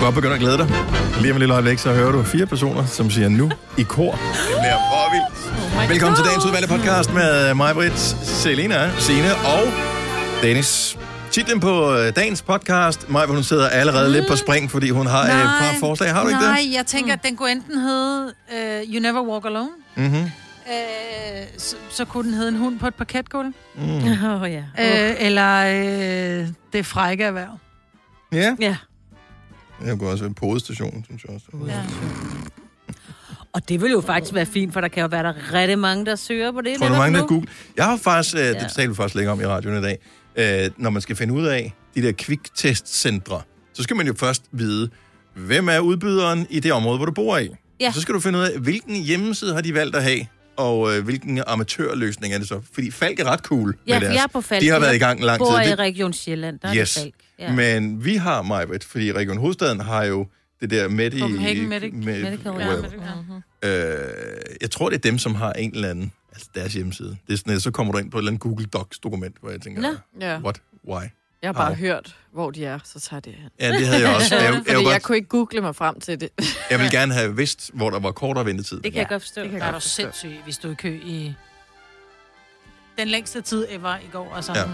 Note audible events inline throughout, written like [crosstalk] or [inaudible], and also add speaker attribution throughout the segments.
Speaker 1: godt begynde at glæde dig. Lige om et lille øjeblik, så hører du fire personer, som siger nu i kor. Det bliver for vildt. Velkommen til dagens udvalgte podcast med mig, Britt, Selina, Sine og Dennis. Titlen på øh, dagens podcast, Maja, hun sidder allerede lidt på spring, fordi hun har øh, et par forslag. Har du ikke
Speaker 2: nej,
Speaker 1: det?
Speaker 2: jeg tænker, at den kunne enten hedde uh, You Never Walk Alone.
Speaker 1: Mm-hmm.
Speaker 2: Uh, så, så kunne den hedde En hund på et parketgulv.
Speaker 3: [laughs]
Speaker 2: Uh.
Speaker 3: Åh,
Speaker 1: Mm.
Speaker 3: oh, ja.
Speaker 2: Øh, eller uh, Det frække erhverv.
Speaker 1: Ja,
Speaker 3: Ja.
Speaker 1: det kunne også være en podestation, synes jeg også.
Speaker 2: Ja.
Speaker 3: Og det vil jo faktisk være fint, for der kan jo være der er rigtig mange, der søger på det.
Speaker 1: Tror du,
Speaker 3: netop
Speaker 1: mange der
Speaker 3: nu.
Speaker 1: Google? Jeg har faktisk, øh,
Speaker 3: Ja.
Speaker 1: det talte vi faktisk længe om i radioen i dag, øh, når man skal finde ud af de der kviktestcentre, så skal man jo først vide, hvem er udbyderen i det område, hvor du bor i.
Speaker 3: Ja.
Speaker 1: Og Så skal du finde ud af, hvilken hjemmeside har de valgt at have, og øh, hvilken amatørløsning er det så. Fordi Falk er ret cool
Speaker 3: Ja,
Speaker 1: med
Speaker 3: for
Speaker 1: deres.
Speaker 3: jeg er på Falk.
Speaker 1: De har været i gang lang tid.
Speaker 3: bor i
Speaker 1: Det-
Speaker 3: Region Sjælland. Der yes.
Speaker 1: yes.
Speaker 3: er det Falk.
Speaker 1: Ja. Men vi har, Majbrit, fordi Region Hovedstaden har jo det der med i...
Speaker 2: Copenhagen Medic-
Speaker 3: Medical,
Speaker 2: Ja,
Speaker 3: Well.
Speaker 2: men det kan.
Speaker 4: Mhm.
Speaker 1: Øh, jeg tror, det er dem, som har en eller anden, altså deres hjemmeside. Det er sådan, at så kommer du ind på et eller andet Google Docs-dokument, hvor jeg tænker,
Speaker 3: Nå.
Speaker 4: Ja.
Speaker 1: what, why?
Speaker 4: Jeg har bare
Speaker 1: Au.
Speaker 4: hørt, hvor de er, så tager det hen.
Speaker 1: Ja, det havde
Speaker 4: [laughs]
Speaker 1: jeg også. Jeg, jeg,
Speaker 4: Fordi
Speaker 1: jeg,
Speaker 4: jeg
Speaker 1: godt,
Speaker 4: kunne ikke google mig frem til det.
Speaker 1: jeg ville gerne have vidst, hvor der var kortere ventetid.
Speaker 3: Det kan jeg godt forstå.
Speaker 4: det kan jeg
Speaker 2: Der er
Speaker 3: Ja.
Speaker 2: du
Speaker 4: godt forstå.
Speaker 2: sindssyg, hvis du er i kø i den længste tid ever i går. Altså.
Speaker 1: Ja.
Speaker 2: Ja.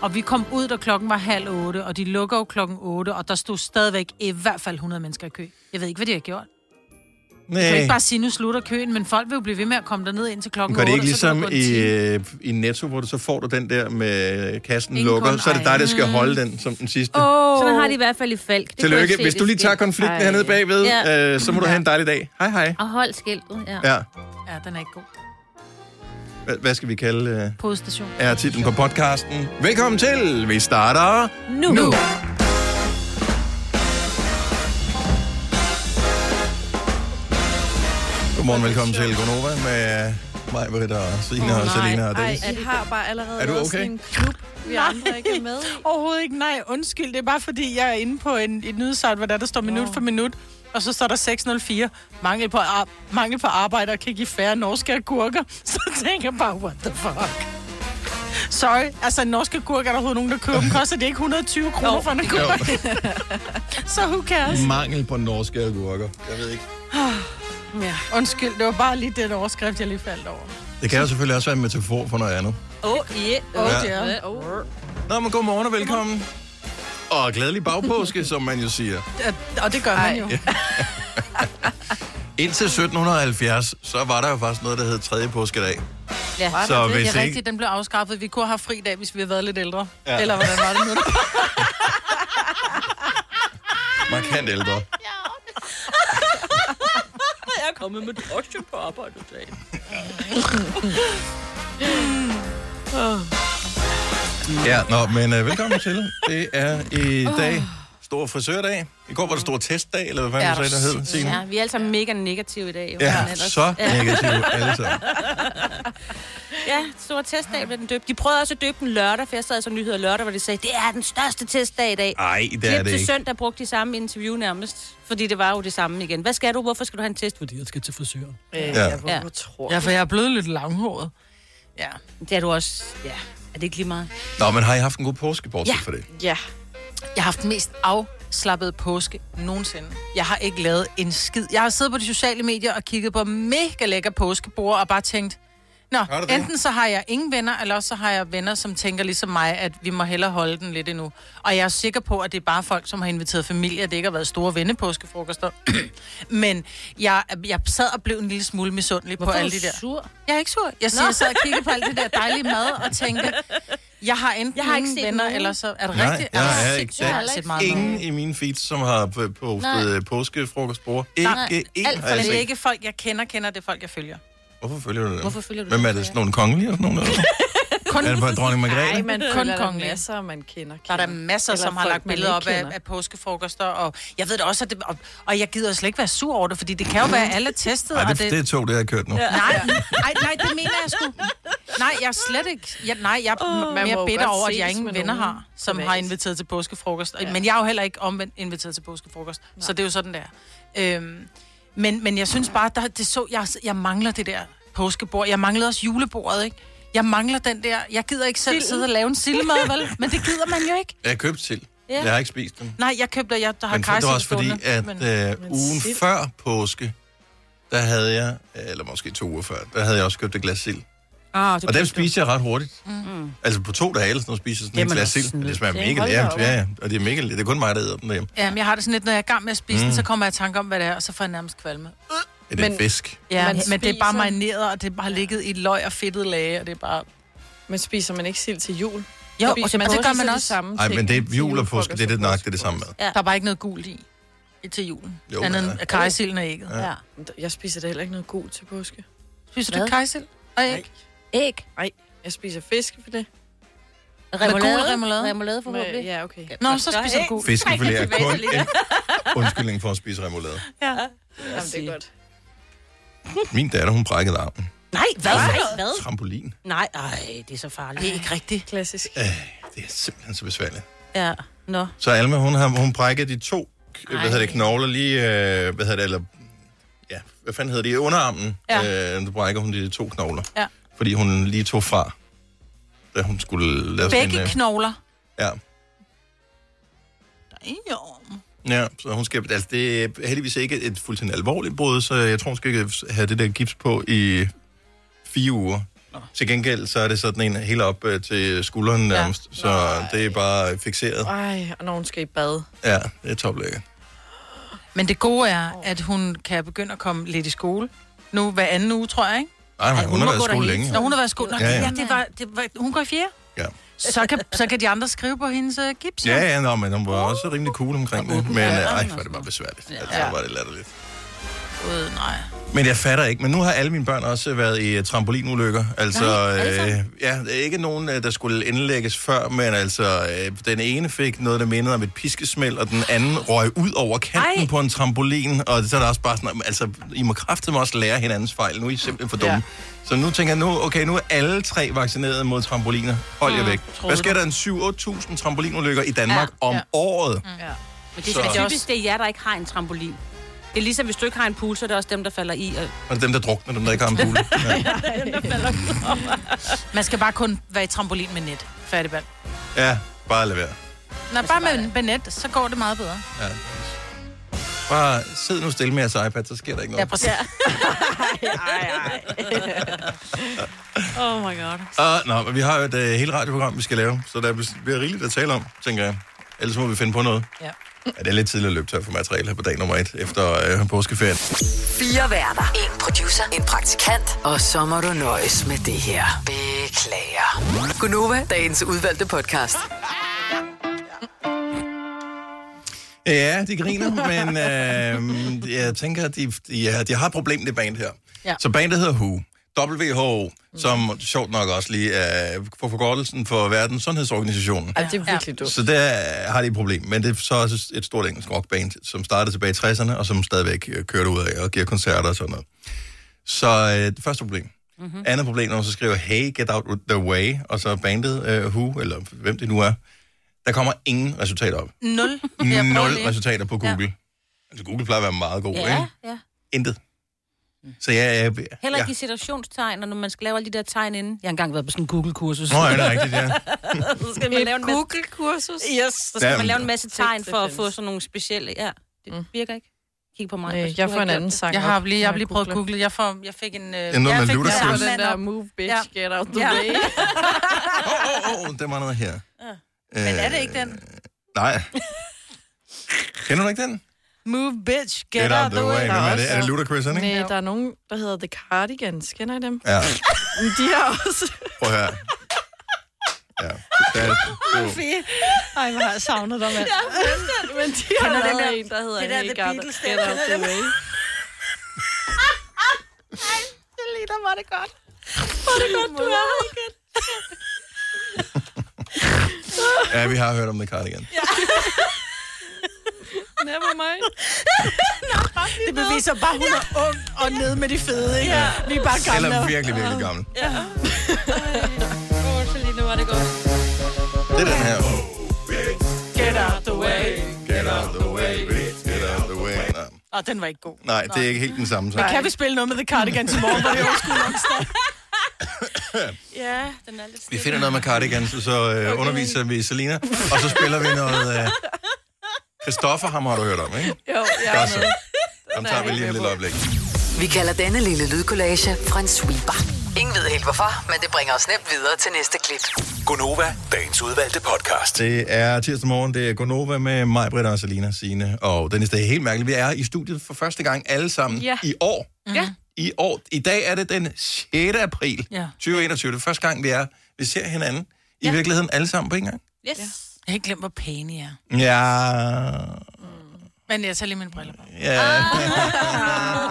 Speaker 2: Og vi kom ud, da klokken var halv otte, og de lukker jo klokken otte, og der stod stadigvæk i hvert fald 100 mennesker i kø. Jeg ved ikke, hvad de har gjort. Du kan ikke
Speaker 1: Nej.
Speaker 2: bare sige, nu slutter køen, men folk vil jo blive ved med at komme derned indtil klokken
Speaker 1: Gør det
Speaker 2: 8.
Speaker 1: ikke ligesom
Speaker 2: og så kan der gå en time.
Speaker 1: i, øh, i Netto, hvor du så får du den der med kassen
Speaker 2: Ingen
Speaker 1: lukker,
Speaker 2: kun
Speaker 1: så er det
Speaker 2: ej.
Speaker 1: dig, der skal holde den som den sidste.
Speaker 2: Åh,
Speaker 3: Sådan har de i hvert fald i Falk. Det kunne jeg
Speaker 1: Tillykke.
Speaker 3: se,
Speaker 1: Hvis
Speaker 3: det
Speaker 1: du lige
Speaker 3: sker.
Speaker 1: tager konflikten
Speaker 4: Ej.
Speaker 1: hernede bagved,
Speaker 3: Ja.
Speaker 1: øh, så må du have en dejlig dag. Hej hej.
Speaker 3: Og hold skiltet, ja.
Speaker 1: Ja.
Speaker 2: Ja, den er ikke god.
Speaker 1: Hva- Hvad skal vi kalde... Øh?
Speaker 2: Podstation.
Speaker 1: er titlen på podcasten. Velkommen til. Vi starter
Speaker 3: Nu.
Speaker 1: nu.
Speaker 3: nu.
Speaker 1: Godmorgen, velkommen til Gonova med mig, Britt og Signe og Selina og Dennis.
Speaker 4: I har bare allerede
Speaker 1: Er du lavet okay? sådan
Speaker 4: en klub, vi andre ikke er med i.
Speaker 2: [laughs] Overhovedet ikke, nej. Undskyld, det er bare fordi, jeg er inde på en, et nyhedssite, hvor der, der står minut for minut, og så står der 604. Mangel på, ar- mangel på arbejde og kan give færre norske agurker. [laughs] Så tænker jeg bare, what the fuck? Sorry, altså en norsk agurk er der overhovedet nogen, der køber dem. Koster det ikke 120 kroner for en agurk? [laughs] så who cares?
Speaker 1: Mangel på norske agurker. Jeg ved ikke.
Speaker 2: Ah, Ja. Undskyld, det var bare lige den overskrift, jeg lige faldt over.
Speaker 1: Det kan jo selvfølgelig også være en metafor for noget andet.
Speaker 3: Oh, yeah.
Speaker 2: Oh,
Speaker 1: Ja.
Speaker 2: ja. dear.
Speaker 1: Nå, men godmorgen og velkommen. Og glædelig bagpåske, som man jo siger.
Speaker 3: Øh,
Speaker 2: Og- Og det gør man jo.
Speaker 1: Indtil 1770, så var der jo faktisk noget, der hed tredje påskedag.
Speaker 3: Ja.
Speaker 1: Så
Speaker 2: det
Speaker 1: hvis
Speaker 2: er
Speaker 1: ikke...
Speaker 2: rigtigt, den blev afskaffet. Vi kunne have fri dag, hvis vi havde været lidt ældre.
Speaker 1: Ja.
Speaker 2: Ja. Eller hvordan var det nu?
Speaker 1: Markant
Speaker 2: [laughs]
Speaker 1: ældre.
Speaker 3: Jeg er kommet med drosje på arbejde i dag.
Speaker 1: Ja, nå, men øh, velkommen til. Det er i dag stor frisørdag. I går var det stor testdag, eller hvad fanden
Speaker 4: Ja,
Speaker 1: du sagde, der hed, Signe?
Speaker 3: Ja, vi er alle sammen mega negative i dag. Jo. Men
Speaker 1: Ja,
Speaker 3: ellers-
Speaker 1: så
Speaker 3: [laughs]
Speaker 1: negativt alle sammen.
Speaker 3: Ja, stor testdag blev den døbt. De prøvede også at døbe den lørdag, for jeg sad som nyheder lørdag, hvor de sagde, det er den største testdag i dag.
Speaker 1: Ej, det er
Speaker 3: Klip
Speaker 1: det
Speaker 3: til
Speaker 1: ikke.
Speaker 3: søndag brugte de samme interview nærmest, fordi det var jo det samme igen. Hvad skal du? Hvorfor skal du have en test? Fordi jeg skal til frisøren.
Speaker 1: Ja.
Speaker 3: [laughs] Ja.
Speaker 4: Ja. Jeg tror.
Speaker 2: Øh, Ja, for jeg er blevet lidt langhåret. Ja.
Speaker 3: Det er du også. Ja, er det ikke lige meget?
Speaker 1: Nå, men har I haft en god påske, bortset
Speaker 3: Ja.
Speaker 1: for det?
Speaker 4: Ja.
Speaker 2: Jeg har haft den mest afslappet påske nogensinde. Jeg har ikke lavet en skid. Jeg har siddet på de sociale medier og kigget på mega lækker påskebord og bare tænkt, Nå,
Speaker 1: du det?
Speaker 2: enten så har jeg ingen venner, eller også så har jeg venner, som tænker ligesom mig, at vi må hellere holde den lidt endnu. Og jeg er sikker på, at det er bare folk, som har inviteret familie, og det ikke har været store vennepåskefrokoster. [clears throat] Men jeg, jeg sad og blev en lille smule misundelig på alle de der.
Speaker 3: sur?
Speaker 2: Jeg er ikke sur. Jeg siger, jeg sad og kiggede på alt det der dejlige mad og tænkte, jeg har enten
Speaker 3: Jeg har ikke
Speaker 2: ingen
Speaker 3: set
Speaker 2: venner,
Speaker 3: nogen.
Speaker 2: eller så er det
Speaker 1: Nej,
Speaker 2: rigtigt.
Speaker 1: jeg
Speaker 2: Altså,
Speaker 1: er
Speaker 2: shit,
Speaker 1: ikke-
Speaker 2: jeg
Speaker 1: der
Speaker 2: har
Speaker 1: er
Speaker 2: set
Speaker 3: ikke
Speaker 2: meget mad.
Speaker 1: Ingen i mine feeds, som har p-
Speaker 3: Nej.
Speaker 1: postet øh, påskefrokostbord.
Speaker 2: Nej,
Speaker 1: Ikke en
Speaker 3: alt for
Speaker 1: har jeg
Speaker 2: Men det er
Speaker 1: set.
Speaker 2: ikke folk, jeg kender, kender det er folk, jeg følger.
Speaker 1: Hvorfor følger du det?
Speaker 3: Hvorfor følger du
Speaker 1: Hvem
Speaker 3: dem?
Speaker 1: er det? Sådan nogle kongelige og sådan nogle? eller?
Speaker 2: Kun,
Speaker 1: er det bare dronning
Speaker 4: Nej,
Speaker 1: Margrethe?
Speaker 4: man
Speaker 2: Kun
Speaker 4: føler, der er
Speaker 2: kongelige.
Speaker 4: masser, man kender.
Speaker 2: der er der
Speaker 4: kender.
Speaker 2: masser,
Speaker 4: Eller
Speaker 2: som har
Speaker 4: folk,
Speaker 2: lagt
Speaker 4: man
Speaker 2: billeder
Speaker 4: ikke
Speaker 2: op af,
Speaker 4: kender.
Speaker 2: af påskefrokoster, og jeg ved det også, at det, og, og jeg gider slet ikke være sur over det, fordi det kan jo være, at alle er testet,
Speaker 1: Nej,
Speaker 2: og
Speaker 1: det, det er to, det har jeg kørt nu.
Speaker 2: Nej, nej, nej, det mener jeg sgu. Nej, jeg er slet ikke... Jeg, nej, jeg er oh,
Speaker 4: man må
Speaker 2: mere
Speaker 4: jo
Speaker 2: bitter
Speaker 4: godt
Speaker 2: over, at jeg
Speaker 4: ses
Speaker 2: ingen
Speaker 4: med
Speaker 2: venner
Speaker 4: nogen
Speaker 2: har, som
Speaker 4: privat.
Speaker 2: har inviteret til påskefrokost. Ja. Men jeg er jo heller ikke omvendt inviteret til påskefrokost. Nej. Så det er jo sådan, der. Øhm, men, men jeg synes bare, der, det så, jeg, jeg mangler det der påskebord. Jeg manglede også julebordet, ikke?
Speaker 4: [laughs]
Speaker 2: Jeg mangler den der... Jeg gider ikke selv sidde og lave en sildemad, vel? Men det gider man jo ikke.
Speaker 1: Jeg har købt til. Ja. Jeg har ikke spist den.
Speaker 2: Nej, jeg købte, jeg har
Speaker 1: Men så er det var også fordi,
Speaker 2: kejserstunde,
Speaker 1: at
Speaker 2: men-
Speaker 1: øh, ugen
Speaker 4: sild.
Speaker 1: før påske, der havde jeg, eller måske to uger før, der havde jeg også købt et glas sild.
Speaker 3: Ah, det
Speaker 1: Og dem
Speaker 3: købte du.
Speaker 1: spiste jeg ret hurtigt. Mm. Altså på to dage eller sådan noget, spiser jeg sådan
Speaker 3: Jamen,
Speaker 1: et glas
Speaker 3: det er
Speaker 1: sild. Det
Speaker 3: snydt,
Speaker 1: smager
Speaker 3: ikke?
Speaker 1: mega
Speaker 3: Hold da
Speaker 1: lært.
Speaker 3: op.
Speaker 1: Ja, ja. Og det er mega lært. Det er kun mig, der æder dem derhjemme.
Speaker 2: Ja, men jeg har det sådan lidt, når jeg er i gang med at spise mm. den, så kommer jeg i tanke om, hvad det er, og så får jeg nærmest kvalme.
Speaker 1: Ja, det er
Speaker 4: Men-
Speaker 1: fisk.
Speaker 2: Ja,
Speaker 4: Man
Speaker 2: men, men det er bare
Speaker 4: spiser-
Speaker 2: marineret, og det har ligget i løg og fedtet lage, og det er bare...
Speaker 4: Men spiser man ikke sild til jul?
Speaker 2: Jo,
Speaker 4: Spiser
Speaker 2: og, så, og det
Speaker 4: påske
Speaker 2: gør man
Speaker 4: de
Speaker 2: også.
Speaker 4: samme
Speaker 1: Nej,
Speaker 4: ting
Speaker 1: men det er
Speaker 4: til
Speaker 1: jul og
Speaker 4: julefrokost
Speaker 1: påske, det er det nok, det er det samme mad.
Speaker 2: Der er bare ikke noget gult i, i til julen.
Speaker 1: Jo,
Speaker 2: Jo, Andet
Speaker 1: men,
Speaker 2: end
Speaker 1: ja.
Speaker 2: kajsilden og ægget. Ja.
Speaker 3: Ja.
Speaker 4: Jeg spiser da heller ikke noget gult til påske.
Speaker 2: Spiser du
Speaker 3: Hvad?
Speaker 2: kajsild og æg?
Speaker 3: Æg.
Speaker 4: Jeg spiser fiskefilet.
Speaker 2: gul remoulade?
Speaker 3: Remoulade
Speaker 4: Med,
Speaker 3: forhåbentlig.
Speaker 4: ja, okay.
Speaker 2: Nå, så spiser du gul.
Speaker 1: Fiskefilet er kun en [laughs] undskyldning for at spise remoulade.
Speaker 2: Ja.
Speaker 4: Jamen, det er godt.
Speaker 1: Min datter, hun brækkede armen.
Speaker 3: Nej, hvad? Nej, hvad?
Speaker 1: Trampolin.
Speaker 3: Nej, ej, det er så farligt. Det er ikke rigtigt.
Speaker 4: Klassisk.
Speaker 1: Det er simpelthen så besværligt.
Speaker 3: Ja, nå.
Speaker 1: Så Alma, hun har hun brækket de to Ej. hvad hedder det, knogler lige, øh, hvad hedder det, eller, ja, hvad fanden hedder det, i underarmen, ja.
Speaker 2: Ja.
Speaker 1: øh, der brækker hun de to knogler.
Speaker 2: Ja.
Speaker 1: Fordi hun lige tog fra, da hun skulle lave
Speaker 2: Begge
Speaker 1: sin... øh,
Speaker 2: knogler.
Speaker 1: ja.
Speaker 2: Jo.
Speaker 1: Ja, så hun skal, altså det er heldigvis ikke et fuldstændig alvorligt brud, så jeg tror, hun skal ikke have det der gips på i fire uger. Nå. Til gengæld, så er det sådan en helt op øh, til skulderen nærmest, så det er bare fixeret.
Speaker 4: Ej, og når hun skal i bad.
Speaker 1: Ja, det er toplækkert.
Speaker 2: Men det gode er, at hun kan begynde at komme lidt i skole. Nu hver anden uge, tror jeg, ikke?
Speaker 1: Ej, nej,
Speaker 3: hun
Speaker 1: hun, har
Speaker 3: må
Speaker 1: været i
Speaker 3: gå der
Speaker 1: skole
Speaker 3: hele
Speaker 1: længe.
Speaker 2: Når hun har været i skole. Nå,
Speaker 1: Ja,
Speaker 2: ja,
Speaker 1: ja.
Speaker 2: ja. det var, det var, hun går i fjerde.
Speaker 1: Ja.
Speaker 2: Så kan, så kan de andre skrive på hendes uh, gips.
Speaker 1: Ja, ja, nå, men hun var også rimelig cool omkring det. Men øh, ej, for det var besværligt. Altså, ja. var det latterligt.
Speaker 2: Øh, nej.
Speaker 1: Men jeg fatter ikke. Men nu har alle mine børn også været i øh, trampolinulykker. Altså, øh, ja, der er ikke nogen, øh, der skulle indlægges før, men altså, øh, den ene fik noget, der mindede om et piskesmæld, og den anden røg ud over kanten Ej.
Speaker 3: Ej.
Speaker 1: på en trampolin, og så er der også bare sådan, altså, I må kraftedeme også lære hinandens fejl. Nu er I simpelthen for dumme. Ja. Så nu tænker jeg, nu, okay, nu er alle tre vaccineret mod trampoliner. Hold jer væk. Hvad skal der en 7-8.000 trampolinulykker i Danmark ja.
Speaker 3: Ja,
Speaker 1: om
Speaker 2: ja. Mm.
Speaker 1: året?
Speaker 3: Men det
Speaker 1: Så-
Speaker 3: er typisk, det er jer, der ikke har en trampolin. Det er ligesom, hvis du ikke har en pool, så er det også dem, der falder i. Og...
Speaker 1: Og det er dem, der drukner, dem, der ikke har en bule. Ja.
Speaker 2: Man skal bare kun være i trampolin med net. Færdig band.
Speaker 1: ja, bare lad være.
Speaker 2: Når bare med, med net, så går det meget bedre.
Speaker 1: Ja. Bare sid nu stille med jeres iPad, så sker der ikke
Speaker 2: Ja,
Speaker 1: noget.
Speaker 2: præcis. [laughs] Ja.
Speaker 3: Oh my god.
Speaker 1: Ja, uh, nå, men vi har jo et uh, helt radioprogram, vi skal lave, så der bliver rigeligt at tale om, tænker jeg. Ellers må vi finde på noget.
Speaker 2: ja.
Speaker 1: Ja, det er lidt tidligt at løbe tør for materiale her på dag nummer et, efter uh, påskeferien.
Speaker 5: Fire værter. En producer. En praktikant. Og så må du nøjes med det her. Beklager. Gunova, dagens udvalgte podcast.
Speaker 1: Ja, de
Speaker 2: [laughs]
Speaker 1: griner, men øh, jeg tænker, at de, ja, de har et problem, det band her. Ja.
Speaker 2: Ja.
Speaker 1: Så bandet hedder WHO. WHO, som sjovt nok også lige er for forkortelsen for Verdens Sundhedsorganisationen.
Speaker 4: Ej, det er virkelig dumt.
Speaker 1: Så der har de et problem, men det er så også et stort engelsk rockband, som startede tilbage i 60'erne, og som stadigvæk øh, kører ud af og giver koncerter og sådan noget. Så øh, det første problem.
Speaker 2: Mhm.
Speaker 1: Mm-hmm. Andet problem, når man så skriver, hey, get out the way, og så bandet øh, Who, eller hvem det nu er, der kommer ingen resultater op.
Speaker 2: Nul. [laughs] Jeg prøver
Speaker 1: [laughs] Nul
Speaker 2: lige.
Speaker 1: resultater på Google. Ja. Altså, Google plejer at være meget god, ja.
Speaker 3: Ja,
Speaker 1: ikke?
Speaker 3: ja.
Speaker 1: Intet. Så jeg... jeg,
Speaker 3: Heller
Speaker 1: jeg
Speaker 3: ikke i situationstegn, og når man skal lave alle de der tegn inden. Jeg har engang været på sådan en Google-kursus.
Speaker 1: Nå, ja, det er rigtigt, ja.
Speaker 3: [laughs] så skal man lave en masse,
Speaker 4: Google-kursus?
Speaker 3: yes, så skal
Speaker 1: Ja,
Speaker 3: man
Speaker 1: men-
Speaker 3: lave en masse tegn for at få
Speaker 4: findes. Mm.
Speaker 3: sådan nogle specielle... Ja, det virker ikke. Kig på mig.
Speaker 4: Nej,
Speaker 3: hvis
Speaker 4: jeg
Speaker 3: du
Speaker 4: får
Speaker 3: har
Speaker 4: en
Speaker 3: gjort
Speaker 4: anden
Speaker 3: det.
Speaker 4: sang
Speaker 2: Jeg har lige, jeg har
Speaker 4: når
Speaker 2: lige prøvet at
Speaker 4: googler.
Speaker 2: google. Jeg, får, jeg fik en... Øh,
Speaker 1: noget med
Speaker 2: jeg fik
Speaker 1: lutter
Speaker 2: den
Speaker 1: selv.
Speaker 2: samme
Speaker 4: Ja, den
Speaker 2: mand
Speaker 4: der
Speaker 2: op.
Speaker 4: move bitch,
Speaker 2: Ja.
Speaker 4: get out the
Speaker 2: Ja.
Speaker 4: way.
Speaker 1: Åh, åh, åh, det var noget her. Ja.
Speaker 2: [laughs] Men er det ikke den?
Speaker 1: Nej. Kender du ikke den?
Speaker 2: Move, bitch, get, get out the way.
Speaker 1: Hvem er
Speaker 4: også-
Speaker 1: det? Er det Ludacris, er det ikke?
Speaker 4: Nej, der er nogen, der hedder The Cardigans. Kender I dem?
Speaker 1: Ja,
Speaker 4: Men De har også...
Speaker 1: prøv at høre. Ja, det er, det
Speaker 2: Ej, hvor har jeg savnet dig, mand.
Speaker 4: Men Mm. de har
Speaker 2: Kender den
Speaker 4: lavet
Speaker 2: der-
Speaker 4: en, der hedder
Speaker 2: det der
Speaker 4: Hey
Speaker 2: The
Speaker 4: Gar-
Speaker 2: Beatles,
Speaker 4: Get
Speaker 2: der-
Speaker 4: Out The Way.
Speaker 1: ja, vi har hørt om The Cardigan.
Speaker 4: Never [laughs] mind.
Speaker 2: Det beviser bare, hun er ung og nede med de fede, ikke? Ja. Vi er bare gamle.
Speaker 1: Eller virkelig, virkelig gammel.
Speaker 3: Åh, så lige nu var det godt.
Speaker 1: Det er den her.
Speaker 2: Get out the way.
Speaker 1: Get out the way, bitch. Get out the way. Nej,
Speaker 2: Åh, den var ikke god.
Speaker 1: Nej, det er ikke helt den samme sang. [laughs]
Speaker 2: Kan vi spille noget med The Cardigans i morgen, hvor det er old school onsdag?
Speaker 3: Ja, den er lidt
Speaker 1: Vi finder noget med cardigans, så øh, underviser vi Selina, og så spiller vi noget... Øh, Christoffer, ham har du hørt om, ikke?
Speaker 4: Jo,
Speaker 1: jeg er med. Dem tager vi lige et lille øjeblik.
Speaker 5: Vi kalder denne lille lydkollage Frans sweeper. Ingen ved helt hvorfor, men det bringer os nemt videre til næste klip.
Speaker 6: Gunova, dagens udvalgte podcast.
Speaker 1: Det er tirsdag morgen, det er Gonova med mig, Britta og Selina, Signe og Dennis. Det er helt mærkeligt, vi er i studiet for første gang alle sammen
Speaker 4: Ja.
Speaker 1: i år.
Speaker 2: [laughs]
Speaker 4: Ja.
Speaker 1: I år. I dag er det den 6. april
Speaker 2: Ja.
Speaker 1: 2021. Det er første gang, vi er. Vi ser hinanden i
Speaker 2: Ja.
Speaker 1: virkeligheden alle sammen på en gang.
Speaker 3: Yes.
Speaker 2: Jeg har ikke glemt, hvor pæne I er.
Speaker 1: Ja,
Speaker 2: Men jeg tager lige mine briller på. Ah.
Speaker 1: ja.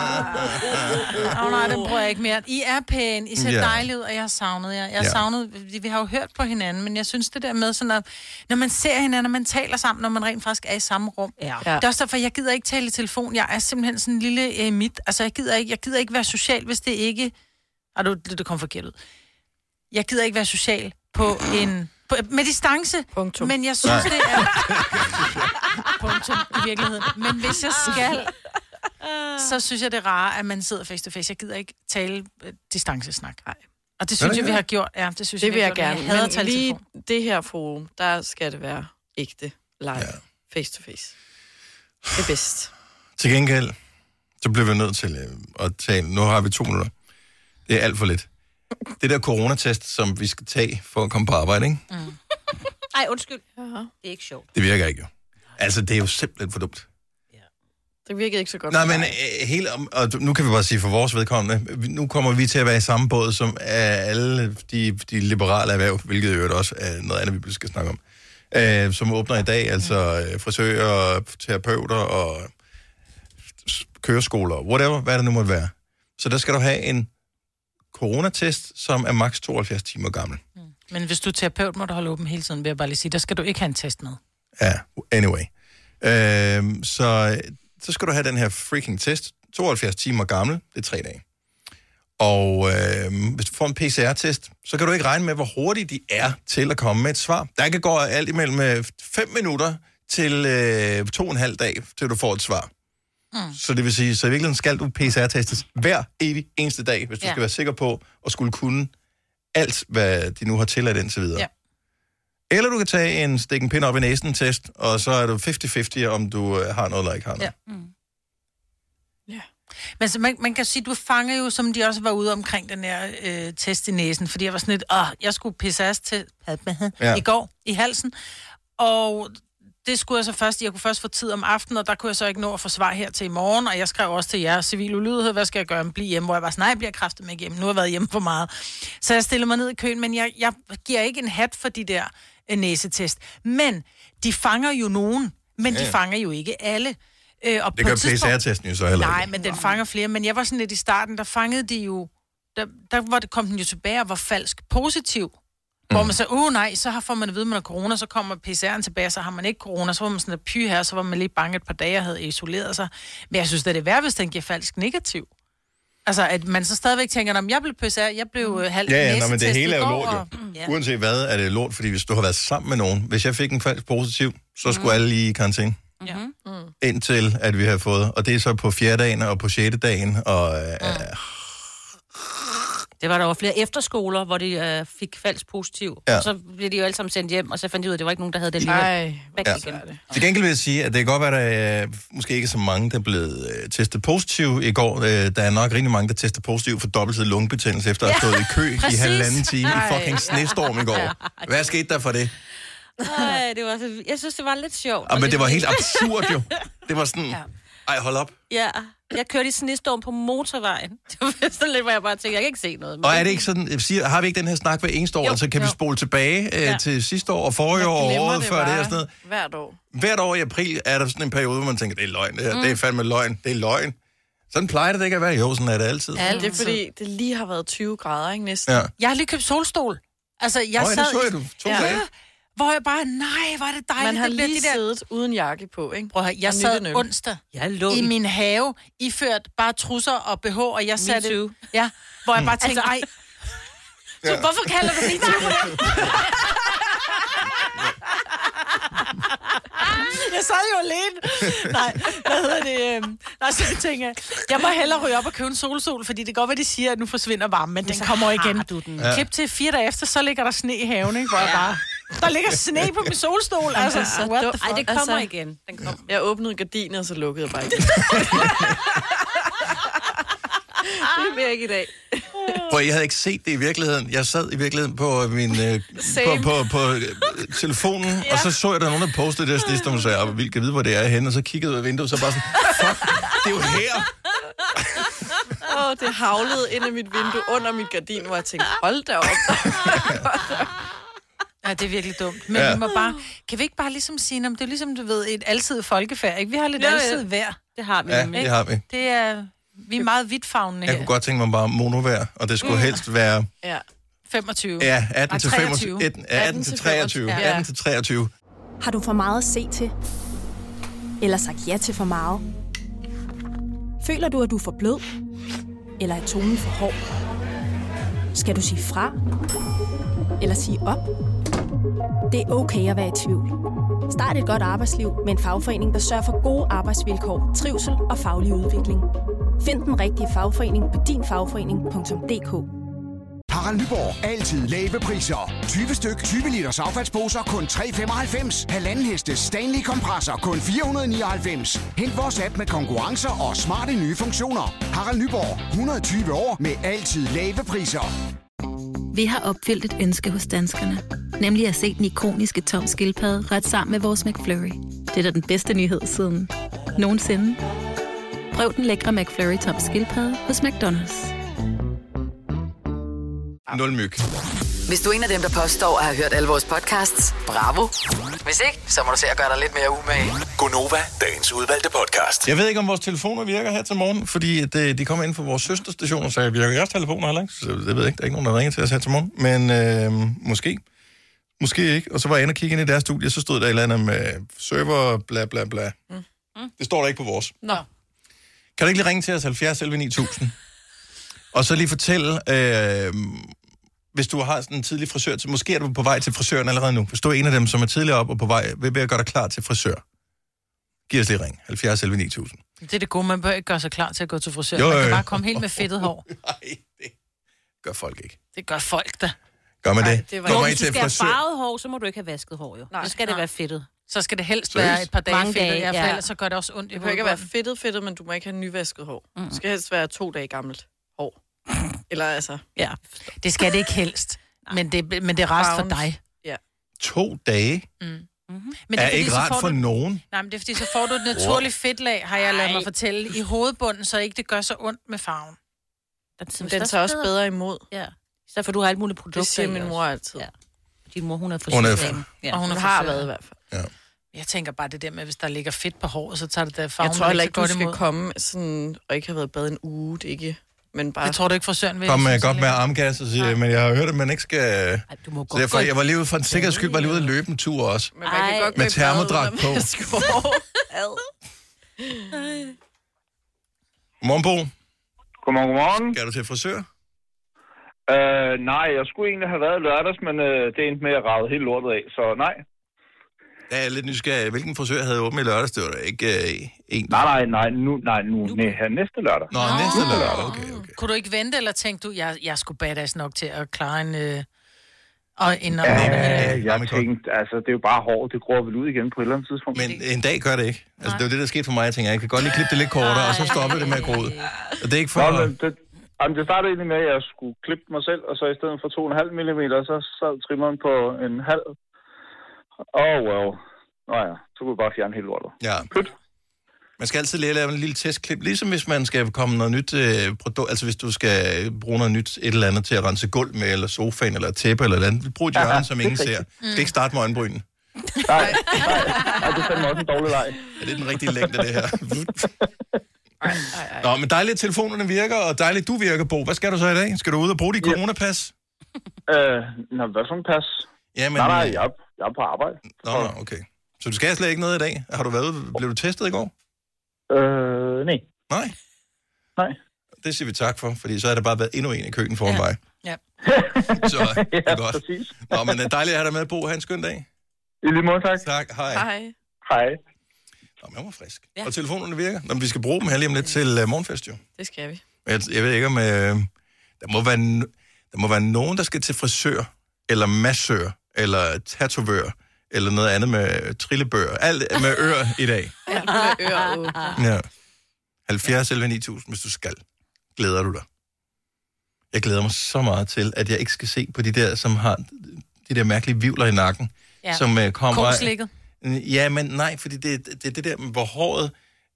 Speaker 2: Åh oh, nej, den bruger jeg ikke mere. I er pæne, I ser
Speaker 1: Ja.
Speaker 2: yeah. dejlige ud, og jeg har savnet jer. Jeg har
Speaker 1: Ja.
Speaker 2: yeah. savnet, vi- vi har jo hørt på hinanden, men jeg synes det der med sådan at, når man ser hinanden, og man taler sammen, når man rent faktisk er i samme rum.
Speaker 3: Ja.
Speaker 2: Det er også derfor, jeg gider ikke tale i telefon. Jeg er simpelthen sådan en lille emit. Altså, jeg gider ikke, jeg gider ikke være social, hvis det ikke... Ah, du, det kom forkert ud. Jeg gider ikke være social på en... På, med distance.
Speaker 4: Punktum.
Speaker 2: Men jeg synes, det er... [laughs] Punktum i virkeligheden. Men hvis jeg skal,
Speaker 4: Ah.
Speaker 2: så synes jeg, det er rare, at man sidder face to face. Jeg gider ikke tale øh, distancesnak. Nej. Og det
Speaker 1: Er det
Speaker 2: synes jeg,
Speaker 1: ikke
Speaker 2: vi
Speaker 1: det?
Speaker 2: har gjort. Ja, det synes
Speaker 4: Det
Speaker 2: jeg,
Speaker 4: vil
Speaker 2: vi
Speaker 4: jeg
Speaker 2: har gjort,
Speaker 4: gerne.
Speaker 2: men Jeg hader at
Speaker 4: Men
Speaker 2: tale i
Speaker 4: lige
Speaker 2: telefon.
Speaker 4: det her forum, der skal det være ægte, live,
Speaker 1: Ja.
Speaker 4: face to face. Det er bedst.
Speaker 1: Til gengæld, så bliver vi nødt til øh, at tale. Nu har vi to minutter. Det er alt for lidt. Det der coronatest, som vi skal tage for at komme på arbejde, ikke?
Speaker 3: Nej, undskyld. Det er ikke sjovt.
Speaker 1: det virker ikke jo. Altså, det er jo simpelthen for dumt.
Speaker 4: Det virkede ikke så godt.
Speaker 1: Nej,
Speaker 4: for
Speaker 1: men
Speaker 4: mig.
Speaker 1: øh, hele, om- og nu kan vi bare sige for vores vedkommende, vi- nu kommer vi til at være i samme båd som øh, alle de, de liberale erhverv, hvilket jo også er noget andet, vi skal snakke om, øh, som åbner i dag, altså øh, frisører, terapeuter og s- køreskoler, whatever, hvad det nu måtte være. Så der skal du have en coronatest, som er maks 72 timer gammel.
Speaker 2: Men hvis du er terapeut, må du holde åben hele tiden, vil jeg bare lige sige. Der skal du ikke have en test med.
Speaker 1: Ja, anyway. Øhm, så, så skal du have den her freaking test. 72 timer gammel, det er tre dage. Og øhm, hvis du får en PCR-test, så kan du ikke regne med, hvor hurtigt de er til at komme med et svar. Der kan gå alt imellem 5 minutter til øh, to og en halv dag, til du får et svar. Mm. Så det vil sige, så i virkeligheden skal du PCR-testes hver evig eneste dag, hvis du ja.
Speaker 2: Ja.
Speaker 1: skal være sikker på at skulle kunne alt, hvad de nu har tilladt indtil videre.
Speaker 2: Ja.
Speaker 1: Eller du kan tage en stik en pind op i næsen test, og så er du 50-50, om du øh, har noget eller ikke har noget.
Speaker 4: Mm.
Speaker 2: Men så man, man kan sige, du fanger jo, som de også var ude omkring den her øh, test i næsen, fordi jeg var sådan lidt, åh, jeg skulle pissas til
Speaker 1: Ja.
Speaker 2: ja. i går i halsen, og det skulle jeg så først, jeg kunne først få tid om aftenen, og der kunne jeg så ikke nå at få svar her til i morgen, og jeg skrev også til jer, civil ulydighed, hvad skal jeg gøre, blive hjemme, hvor jeg var sådan, nej, jeg bliver kraftet med hjemme, nu har jeg været hjemme for meget. Så jeg stiller mig ned i køen, men jeg, jeg giver ikke en hat for de der øh, næsetest. Men de fanger jo nogen, men ja. de fanger jo ikke alle. Øh, og
Speaker 1: Det
Speaker 2: på
Speaker 1: gør
Speaker 2: et tidspunkt-
Speaker 1: PCR-testen jo så heller
Speaker 2: Nej,
Speaker 1: ikke.
Speaker 2: men den fanger flere. Men jeg var sådan lidt i starten, der fangede de jo... Der, der var, kom den jo tilbage og var falsk positiv. Mm. Hvor man sagde, åh oh, nej, så har- får man at vide, at man har corona, så kommer PCR'en tilbage, så har man ikke corona, så var man sådan et py her, så var man lige bange et par dage og havde isoleret sig. Men jeg synes da, det er værd, hvis den giver falsk negativ. Altså, at man så stadigvæk tænker, om jeg blev PCR, jeg blev øh, halvt
Speaker 1: Ja, ja, nå, men
Speaker 2: næsetestet
Speaker 1: det hele er
Speaker 2: i
Speaker 1: jo
Speaker 2: går,
Speaker 1: lort jo.
Speaker 2: og- Mm, Ja.
Speaker 1: Uanset hvad, er det lort, fordi hvis du har været sammen med nogen, hvis jeg fik en falsk positiv,
Speaker 2: Mm.
Speaker 1: så skulle alle lige i karantæne.
Speaker 2: Ja.
Speaker 1: Indtil, at vi har fået, og det er så på fjerde dagen og på sjette dagen, og øh,
Speaker 3: Det var der jo flere efterskoler, hvor de øh, fik falsk positiv.
Speaker 1: Ja.
Speaker 3: Ja. Så blev de jo alle sammen sendt hjem, og så fandt de ud af, at det var ikke nogen, der havde det lige.
Speaker 4: Ej,
Speaker 3: Væk
Speaker 1: Ja.
Speaker 3: igen.
Speaker 1: Til gengæld vil jeg sige, at det kan godt være, at der er måske ikke så mange, der er blevet øh, testet positiv i går. Øh, der er nok rigtig mange, der tester positiv for dobbeltsidig lungebetændelse, efter at have stået i kø i
Speaker 2: præcis.
Speaker 1: halvanden time i
Speaker 4: Ej.
Speaker 1: fucking snestorm i går. Hvad skete der for det?
Speaker 3: Ej, det var så... Jeg synes, det var lidt sjovt.
Speaker 1: Ah,
Speaker 3: Og
Speaker 1: men det var
Speaker 3: lidt-
Speaker 1: helt absurd jo. Mm. Det var sådan, ej hold op.
Speaker 3: Ja, jeg kørte i snestorm på motorvejen. [laughs] Det var sådan lidt, hvor jeg bare tænkte, jeg kan ikke se noget. Men
Speaker 1: Og er det ikke sådan, jeg siger, har vi ikke den her snak hver eneste år,
Speaker 3: Jo.
Speaker 1: altså kan vi
Speaker 3: Jo.
Speaker 1: spole tilbage øh,
Speaker 3: Ja.
Speaker 1: til sidste år og forrige år og året før det og sådan noget.
Speaker 4: hvert år.
Speaker 1: Hvert år i april er der sådan en periode, hvor man tænker, det er løgn det her, det er fandme løgn, det er løgn. Sådan plejer det ikke at være. Jo, sådan er det altid.
Speaker 4: Altid. Det er fordi, det lige har været 20 grader, ikke næsten?
Speaker 1: Ja.
Speaker 2: Jeg har lige købt solstol. Altså, jeg
Speaker 1: Jeg Nå, ja,
Speaker 2: sad...
Speaker 1: det så jeg du. To
Speaker 4: Ja.
Speaker 1: dage.
Speaker 2: Hvor jeg bare, nej, hvor er det dejligt.
Speaker 4: Man har
Speaker 2: det bliver
Speaker 4: lige
Speaker 2: de der...
Speaker 4: siddet uden jakke på, ikke?
Speaker 2: Prøv at høre, jeg
Speaker 4: Og nyttet
Speaker 2: sad
Speaker 4: nøl.
Speaker 2: onsdag
Speaker 3: Jeg lå
Speaker 2: i min have, iført bare trusser og BH, og jeg satte...
Speaker 3: too.
Speaker 2: Ja, hvor jeg bare
Speaker 1: Mm.
Speaker 2: tænkte,
Speaker 1: [laughs]
Speaker 2: ej... Så hvorfor kalder du det Jeg sad jo alene. Nej, hvad hedder det? øhm, Og så tænker jeg, jeg må hellere ryge op og købe en solsol, fordi det kan godt være, de siger, at nu forsvinder varmen, men den kommer igen. Du den.
Speaker 1: Ja.
Speaker 2: Ja. Klip til fire dage efter, så ligger der sne i haven, ikke? Hvor jeg bare... Der ligger sne på min solstol, altså.
Speaker 4: så
Speaker 2: What the
Speaker 4: dumt.
Speaker 2: fuck?
Speaker 3: Ej, det kommer
Speaker 4: Altså-
Speaker 3: igen. Den kommer.
Speaker 4: Jeg åbnede gardiner, og så lukkede jeg bare ikke. det vil jeg ikke i dag.
Speaker 1: For jeg havde ikke set det i virkeligheden. Jeg sad i virkeligheden på min øh, på,
Speaker 4: Same.
Speaker 1: på, på øh, telefonen, ja. og så så jeg, der var nogen, der postede det, og så jeg, sagde, "Ah, vildt kan vide, hvor det er henne, og så kiggede jeg ud af vinduet, så bare sådan, fuck, det er jo her.
Speaker 4: [laughs] Åh, oh, det havlede ind i mit vindue under mit gardin, hvor jeg tænkte, hold da op.
Speaker 2: [laughs] Ja, det er virkelig dumt. Men
Speaker 1: Ja.
Speaker 2: ja. vi må bare, kan vi ikke bare ligesom sige, om det er ligesom, du ved, et altid folkefærd, ikke? Vi har lidt
Speaker 4: Jo, jo.
Speaker 2: altid vejr.
Speaker 3: Det har vi
Speaker 1: Ja,
Speaker 3: nemlig.
Speaker 1: det har vi.
Speaker 2: Det er, vi er meget vidtfavnende
Speaker 1: Jeg
Speaker 2: her.
Speaker 1: kunne godt tænke mig bare monovær, og det skulle helst være
Speaker 4: Ja.
Speaker 2: 25.
Speaker 1: Mm. ja, 18 til 25,
Speaker 2: 23.
Speaker 1: 18, 18 til 23, 18 til 23.
Speaker 7: Har du for meget at se til? Eller sagt ja til for meget? Føler du, at du er for blød? Eller er tonen for hård? Skal du sige fra? Eller sige op? Det er okay at være i tvivl. Start et godt arbejdsliv med en fagforening, der sørger for gode arbejdsvilkår, trivsel og faglig udvikling. Find den rigtige fagforening på dinfagforening.dk.
Speaker 8: Harald Nyborg. Altid lave priser. 20 styk, 20 liters affaldsposer kun 3,95. Halvanden heste Stanley kompresser kun 499. Hent vores app med konkurrencer og smarte nye funktioner. Harald Nyborg. 120 år med altid lave priser.
Speaker 9: Vi har opfyldt et ønske hos danskerne. Nemlig at se den ikoniske tom skildpadde ret sammen med vores McFlurry. Det er da den bedste nyhed siden nogensinde. Prøv den lækre McFlurry tom skildpadde hos McDonald's.
Speaker 1: Nul myg.
Speaker 5: Hvis du er en af dem, der påstår at have hørt alle vores podcasts, bravo. Hvis ikke, så må du se at gøre dig lidt mere umage.
Speaker 6: Gonova, dagens udvalgte podcast.
Speaker 1: Jeg ved ikke, om vores telefoner virker her til morgen, fordi det, de kommer ind fra vores søsterstationer, så jeg virker jeres telefoner heller ikke. Så det ved jeg ikke. Der er ikke nogen, der ringer til os her til morgen. Men øh, måske. Måske ikke. Og så var jeg inde og kigge ind i deres studie, så stod der et eller andet med server, bla bla bla. Mm. Det står der ikke på vores.
Speaker 2: Nå.
Speaker 1: Kan du ikke lige ringe til os 70 11 9000? Og så lige fortælle, øh, hvis du har sådan en tidlig frisør, så måske er du på vej til frisøren allerede nu. Hvis du er en af dem, som er tidligere op og på vej, vil jeg gøre dig klar til frisør. Giv os lige ring. 70 11 9000.
Speaker 2: Det er det gode, man bør ikke gøre sig klar til at gå til frisør.
Speaker 1: Jo,
Speaker 2: Jo, jo, jo. Man
Speaker 1: jo,
Speaker 2: kan
Speaker 1: jo.
Speaker 2: bare komme helt med fedtet hår.
Speaker 1: [laughs] Nej, det gør folk ikke.
Speaker 2: Det gør folk da.
Speaker 1: Gør man det?
Speaker 4: det var-
Speaker 1: Kommer
Speaker 4: Nå,
Speaker 1: I
Speaker 3: Hvis du
Speaker 1: til
Speaker 3: skal have
Speaker 1: frisør?
Speaker 3: farvet hår, så må du ikke have vasket hår, jo. Nej,
Speaker 4: Nej.
Speaker 3: så skal det være fedtet.
Speaker 2: Så skal det helst
Speaker 1: Seriøst?
Speaker 2: være et par dage
Speaker 3: Mange
Speaker 2: fedtet,
Speaker 3: dage,
Speaker 2: ja, for
Speaker 3: ja.
Speaker 2: ellers så gør det også ondt i
Speaker 4: Det behøver ikke at være
Speaker 2: hovedet.
Speaker 4: fedtet fedtet, men du må ikke have nyvasket hår. Det skal helst være to dage gammelt
Speaker 2: [laughs]
Speaker 4: hår. Eller altså,
Speaker 3: Ja.
Speaker 2: Det skal det ikke helst, men det, men det er rest for
Speaker 4: Farven.
Speaker 2: dig.
Speaker 1: To dage
Speaker 2: Mm.
Speaker 4: Mhm.
Speaker 2: Men det
Speaker 1: er
Speaker 2: er, fordi,
Speaker 1: ikke
Speaker 2: så
Speaker 1: rart
Speaker 2: får
Speaker 1: for
Speaker 2: du,
Speaker 1: nogen.
Speaker 2: Nej, men det er fordi, så får du et naturligt fedtlag, har jeg ladet mig fortælle, i hovedbunden, så ikke det gør så ondt med farven.
Speaker 3: Den,
Speaker 4: den tager også bedre imod.
Speaker 3: Ja. Så for du har alt muligt produkter
Speaker 4: Det siger
Speaker 3: i
Speaker 4: min
Speaker 3: også.
Speaker 4: mor altid.
Speaker 3: Ja. Din mor, hun er
Speaker 1: Hun er-
Speaker 3: frisørlæge. Ja.
Speaker 2: Og hun
Speaker 4: Hun
Speaker 2: er
Speaker 4: har
Speaker 2: frisør.
Speaker 4: været i hvert fald.
Speaker 2: Jeg tænker bare det der med, hvis der ligger fedt på håret, så tager det der farven
Speaker 4: Jeg tror heller ikke, du
Speaker 2: godt
Speaker 4: skal
Speaker 2: imod.
Speaker 4: komme sådan, og ikke have været i bad en uge, det er ikke. Men bare,
Speaker 2: Det tror du ikke, frisøren vil.
Speaker 1: Kom med,
Speaker 2: synes,
Speaker 1: godt
Speaker 2: så
Speaker 1: med
Speaker 2: længe.
Speaker 1: armgas og siger, men jeg har hørt, at man ikke skal...
Speaker 3: Ej, du må
Speaker 1: Så
Speaker 3: godt
Speaker 1: derfor,
Speaker 3: gå i-
Speaker 1: jeg var lige ude for en sikkerheds skyld, var lige ude at løbe en tur også.
Speaker 4: men man kan
Speaker 3: Ej.
Speaker 4: godt gå
Speaker 1: Med
Speaker 4: i bad
Speaker 1: termodragt
Speaker 4: uden
Speaker 1: på.
Speaker 4: at vaske hår. Ad.
Speaker 1: Godmorgen, Bo.
Speaker 10: Godmorgen, godmorgen.
Speaker 1: Skal du til frisør?
Speaker 10: Øh, nej, jeg skulle egentlig have været i lørdags, men øh, det endte med at rave helt lortet af, så nej.
Speaker 1: Ja, jeg er lidt nysgerrig. Hvilken frisør havde åbent i lørdags? Det var da ikke øh, en.
Speaker 10: Nej, nej, nej, nu, nej, nu, nej, her næste lørdag.
Speaker 1: Nå, næste lørdag. Okay, okay.
Speaker 2: Kunne du ikke vente, eller tænkte du, jeg, jeg skulle badass nok til at klare en... Øh, og en øh,
Speaker 10: Øh, jeg
Speaker 1: Jamen, godt.
Speaker 10: tænkte, altså, det er jo bare hår, det gror vel ud igen på et eller andet tidspunkt.
Speaker 1: Men en dag gør det ikke. Altså, det var det, der skete for mig. Jeg tænker, jeg kan godt lige klippe det lidt kortere, og så stoppe det med at gro ud. Og det er ikke for...
Speaker 10: Nå, men det, jamen, det startede egentlig med, at jeg skulle klippe mig selv, og så i stedet for 2,5 mm, så sad trimmeren på en halv. Oh, well. Nå ja, så kunne jeg bare fjerne helt
Speaker 2: [laughs]
Speaker 10: lortet.
Speaker 1: Ja.
Speaker 10: Pyt.
Speaker 1: Man skal altid lige lave en lille testklip, ligesom hvis man skal komme noget nyt øh, produkt, altså hvis du skal bruge noget nyt et eller andet til at rense gulv med, eller sofaen, eller et tæppe, eller et eller andet. Brug et hjørne,
Speaker 10: Ja,
Speaker 1: som
Speaker 10: det er
Speaker 1: ingen
Speaker 10: rigtigt.
Speaker 1: ser. Du skal ikke starte med øjenbrynen.
Speaker 10: Nej, nej, nej, det fandt mig også en dårlig leg.
Speaker 1: Er det den rigtige længde, det her? Nå, men dejligt, at telefonerne virker, og dejligt, du virker, Bo. Hvad skal du så i dag? Skal du ud og bruge dit coronapas?
Speaker 10: [laughs] Øh, nå, hvad for en pas?
Speaker 1: Jamen,
Speaker 10: Nej, nej,
Speaker 1: øh,
Speaker 10: jeg, er- jeg er på arbejde.
Speaker 1: Nå, nå, okay. Så du skal slet ikke noget i dag? Har du været ude? Blev du testet i går?
Speaker 10: Øh, nej.
Speaker 1: Nej.
Speaker 10: Nej.
Speaker 1: Det siger vi tak for, fordi så har der bare været endnu en i køen foran ja. [laughs] mig.
Speaker 2: Ja.
Speaker 1: Så det er godt.
Speaker 10: præcis.
Speaker 1: Nå, men øh, dejligt at have dig med, Bo. Ha' en skøn dag.
Speaker 10: I lige måde, tak.
Speaker 1: Tak, hej.
Speaker 4: Hej.
Speaker 10: Hej.
Speaker 1: Nå, man var frisk.
Speaker 4: Ja.
Speaker 1: Ja. Og telefonerne virker. Nå, men vi skal bruge dem her lige om lidt til uh, morgenfest, jo.
Speaker 4: Det skal vi.
Speaker 1: Men Jeg, jeg ved ikke om... Øh, der, må være, n- der må være nogen, der skal til frisør, eller massør, eller tatovør, eller noget andet med trillebøger. Alt er med ører i dag.
Speaker 4: Alt med ører åbne.
Speaker 1: [laughs] Ja. 70 11 9000, hvis du skal. Glæder du dig? Jeg glæder mig så meget til, at jeg ikke skal se på de der, som har de der mærkelige vivler i nakken, ja. som uh, kommer...
Speaker 3: Krumslikket.
Speaker 1: Øh, Ja, men nej, fordi det det, det, det der, hvor håret...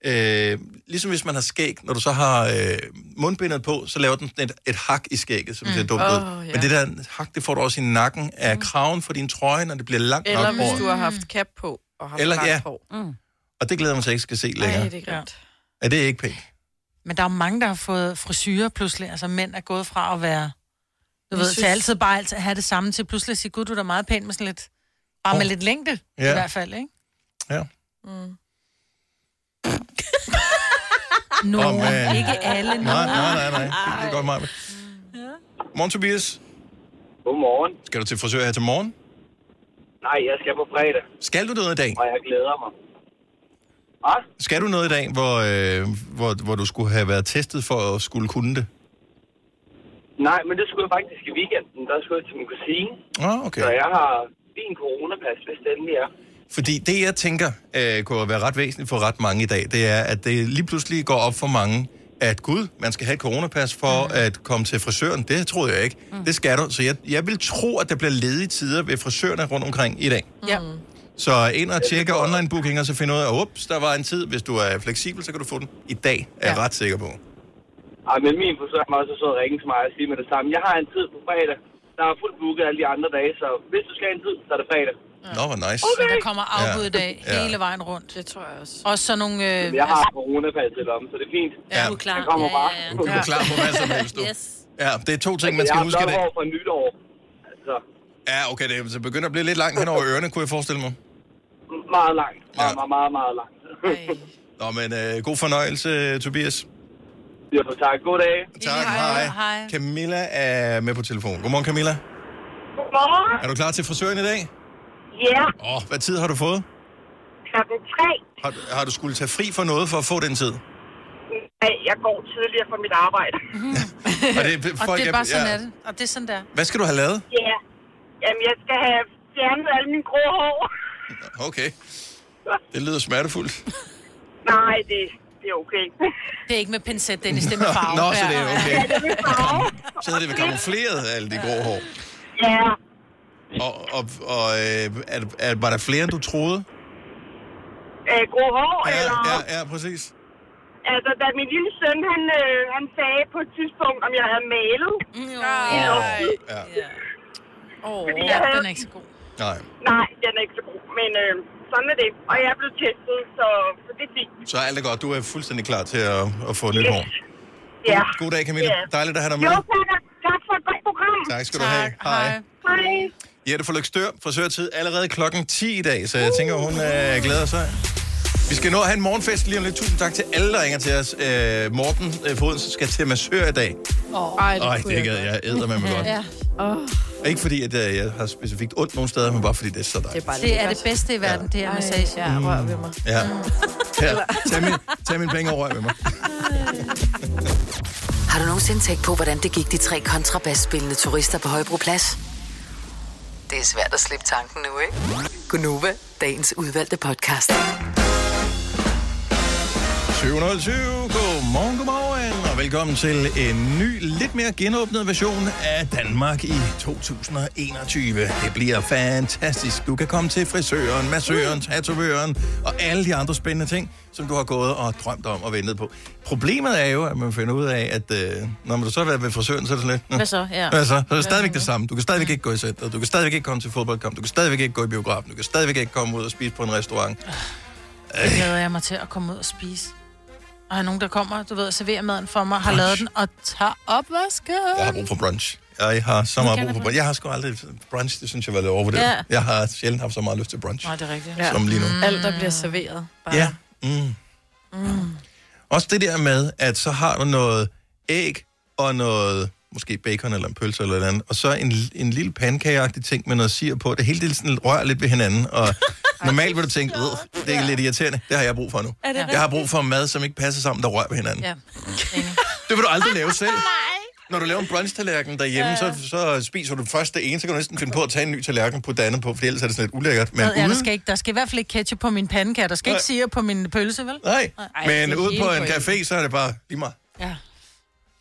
Speaker 1: Øh, ligesom hvis man har skæg, når du så har øh, mundbindet på, så laver den sådan et, et hak i skægget, som mm. ser dumt ud.
Speaker 4: Åh, ja. Mm.
Speaker 1: Men det der hak, det får du også i nakken af kraven for din trøje, når det bliver langt
Speaker 4: Eller
Speaker 1: nok
Speaker 4: hvis
Speaker 1: hår.
Speaker 4: du har haft cap på og haft
Speaker 1: Eller-
Speaker 4: langt
Speaker 1: ja.
Speaker 4: hår.
Speaker 2: Mm.
Speaker 1: Og det glæder man sig ikke skal se længere.
Speaker 4: Nej,
Speaker 1: Ej,
Speaker 4: det
Speaker 1: det...
Speaker 4: er grimt.
Speaker 1: Er det ikke pænt?
Speaker 2: Men der er jo mange, der har fået frisyrer pludselig. Altså, mænd er gået fra at være... Du
Speaker 4: Jeg
Speaker 2: ved, synes...
Speaker 4: synes-
Speaker 2: til altid bare altid at have det samme, til pludselig at sige, gud, du er da meget pæn med sådan lidt... Bare med
Speaker 1: Åh.
Speaker 2: lidt længde, ja.
Speaker 1: Ja.
Speaker 2: i hvert fald, ikke?
Speaker 1: Ja.
Speaker 2: [laughs] Mm. Nogle,
Speaker 1: Åh, men-
Speaker 2: ikke alle.
Speaker 1: Nej, nej, nej, nej. Det er godt meget. Morgen, Tobias.
Speaker 11: Godmorgen.
Speaker 1: Skal du til frisør her til morgen?
Speaker 11: Nej, jeg skal på fredag.
Speaker 1: Skal du noget i dag?
Speaker 11: Og jeg glæder mig.
Speaker 1: Skal du noget i dag, hvor, øh, hvor, hvor du skulle have været testet for at skulle kunne det?
Speaker 11: Nej, men det skulle jeg faktisk i weekenden. Der skulle jeg til min kusine.
Speaker 1: Ah, okay.
Speaker 11: Så jeg har din coronapas, hvis det endelig er.
Speaker 1: Fordi det, jeg tænker, øh, kunne være ret væsentligt for ret mange i dag, det er, at det lige pludselig går op for mange, at gud, man skal have et coronapas for mm. at komme til frisøren. Det troede jeg ikke. Mm. Det skal du. Så jeg, jeg vil tro, at der bliver ledige tider ved frisørerne rundt omkring i dag.
Speaker 2: Ja.
Speaker 1: Så ind og tjekke online booking, og så finde ud af, ups, der var en tid. Hvis du er fleksibel, så kan du få den i dag, er jeg ret sikker på.
Speaker 11: Ej, men min frisør har også sød at ringe til mig og sige med det samme. Jeg har en tid på fredag. Der er fuldt booket alle de andre dage, så hvis du skal have en tid, så er det fredag.
Speaker 1: Nå, hvor nice.
Speaker 2: Okay. Der kommer afbud i dag,
Speaker 1: Ja.
Speaker 2: ja. hele vejen rundt. Det tror jeg også. Og så nogle... Øh,
Speaker 11: Men jeg har coronapas til om, så det er fint.
Speaker 1: Ja. Du er
Speaker 2: klar.
Speaker 11: Jeg kommer
Speaker 2: Ja,
Speaker 11: bare.
Speaker 2: ja,
Speaker 1: Du er klar på hvad som helst, du.
Speaker 3: Yes.
Speaker 1: Ja, det er to ting, man
Speaker 11: jeg
Speaker 1: skal
Speaker 11: har
Speaker 1: huske i
Speaker 11: blot
Speaker 1: dag.
Speaker 11: hår fra nytår. Altså,
Speaker 1: Ja, okay, det er- så begynder at blive lidt langt hen over ørerne, kunne jeg forestille mig.
Speaker 11: meget langt. Meget, meget, meget, meget langt.
Speaker 1: Nå, men øh, god fornøjelse, Tobias.
Speaker 11: Jo, tak. God dag.
Speaker 1: Tak, hej. hej. Camilla er med på telefon. Godmorgen, Camilla.
Speaker 12: Godmorgen.
Speaker 1: Er du klar til frisøren i dag?
Speaker 12: Ja,
Speaker 1: Åh, oh, hvad tid har du fået?
Speaker 12: klokken tre.
Speaker 1: Har, har du skulle tage fri for noget for at få den tid?
Speaker 12: Ej, Jeg går tidligere fra mit arbejde. [laughs]
Speaker 1: Og det,
Speaker 2: [laughs] og det er bare sådan, ja. er det. Og det er sådan der.
Speaker 1: Hvad skal du have lavet?
Speaker 12: Ja. Jamen, jeg skal have fjernet alle mine grå hår.
Speaker 1: Okay. Det lyder smertefuldt.
Speaker 12: Nej, det, det er okay.
Speaker 2: [laughs] Det er ikke med pincet, Dennis, det er med farve.
Speaker 1: Nå, så det er okay.
Speaker 12: Ja, [laughs] det er med farve.
Speaker 1: Så havde det vel kamufleret alle de grå hår.
Speaker 12: Ja,
Speaker 1: Og, og, og øh, er, er, var der flere, end du troede?
Speaker 12: øh, grå hår,
Speaker 1: Ja,
Speaker 12: eller...
Speaker 1: ja, ja, præcis.
Speaker 12: Altså, da min lille søn, han, øh, han sagde på et tidspunkt, om jeg havde malet. i luften.
Speaker 1: Ja.
Speaker 12: Oh,
Speaker 2: Ja, den er ikke så god.
Speaker 1: Nej.
Speaker 12: Nej, den er ikke så god, men øh, sådan er det. Og jeg er blevet testet, så, så det er fint.
Speaker 1: Så alt er godt. Du er fuldstændig klar til at, at få nyt hår.
Speaker 12: Ja.
Speaker 1: God dag, Camilla.
Speaker 12: Ja.
Speaker 1: Dejligt at have dig med.
Speaker 12: Jo, tak. Tak for et godt program.
Speaker 1: Tak skal du have. Hej.
Speaker 12: Hej.
Speaker 1: Jette fra Lykstør, frisørtid allerede klokken 10 i dag, så jeg tænker, hun øh, glæder sig. Vi skal nå at have en morgenfest lige om lidt. Tusind tak til alle, der ringer til os. Øh, Morten øh, Foden skal til massør i dag.
Speaker 4: Oh. Ej,
Speaker 1: Ej,
Speaker 4: kunne
Speaker 1: det gad jeg eddermame godt.
Speaker 2: Ja.
Speaker 4: Åh.
Speaker 1: Ikke fordi, at øh, jeg har specifikt ondt nogen steder, men bare fordi det er så dejligt.
Speaker 2: Det er det Mm. bedste i verden, det her massage. Ja, rør ved mig.
Speaker 1: Ja.
Speaker 2: [laughs]
Speaker 1: Her, tag, min, tag min penge og røg med mig.
Speaker 5: Har du nogensinde tænkt på, hvordan det gik de tre kontrabasspillende turister på Højbroplads? Det er svært at slippe tanken nu, ikke? Gunova, dagens udvalgte podcast.
Speaker 1: 720. Godmorgen, godmorgen, og velkommen til en ny, lidt mere genåbnet version af Danmark i 2021. Det bliver fantastisk. Du kan komme til frisøren, massøren, tatovøren og alle de andre spændende ting, som du har gået og drømt om og ventet på. Problemet er jo, at man finder ud af, at øh, når man så har været ved frisøren, så er det sådan lidt... "Nå,
Speaker 3: Hvad så? Ja.
Speaker 1: Hvad så? Så er det stadigvæk det samme. Du kan stadigvæk ikke gå i centret, du kan stadigvæk ikke komme til fodboldkamp, du kan stadigvæk ikke gå i biografen, du kan stadigvæk ikke komme ud og spise på en restaurant.
Speaker 2: Det glæder jeg mig til at komme ud og spise. Og har nogen, der kommer, du ved, og serverer maden for mig, har lavet den og tager opvasken.
Speaker 1: Jeg har brug for brunch. Jeg har så meget
Speaker 2: Kan jeg
Speaker 1: brug for
Speaker 2: få-
Speaker 1: brunch. Jeg har sgu aldrig... Brunch, det synes jeg var lidt overvurderet.
Speaker 4: Ja.
Speaker 1: Ja. Jeg har sjældent haft så meget lyst til brunch.
Speaker 2: Nej, det er rigtigt.
Speaker 1: Ja. Som lige nu.
Speaker 4: Mm. Alt, der bliver serveret. Bare.
Speaker 1: Ja. Mm.
Speaker 4: Mm.
Speaker 1: Også det der med, at så har du noget æg og noget måske bacon eller en pølse eller noget andet, og så en, en lille pandekageagtig ting med noget sirup på. Det hele det sådan rører lidt ved hinanden, og Normalt vil du tænke, "Ugh, det er lidt irriterende. Det har jeg brug for nu.
Speaker 3: Er det
Speaker 1: Jeg har
Speaker 3: rigtigt?
Speaker 1: brug for mad, som ikke passer sammen, der rører ved hinanden.
Speaker 3: Ja.
Speaker 1: Det vil du aldrig lave selv. Når du laver en brunch-tallerken derhjemme,
Speaker 2: Ja.
Speaker 1: så, så spiser du først det ene, så kan du næsten finde på at tage en ny tallerken på det andet på, for ellers er det sådan lidt ulækkert. Men,
Speaker 2: Men ja, der,
Speaker 1: ude,
Speaker 2: skal ikke, der skal i hvert fald ikke ketchup på min pandekage. Der skal
Speaker 1: Nej.
Speaker 2: ikke sirup på min pølse, vel?
Speaker 1: nej, men
Speaker 2: det er
Speaker 1: ude på
Speaker 2: hele
Speaker 1: en
Speaker 2: pointen.
Speaker 1: café, så er det bare lige meget.
Speaker 2: Ja.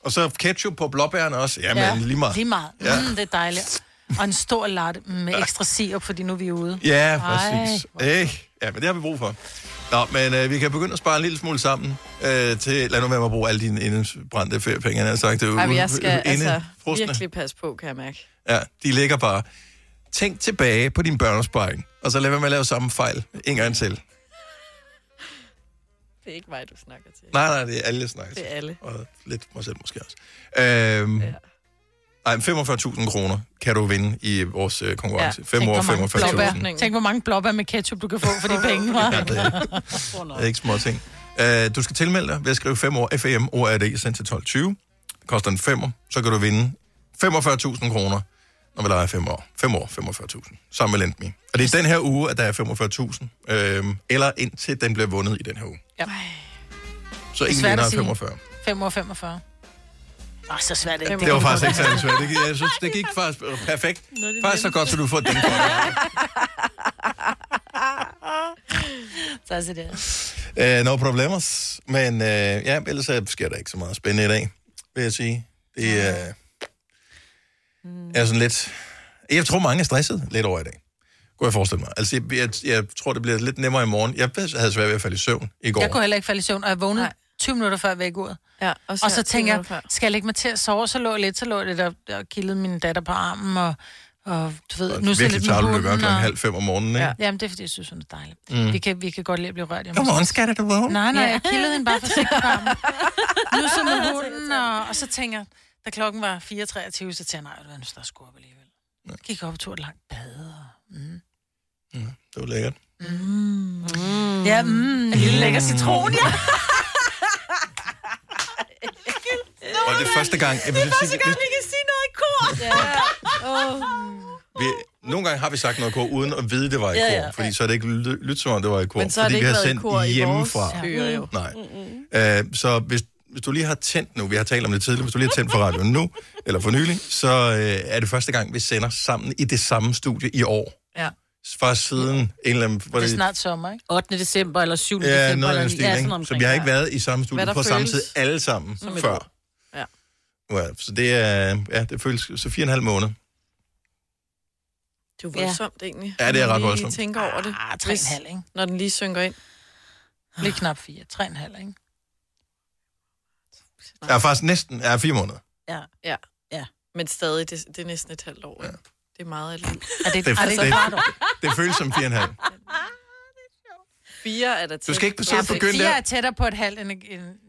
Speaker 1: Og så ketchup på blåbærene også. Jamen, ja, lige meget.
Speaker 2: Lige meget.
Speaker 1: Ja.
Speaker 2: Ja. Mm, det er dejligt. Og en stor latte mm, med ekstra sirup, fordi nu er vi ude.
Speaker 1: Ja,
Speaker 2: Ej.
Speaker 1: præcis. Ej. Ja, men det har vi brug for. Nå, men øh, vi kan begynde at spare en lille smule sammen øh, til... Lad nu være med at bruge alle dine indebrændte feriepenge, jeg har sagt. Det er jo
Speaker 4: Ej, men jeg
Speaker 1: ude-
Speaker 4: skal
Speaker 1: inde-
Speaker 4: altså
Speaker 1: frosne.
Speaker 4: virkelig passe på, kan jeg mærke.
Speaker 1: Ja, de ligger bare. Tænk tilbage på din børneopsparing, og så lad være med at lave samme fejl en gang til.
Speaker 4: Det er ikke mig, du snakker til.
Speaker 1: Nej, nej, det er alle, jeg snakker
Speaker 4: Det
Speaker 1: til.
Speaker 4: er alle.
Speaker 1: Og lidt mig selv måske også. Øhm, ja. Ej, men 45.000 kroner kan du vinde i vores øh, konkurrence. Ja. 5 år, 45.000.
Speaker 2: blåbær. Tænk, hvor mange blåbær med ketchup, du kan få for de penge,
Speaker 1: [laughs] Ja,
Speaker 2: hva'?
Speaker 1: det er- det er ikke små ting. Uh, du skal tilmelde dig ved at skrive 5 år FAM ORD E sendt til 1220. Det koster en 5 så kan du vinde 45.000 kroner, når vi leger 5 år. 5 år, 45.000. Sammen med Lendme. Og det er den her uge, at der er 45.000. Øh, eller indtil den bliver vundet i den her uge.
Speaker 2: [laughs] Ja.
Speaker 1: Så
Speaker 2: Det er
Speaker 1: ingen
Speaker 2: svært at
Speaker 1: vinder er
Speaker 2: sige.
Speaker 1: 45.
Speaker 2: 5 år 45. Åh, så svært det ikke.
Speaker 1: Det var
Speaker 2: kan
Speaker 1: faktisk
Speaker 2: vi
Speaker 1: ikke
Speaker 2: godt.
Speaker 1: særlig svært. Det, gik- jeg synes, det gik faktisk øh, perfekt.
Speaker 2: Nå, det er
Speaker 1: Faktisk så
Speaker 2: nemt.
Speaker 1: godt, så du får den.
Speaker 2: [laughs] Så er det der.
Speaker 1: Øh, no problemers. Men øh, ja, ellers øh, sker der ikke så meget spændende i dag, vil jeg sige. Det øh,
Speaker 2: Mm.
Speaker 1: er sådan lidt... Jeg tror, mange er stresset lidt over i dag. Kunne jeg forestille mig. Altså, jeg, jeg, jeg tror, det bliver lidt nemmere i morgen. Jeg havde svært ved at falde i søvn i går.
Speaker 2: Jeg kunne heller ikke falde i søvn, og jeg vågnede 20 minutter før vækkeuret.
Speaker 4: Ja,
Speaker 2: og
Speaker 4: så
Speaker 2: så, og
Speaker 4: 20
Speaker 2: så tænker
Speaker 4: minutter
Speaker 2: jeg,
Speaker 4: før.
Speaker 2: skal jeg lægge mig til at sove? Så lå jeg lidt, så lå jeg lidt og, og kildede min datter på armen, og, og du ved,
Speaker 1: Og
Speaker 2: nu ser
Speaker 1: virkelig
Speaker 2: lidt
Speaker 1: travlt,
Speaker 2: med
Speaker 1: du gør
Speaker 2: hunden.
Speaker 1: klokken
Speaker 2: Og...
Speaker 1: halv fem om morgenen, ikke?
Speaker 2: Ja. Jamen, det er fordi, jeg synes, hun er dejlig.
Speaker 1: Mm.
Speaker 2: Mm. Vi, kan, vi kan godt lide at blive rørt. hjemme.
Speaker 1: Godmorgen, skat, er du vågen?
Speaker 2: Ah, Nej, nej,
Speaker 1: Ja.
Speaker 2: jeg kildede hende bare forsigtigt på armen. Nu så med hunden, og, og så tænker jeg, da klokken var 4.23, så tænkte jeg, nej, det var nu, der skulle op alligevel. Gik op og tog et langt bad. Og, mm.
Speaker 1: Det var lækkert.
Speaker 2: Mm. Mm. Ja, mm, en lille lækker citron,
Speaker 1: [laughs]
Speaker 2: ja.
Speaker 1: Og det er første gang... Jeg vil sige, vi,
Speaker 4: vi kan sige noget i kor. Ja. Oh.
Speaker 1: vi, nogle gange har vi sagt noget kor, uden at vide, det var i
Speaker 4: Ja, ja.
Speaker 1: kor. Fordi så er det ikke lyd, lydt som om, det var i kor.
Speaker 4: Men så har
Speaker 1: fordi
Speaker 4: det ikke
Speaker 1: vi har
Speaker 4: været i
Speaker 1: sendt
Speaker 4: kor i vores
Speaker 1: hjemmefra.
Speaker 4: ører, jo.
Speaker 1: Nej. Øh, så hvis, hvis du lige har tændt nu, vi har talt om det tidligere, hvis du lige har tændt for radioen nu, eller for nylig, så øh, er det første gang, vi sender sammen i det samme studie i år.
Speaker 2: ja.
Speaker 1: Fra siden en eller anden... var
Speaker 2: Det er snart sommer, ikke?
Speaker 3: 8. december eller 7.
Speaker 1: Ja,
Speaker 3: december.
Speaker 1: noget af den
Speaker 3: eller,
Speaker 1: stil, ikke? Så vi har ikke været i samme studie
Speaker 3: Hvad der
Speaker 1: på samme tid
Speaker 3: føles
Speaker 1: alle sammen
Speaker 3: som et
Speaker 1: før.
Speaker 4: Ja.
Speaker 1: Ja, så det er... Ja, det føles... Så fire og en halv måned.
Speaker 4: Det er jo voldsomt, ja. egentlig.
Speaker 1: Ja, det er
Speaker 4: Når man
Speaker 1: ret
Speaker 4: lige
Speaker 1: voldsomt.
Speaker 4: tænker over det.
Speaker 2: Ah, tre og en halv, ikke?
Speaker 4: Når den lige synker ind.
Speaker 2: Lidt knap fire. Tre og en halv, ikke?
Speaker 1: Ja, faktisk næsten... Ja, fire måneder.
Speaker 2: Ja.
Speaker 4: Ja.
Speaker 2: ja.
Speaker 4: Men stadig, det, det er næsten et halvt år. Ja. Det er meget af liv.
Speaker 2: Er
Speaker 1: Det, det, det, det føles som fire og en halv.
Speaker 4: Fire er der
Speaker 1: Du skal ikke sidde og begynde
Speaker 2: Fire
Speaker 1: der.
Speaker 2: er tættere på et halvt end... en-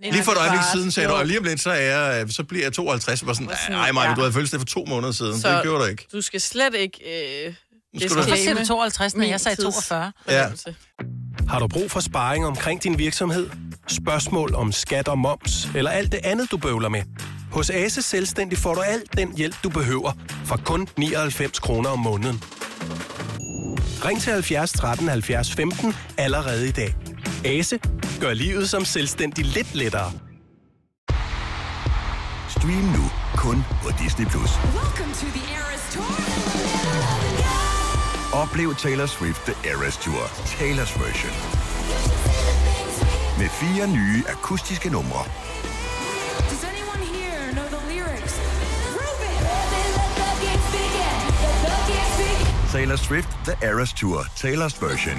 Speaker 2: en-
Speaker 1: Lige for et
Speaker 2: en
Speaker 1: øjeblik
Speaker 2: kvart.
Speaker 1: siden sagde du,
Speaker 2: Jo.
Speaker 1: og lige om lidt, så, er jeg, øh, så bliver jeg 52. Jeg var sådan, nej, Maja, du havde følelse det for to måneder siden. Så... Det gjorde du ikke.
Speaker 4: Du skal slet ikke... Øh,
Speaker 1: skal du-
Speaker 2: Hvorfor siger du 52, når jeg sagde 42?
Speaker 1: Ja.
Speaker 13: Har du brug for sparring omkring din virksomhed? Spørgsmål om skat og moms, eller alt det andet, du bøvler med? Hos Ase Selvstændig får du alt den hjælp, du behøver, for kun 99 kroner om måneden. Ring til 70 13 70 15 allerede i dag. Ase gør livet som selvstændig lidt lettere.
Speaker 14: Stream nu kun på Disney+. Plus. Oplev Taylor Swift The Eras Tour, Taylor's version. Med fire nye akustiske numre. Taylor Swift The Eras Tour, Taylor's version.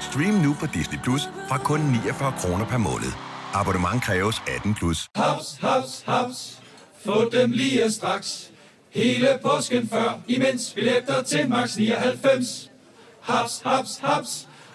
Speaker 14: Stream nu på Disney Plus fra kun 49 kroner per måned. Abonnement kræves 18 plus.
Speaker 15: Haps, haps, haps. Få dem lige straks. Hele påsken før, imens vi læfter til max 99. Haps, haps, haps.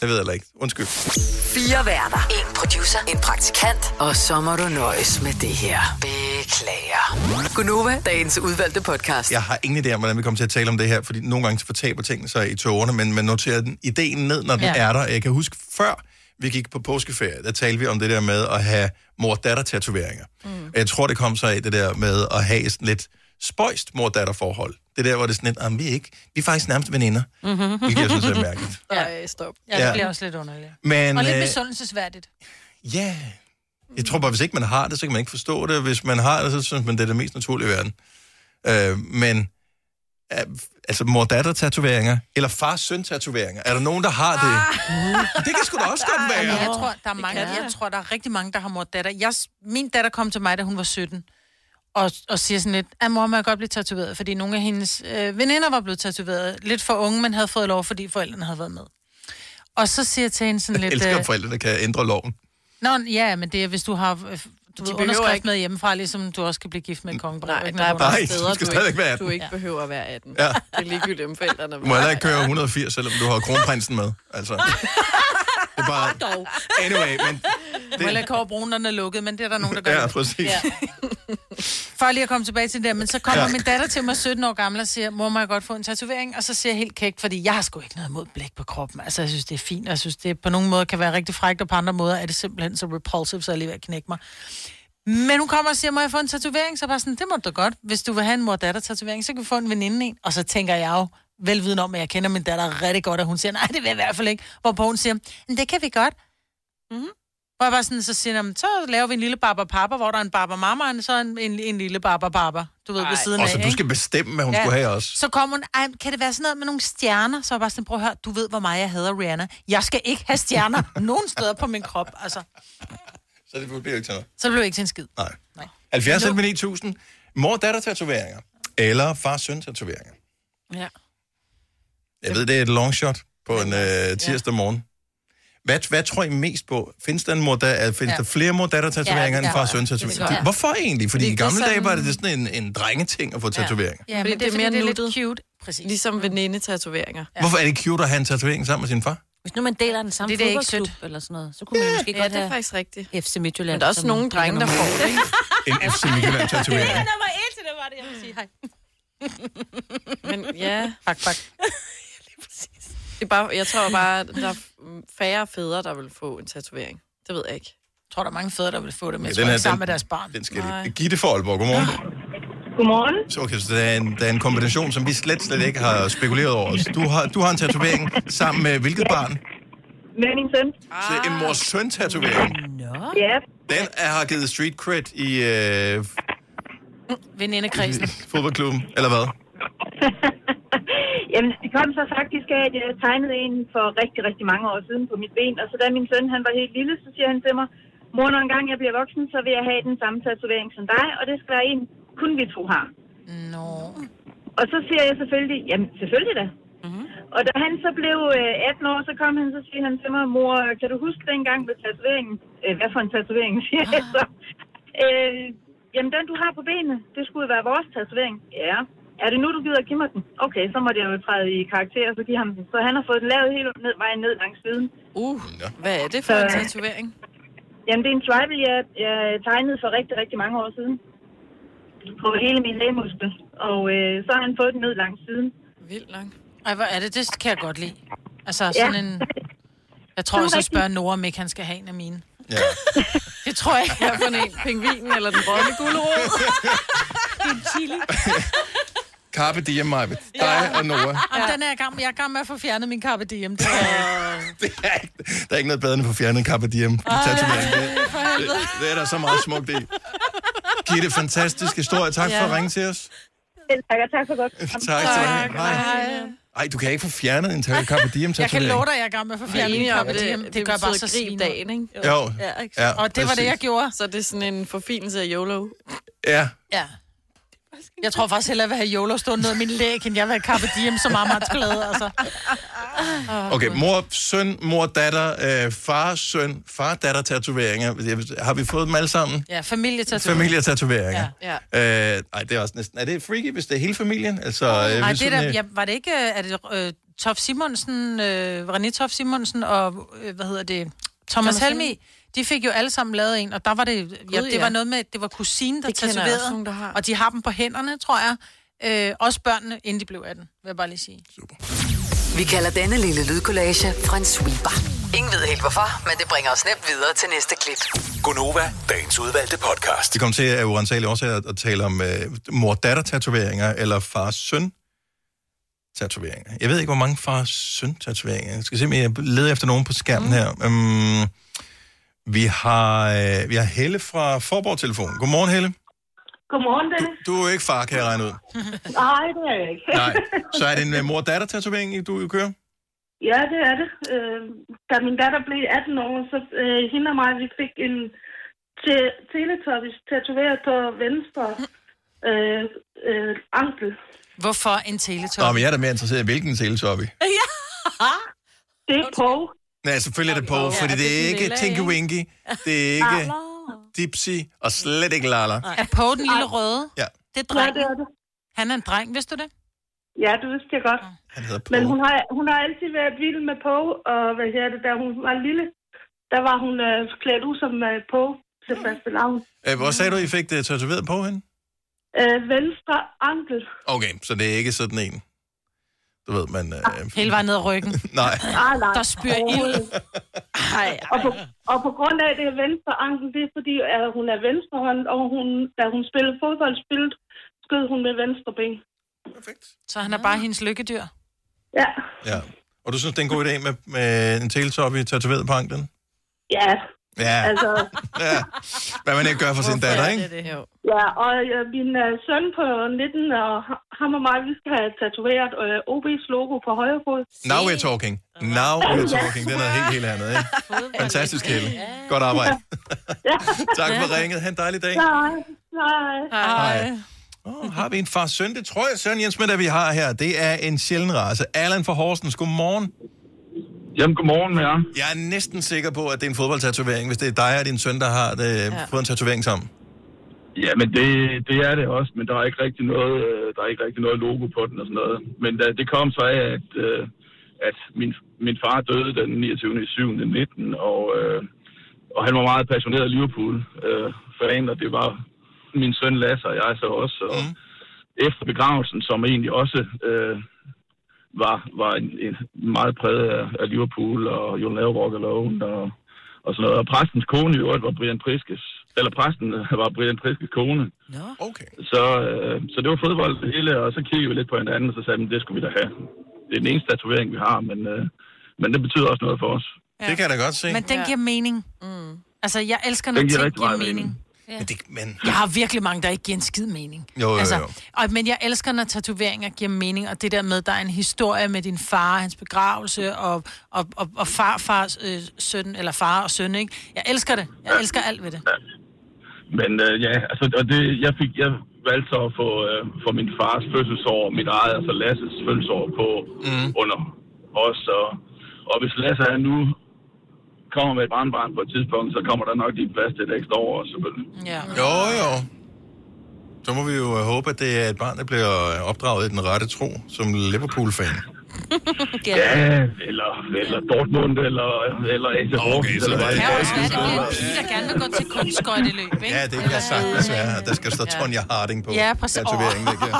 Speaker 1: Jeg ved heller ikke. Undskyld.
Speaker 5: Fire værter. En producer. En praktikant. Og så må du nøjes med det her. Beklager. Gunova, dagens udvalgte podcast.
Speaker 1: Jeg har ingen idé om, hvordan vi kommer til at tale om det her, fordi nogle gange så fortaber tingene sig i tårerne, men man noterer den, ideen ned, når den
Speaker 5: Ja.
Speaker 1: ja. er der. Jeg kan huske, før vi gik på påskeferie, der talte vi om det der med at have mor-datter-tatoveringer. Mm. Jeg tror, det kom sig af det der med at have sådan lidt spøjst mor-datter-forhold. Det der, hvor det er sådan lidt, "Jamen, vi er ikke, vi er faktisk nærmest veninder.
Speaker 2: Mm-hmm.
Speaker 1: Hvilket jeg synes er mærkeligt.
Speaker 4: Nej, stop.
Speaker 2: Ja, det
Speaker 1: Ja.
Speaker 2: bliver også lidt underligt.
Speaker 1: Men,
Speaker 2: og lidt
Speaker 1: øh,
Speaker 2: misundelsesværdigt.
Speaker 1: Ja. Yeah. Jeg tror bare, hvis ikke man har det, så kan man ikke forstå det. Hvis man har det, så synes man, det er det mest naturlige i verden. Øh, men øh, altså mor-datter-tatoveringer, eller far-søn-tatoveringer, er der nogen, der har det?
Speaker 2: Ah.
Speaker 1: Det kan sgu da også godt være.
Speaker 2: Jeg tror, der er mange, jeg tror, der er rigtig mange, der har mor datter. Jeg, min datter kom til mig, da hun var 17, og, og siger sådan lidt, at mor må jeg godt blive tatoveret, fordi nogle af hendes øh, veninder var blevet tatoveret. Lidt for unge, men havde fået lov, fordi forældrene havde været med. Og så siger jeg til hende sådan
Speaker 1: Jeg
Speaker 2: lidt...
Speaker 1: elsker,
Speaker 2: øh,
Speaker 1: at forældrene kan ændre loven.
Speaker 2: Nå, ja, men det er, hvis du har øh, du ved,
Speaker 4: behøver
Speaker 2: underskrift
Speaker 4: ikke-
Speaker 2: med hjemmefra, ligesom du også kan blive gift med en kongebrev.
Speaker 4: Nej,
Speaker 2: ikke?
Speaker 4: der er
Speaker 2: Når du
Speaker 1: Nej,
Speaker 4: bare
Speaker 1: du
Speaker 4: steder,
Speaker 1: skal
Speaker 4: du
Speaker 1: stadigvæk
Speaker 4: ikke,
Speaker 1: være 18.
Speaker 4: du ikke behøver at være 18.
Speaker 1: Ja.
Speaker 4: Det er ligegyldigt, om forældrene
Speaker 1: Du må heller ikke køre 180, selvom du har kronprinsen med. Altså. Det er bare...
Speaker 2: Dog.
Speaker 1: Anyway, men...
Speaker 2: Det... Må heller ikke bruge, når den er lukket, men det er der nogen, der gør.
Speaker 1: Ja, præcis.
Speaker 2: For lige at komme tilbage til det der, men så kommer ja.
Speaker 1: Ja.
Speaker 2: min datter til mig 17 år gammel og siger, mor, må jeg godt få en tatovering? Og så siger jeg helt kægt, fordi jeg har sgu ikke noget mod blæk på kroppen. Altså, jeg synes, det er fint, og jeg synes, det på nogle måder kan være rigtig frækt, og på andre måder er det simpelthen så repulsive, så jeg er lige ved at knække mig. Men hun kommer og siger, må jeg få en tatovering? Så jeg bare sådan, det må du da godt. Hvis du vil have en mor-datter-tatovering, så kan vi få en veninde en. Og så tænker jeg jo, velviden om, at jeg kender min datter rigtig godt, og hun siger, nej, det vil jeg i hvert fald ikke. Hvorpå hun siger, men det kan vi godt. Mm-hmm. Hvor jeg bare sådan, så siger jeg, "Nå, så laver vi en lille barber papper, hvor der er en barber mamma, og så en, en, en lille barber barber, du ved, Ej. ved siden
Speaker 1: Og
Speaker 2: af.
Speaker 1: så du
Speaker 2: ikke?
Speaker 1: skal bestemme, hvad hun skulle have også.
Speaker 2: Så kom hun, Ej, kan det være sådan noget med nogle stjerner? Så var jeg bare sådan, prøv at høre, du ved, hvor meget jeg hader Rihanna. Jeg skal ikke have
Speaker 1: [laughs]
Speaker 2: stjerner nogen steder på min krop, altså.
Speaker 1: Så det bliver jo ikke til noget.
Speaker 2: Så blev jeg ikke til en skid.
Speaker 1: Nej. 70 11 9000. Mor-datter-tatoveringer. Eller far-søn-tatoveringer.
Speaker 4: Ja.
Speaker 1: Jeg ved, det er et long shot på en øh, tirsdag morgen. Hvad, hvad tror I mest på? Findes der, en mor, der, øh, findes
Speaker 13: Ja.
Speaker 1: der flere mor-datter-tatoveringer
Speaker 13: Ja,
Speaker 1: ja,
Speaker 13: det
Speaker 1: end
Speaker 13: tror jeg. Det tror
Speaker 1: far-søn-tatoveringer?
Speaker 13: jeg.
Speaker 1: Hvorfor egentlig? Fordi
Speaker 13: Fordi
Speaker 1: i
Speaker 13: det er
Speaker 1: gamle dage
Speaker 13: sådan-
Speaker 1: var det sådan en, en drengeting at få tatoveringer.
Speaker 2: Ja, men det er, fordi, det er lidt cute. Præcis.
Speaker 4: Ligesom veninde-tatoveringer.
Speaker 1: Ja. Hvorfor er det cute at have en tatovering sammen med sin far?
Speaker 3: Hvis nu man deler den samme
Speaker 4: Fordi det er ikke
Speaker 3: fodboldklub eller sådan noget, så kunne man måske
Speaker 4: ja,
Speaker 3: godt
Speaker 4: det er
Speaker 3: have
Speaker 4: faktisk rigtigt.
Speaker 3: FC Midtjylland.
Speaker 4: Men der er også
Speaker 3: som
Speaker 4: nogle
Speaker 3: ligger
Speaker 4: drenge, der
Speaker 3: nummer
Speaker 4: får det,
Speaker 3: et.
Speaker 1: En FC
Speaker 4: [laughs]
Speaker 1: Midtjylland-tatovering.
Speaker 3: Det er nummer et, det var det, jeg vil sige. Hej.
Speaker 4: Men ja.
Speaker 2: Pak,
Speaker 4: [laughs]
Speaker 2: pak.
Speaker 4: Det er bare, jeg tror bare, at der er færre fædre, der vil få en tatovering. Det ved jeg ikke.
Speaker 2: Jeg tror, der er mange fædre, der vil få det, men
Speaker 4: men
Speaker 2: jeg
Speaker 4: jeg
Speaker 2: tror ikke
Speaker 1: den her,
Speaker 2: sammen
Speaker 1: den-
Speaker 2: med deres barn.
Speaker 1: Den skal jeg lige. Gitte for Aalborg, godmorgen.
Speaker 13: Ah.
Speaker 12: Godmorgen.
Speaker 1: Så, okay, så der, er en, der er en kombination, som vi slet, slet ikke har spekuleret over. Så Du har, du har en tatovering sammen med hvilket barn?
Speaker 12: Med min søn.
Speaker 1: Så en mor-søn-tatovering.
Speaker 12: Ja,
Speaker 1: Den er, har givet street cred i øh,
Speaker 2: [laughs] Venindekredsen.
Speaker 1: fodboldklubben, eller hvad?
Speaker 12: Jamen, det kom så faktisk af, at jeg tegnede en for rigtig, rigtig mange år siden på mit ben. Og så da min søn han var helt lille, så siger han til mig, mor, når engang jeg bliver voksen, så vil jeg have den samme tatovering som dig, og det skal være en, kun vi to har.
Speaker 2: Nå.
Speaker 12: Og så siger jeg selvfølgelig, jamen selvfølgelig da.
Speaker 4: Mhm.
Speaker 12: Mm-hmm. Og da han så blev øh, 18 år, så kom han, så siger han til mig, mor, kan du huske dengang med tatoveringen? Øh, hvad for en tatovering, [laughs] siger jeg så. Øh, jamen den, du har på benene, det skulle jo være vores tatovering. Ja. Er det nu, du gider at give mig den? Okay, så måtte jeg jo træde i karakter og så give ham den. Så han har fået den lavet hele ned, vejen ned langs siden.
Speaker 4: Uh, hvad er det for en tatovering?
Speaker 12: Jamen, det er en tribal, jeg, jeg tegnede for rigtig, rigtig mange år siden. På hele min lægemuskel. Og øh, så har han fået den ned langs siden.
Speaker 4: Vildt lang.
Speaker 2: Ej, hvor er det, det kan jeg godt lide. Altså, sådan en... Jeg tror
Speaker 4: Det er
Speaker 2: også, jeg
Speaker 4: rigtigt.
Speaker 2: spørger Nora, om ikke han skal have en af mine.
Speaker 1: Ja.
Speaker 2: [laughs] det tror jeg.
Speaker 4: Hvad for en? Pingvinen eller den grønne gulerod?
Speaker 2: [laughs] en chili.
Speaker 1: Carpe diem, Majbet. Dig og Nora.
Speaker 2: Jamen, den er jeg i gang med. Jeg er i gang med at få fjernet min carpe diem. Det er...
Speaker 1: Der er ikke noget bedre end at få fjernet en Carpe diem. Tatovering.
Speaker 2: Ej, Øh, for
Speaker 1: Det,
Speaker 2: helvede.
Speaker 1: det er der så meget smukt i. Gitte, fantastisk historie. Tak for
Speaker 12: Ja.
Speaker 1: at ringe til os.
Speaker 12: Selv tak, og tak for
Speaker 1: [laughs]
Speaker 12: godt.
Speaker 1: Tak, tak. Hej. Ej, du kan ikke få fjernet en ta- Carpe diem
Speaker 2: Jeg kan
Speaker 1: tatovering.
Speaker 2: love dig, jeg er i gang med at få fjernet min
Speaker 4: enige om,
Speaker 2: carpe
Speaker 4: det-
Speaker 2: diem. Det,
Speaker 4: det
Speaker 2: det gør
Speaker 4: betyder
Speaker 2: bare så
Speaker 4: grib
Speaker 2: sviner.
Speaker 4: dagen, ikke?
Speaker 1: Jo.
Speaker 2: Ja, ikke?
Speaker 1: Ja,
Speaker 2: og det var det,
Speaker 1: præcis.
Speaker 2: jeg gjorde.
Speaker 4: Så det er sådan en forfinelse af YOLO.
Speaker 1: Ja,
Speaker 2: Ja. Jeg tror faktisk hellere, at jeg vil have YOLO stående ned af min læg, end jeg vil have carpe diem som amagertsplade, altså.
Speaker 1: okay. Mor, søn, mor, datter, øh, far, søn, far, datter, tatoveringer. Jeg- Har vi fået dem alle sammen?
Speaker 2: Ja, familietatovering.
Speaker 1: Familietatoveringer.
Speaker 2: Ja.
Speaker 1: Ja. Øh, ej, det er også næsten... Er det freaky, hvis det er hele familien? Altså, øh,
Speaker 2: Nej,
Speaker 1: hvis
Speaker 2: det
Speaker 1: sådan,
Speaker 2: der,
Speaker 1: øh,
Speaker 2: ja, var det ikke, øh, er det øh, Tof Simonsen, øh, René Tof Simonsen og, øh, hvad hedder det, Thomas,
Speaker 4: Thomas
Speaker 2: Thomas Helmi, de fik jo alle sammen lavet en, og der var det, ja,
Speaker 4: Gud,
Speaker 2: det
Speaker 4: ja.
Speaker 2: var noget med, det var kusinen, der
Speaker 4: Det kender jeg også
Speaker 2: tatoverede,
Speaker 4: nogen, der har.
Speaker 2: og de har dem på hænderne, tror jeg. Øh, også børnene, inden de blev 18, vil jeg bare lige sige.
Speaker 5: Vi kalder denne lille lydkollage en sweeper. Ingen ved helt hvorfor, men det bringer os nemt videre til næste klip.
Speaker 6: Gunova, dagens udvalgte podcast.
Speaker 1: Det kom til af urensagelige årsager at tale om øh, mor-datter-tatoveringer eller far-søn-tatoveringer. Jeg ved ikke, hvor mange far-søn-tatoveringer. Jeg skal simpelthen jeg leder efter nogen på skærmen mm. her. Um, vi, har, øh, vi har Helle fra Forborg Telefon. Godmorgen, Helle.
Speaker 12: Godmorgen, Dennis.
Speaker 1: Du er jo ikke far, kan jeg regne ud.
Speaker 12: [laughs] Nej, det er jeg ikke.
Speaker 1: Nej. Så er det en øh, mor-datter-tatovering, du kører?
Speaker 12: [laughs] Ja, det er det. Øh, da min datter blev 18 år, så øh, hende og mig, vi fik en te- teletubbies tatoveret på venstre øh, øh, ankel.
Speaker 2: Hvorfor en teletop?
Speaker 1: Nå, men jeg er da mere interesseret i, hvilken teletoppe.
Speaker 2: [laughs] ja.
Speaker 12: Det er på.
Speaker 1: Nej, selvfølgelig er det på,
Speaker 12: Ja,
Speaker 1: fordi det
Speaker 12: det er
Speaker 1: er
Speaker 12: den
Speaker 1: ikke
Speaker 12: lille,
Speaker 1: Tinky
Speaker 12: ikke?
Speaker 1: Winky, det er ikke Dipsy, og slet ikke Lala.
Speaker 2: Er på den lille røde?
Speaker 1: Ja.
Speaker 2: Det er drengen. Ja, det er det. Han er en dreng, vidste du det?
Speaker 12: Ja, det vidste jeg godt.
Speaker 1: Han hedder Paul.
Speaker 12: Men hun har, hun har altid været vild med på, og hvad her det, da hun var lille, der var hun øh, klædt ud som øh, på til faste lavn.
Speaker 1: Øh, Hvor sagde du, I fik det tatoveret på hende?
Speaker 12: Øh, venstre ankel.
Speaker 1: Okay, så det er ikke sådan en. Du ved, man... Øh,
Speaker 2: Hele vejen ned ad ryggen.
Speaker 1: nej.
Speaker 12: Ah, nej.
Speaker 2: Der spyr ild.
Speaker 12: Ej, og, på, og på grund af det venstre ankel, det er fordi, at hun er venstrehånd, og hun, da hun spillede fodbold, spillede, skød hun med venstre ben.
Speaker 1: Perfekt.
Speaker 2: Så han er bare hendes lykkedyr.
Speaker 12: Ja,
Speaker 1: Ja. Og du synes, det er en god idé med, med en teletop i tatoveret på anklen?
Speaker 12: ja.
Speaker 1: Ja.
Speaker 12: [laughs] Altså,
Speaker 1: [laughs] ja. Hvad man ikke gør for sin datter, ikke?
Speaker 4: det, jo.
Speaker 12: ja, og ja, min uh, søn på 19, og ha- ham og mig, vi skal have tatoveret uh, OB's logo på højre fod.
Speaker 1: Now we're talking. Now we're talking. Det er noget helt, helt andet, ikke? Fantastisk, Helle. Godt arbejde. tak for ringet. Ha' en dejlig dag.
Speaker 12: Nej, nej.
Speaker 1: Hej. Oh, har vi en far søn? Det tror jeg, Søren Jensmænd, at vi har her. Det er en sjælden race. Allan fra Horsens, godmorgen.
Speaker 10: Jamen, godmorgen med jer.
Speaker 1: Jeg er næsten sikker på, at det er en fodboldtatovering, hvis det er dig og din søn, der har det, ja. fået en tatovering sammen.
Speaker 10: Ja, men det, det er det også, men der er ikke rigtig noget, øh, der er ikke rigtig noget logo på den og sådan noget. Men da det kom så af, at, øh, at min, min far døde den 29. i 7. 19, og, øh, og han var meget passioneret Liverpool-fan, og det var min søn Lasse og jeg så også. Og mm. efter begravelsen, som egentlig også øh, var, var en, en meget præget af, af Liverpool og Jon Lave Walk Alone og og sådan noget. Og præstens kone i øvrigt var Brian Priskes, eller præsten øh, var Brian Priskes kone.
Speaker 1: Nå. Okay.
Speaker 10: Så, øh, så det var fodbold det hele, og så kiggede vi lidt på hinanden, og så sagde vi, det skulle vi da have. Det er den eneste tatovering, vi har, men, øh, men det betyder også noget for os.
Speaker 1: Ja. Det kan jeg da godt se.
Speaker 2: Men den giver mening. Mm. Altså, jeg elsker, når
Speaker 10: Den giver
Speaker 2: ting
Speaker 10: rigtig
Speaker 2: giver
Speaker 10: meget
Speaker 2: mening.
Speaker 10: mening.
Speaker 2: Ja.
Speaker 1: Men det, men...
Speaker 2: Jeg har virkelig mange, der ikke giver en skid mening.
Speaker 1: Jo, jo, jo.
Speaker 2: Altså, og, men jeg elsker, når tatoveringer giver mening, og det der med, der er en historie med din far, hans begravelse, og, og, og, og farfars øh, søn, eller far og søn, ikke? Jeg elsker det. Jeg elsker alt ved det.
Speaker 10: Men øh, ja, altså, og det, jeg, fik, jeg valgte så at få, øh, få min fars fødselsår, mit eget, altså Lasses fødselsår på mm. under os. Og, og hvis Lasse han nu kommer med et barnbarn på et tidspunkt, så kommer der nok lige plads til et ekstra år, selvfølgelig.
Speaker 2: Ja.
Speaker 1: Jo, jo. Så må vi jo øh, håbe, at det er et barn, der bliver øh, opdraget i den rette tro, som Liverpool-fan.
Speaker 10: Ja, eller, eller Dortmund, eller, eller AC Horsens, eller hvad
Speaker 2: Ja, og så er det en pige, der gerne vil gå til kunstskøjteløb, ikke?
Speaker 1: Ja, det kan jeg sagtens være. Der skal stå Tonja Harding på
Speaker 2: Ja, præcis.
Speaker 1: tatoveringen. det kan.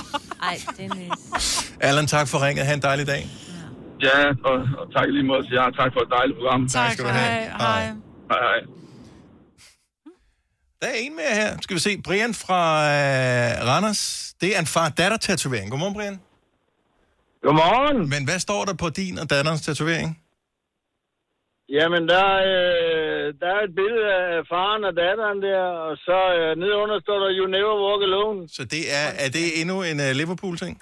Speaker 3: Ej, Dennis.
Speaker 1: Allan, tak for ringet. Ha' en dejlig dag.
Speaker 10: Ja, og, og tak i lige måde til jer. Tak for et dejligt program.
Speaker 1: Tak skal du have. Hej.
Speaker 10: Hej, hej.
Speaker 1: Der er en mere her. Skal vi se. Brian fra øh, Randers. Det er en far-datter-tatovering. Godmorgen, Brian.
Speaker 16: Godmorgen.
Speaker 1: Men hvad står der på din og datterens tatovering?
Speaker 16: Jamen, der, øh, der er et billede af faren og datteren der, og så øh, nede under står der, you never walk alone.
Speaker 1: Så det er, er det endnu en uh, Liverpool-ting?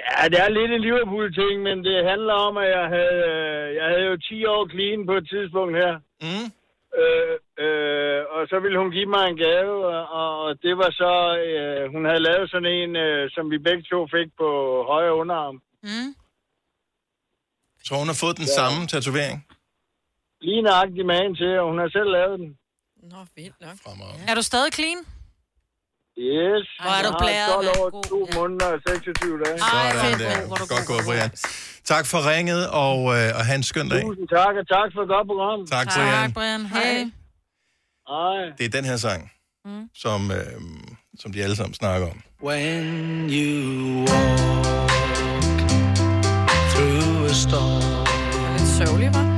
Speaker 16: Ja, det er lidt en Liverpool-ting, men det handler om, at jeg havde, øh, jeg havde jo 10 år clean på et tidspunkt her.
Speaker 1: Mm.
Speaker 16: Øh, øh, og så ville hun give mig en gave, og, og det var så, øh, hun havde lavet sådan en, øh, som vi begge to fik på højre underarm.
Speaker 1: Så hun har fået den samme tatovering?
Speaker 16: Lige nøjagtig magen til, og hun har selv lavet den.
Speaker 4: Nå, vildt nok.
Speaker 1: Fremad.
Speaker 2: Er du stadig clean?
Speaker 16: Yes.
Speaker 3: Hvor er du blæret,
Speaker 16: Jeg har 12 år, 2 måneder og 26 dage.
Speaker 1: Sådan der.
Speaker 3: er
Speaker 1: Godt gået, Brian. Tak for ringet, og, øh, og have en skøn dag.
Speaker 16: Tusind tak, og tak for et godt program.
Speaker 1: Tak, Brian. Tak,
Speaker 3: Brian. Hej.
Speaker 16: Hej.
Speaker 1: Det er den her sang, mm. som, øh, som de alle sammen snakker om.
Speaker 17: When you walk through a storm. Lidt sørgelig, hva'?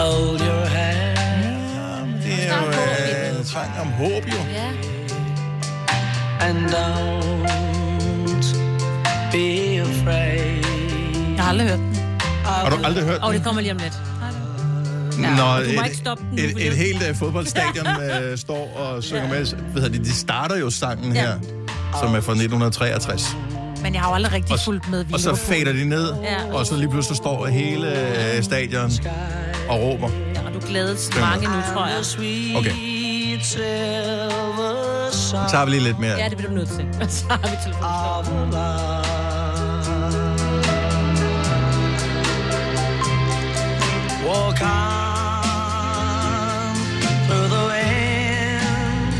Speaker 17: Hold your hand.
Speaker 1: Det er jo øh, en sang om håb, jo.
Speaker 17: Ja. And don't be afraid.
Speaker 3: Jeg har aldrig hørt den.
Speaker 1: Har du aldrig hørt
Speaker 3: Og
Speaker 1: den?
Speaker 3: det kommer lige om lidt.
Speaker 1: Ja,
Speaker 3: Ja,
Speaker 1: Når
Speaker 3: du må
Speaker 1: et,
Speaker 3: ikke stoppe den nu,
Speaker 1: et,
Speaker 3: fordi-
Speaker 1: et, et helt uh,
Speaker 3: [laughs]
Speaker 1: fodboldstadion uh, står og synger ja. med. Hvad hedder det, de starter jo sangen
Speaker 3: Ja.
Speaker 1: ja. her, som er fra 1963.
Speaker 3: Men jeg har jo aldrig rigtig
Speaker 1: Og s-
Speaker 3: fulgt med
Speaker 1: Og så
Speaker 3: Liverpool.
Speaker 1: fader de ned,
Speaker 3: Ja.
Speaker 1: og så lige pludselig står hele øh, stadion og råber.
Speaker 3: Og du glædes mange nu, tror jeg.
Speaker 1: Okay. Så tager vi lige lidt mere.
Speaker 3: Ja, det bliver du nødt til. [laughs] Så har vi telefonen.
Speaker 17: Walk on through the wind.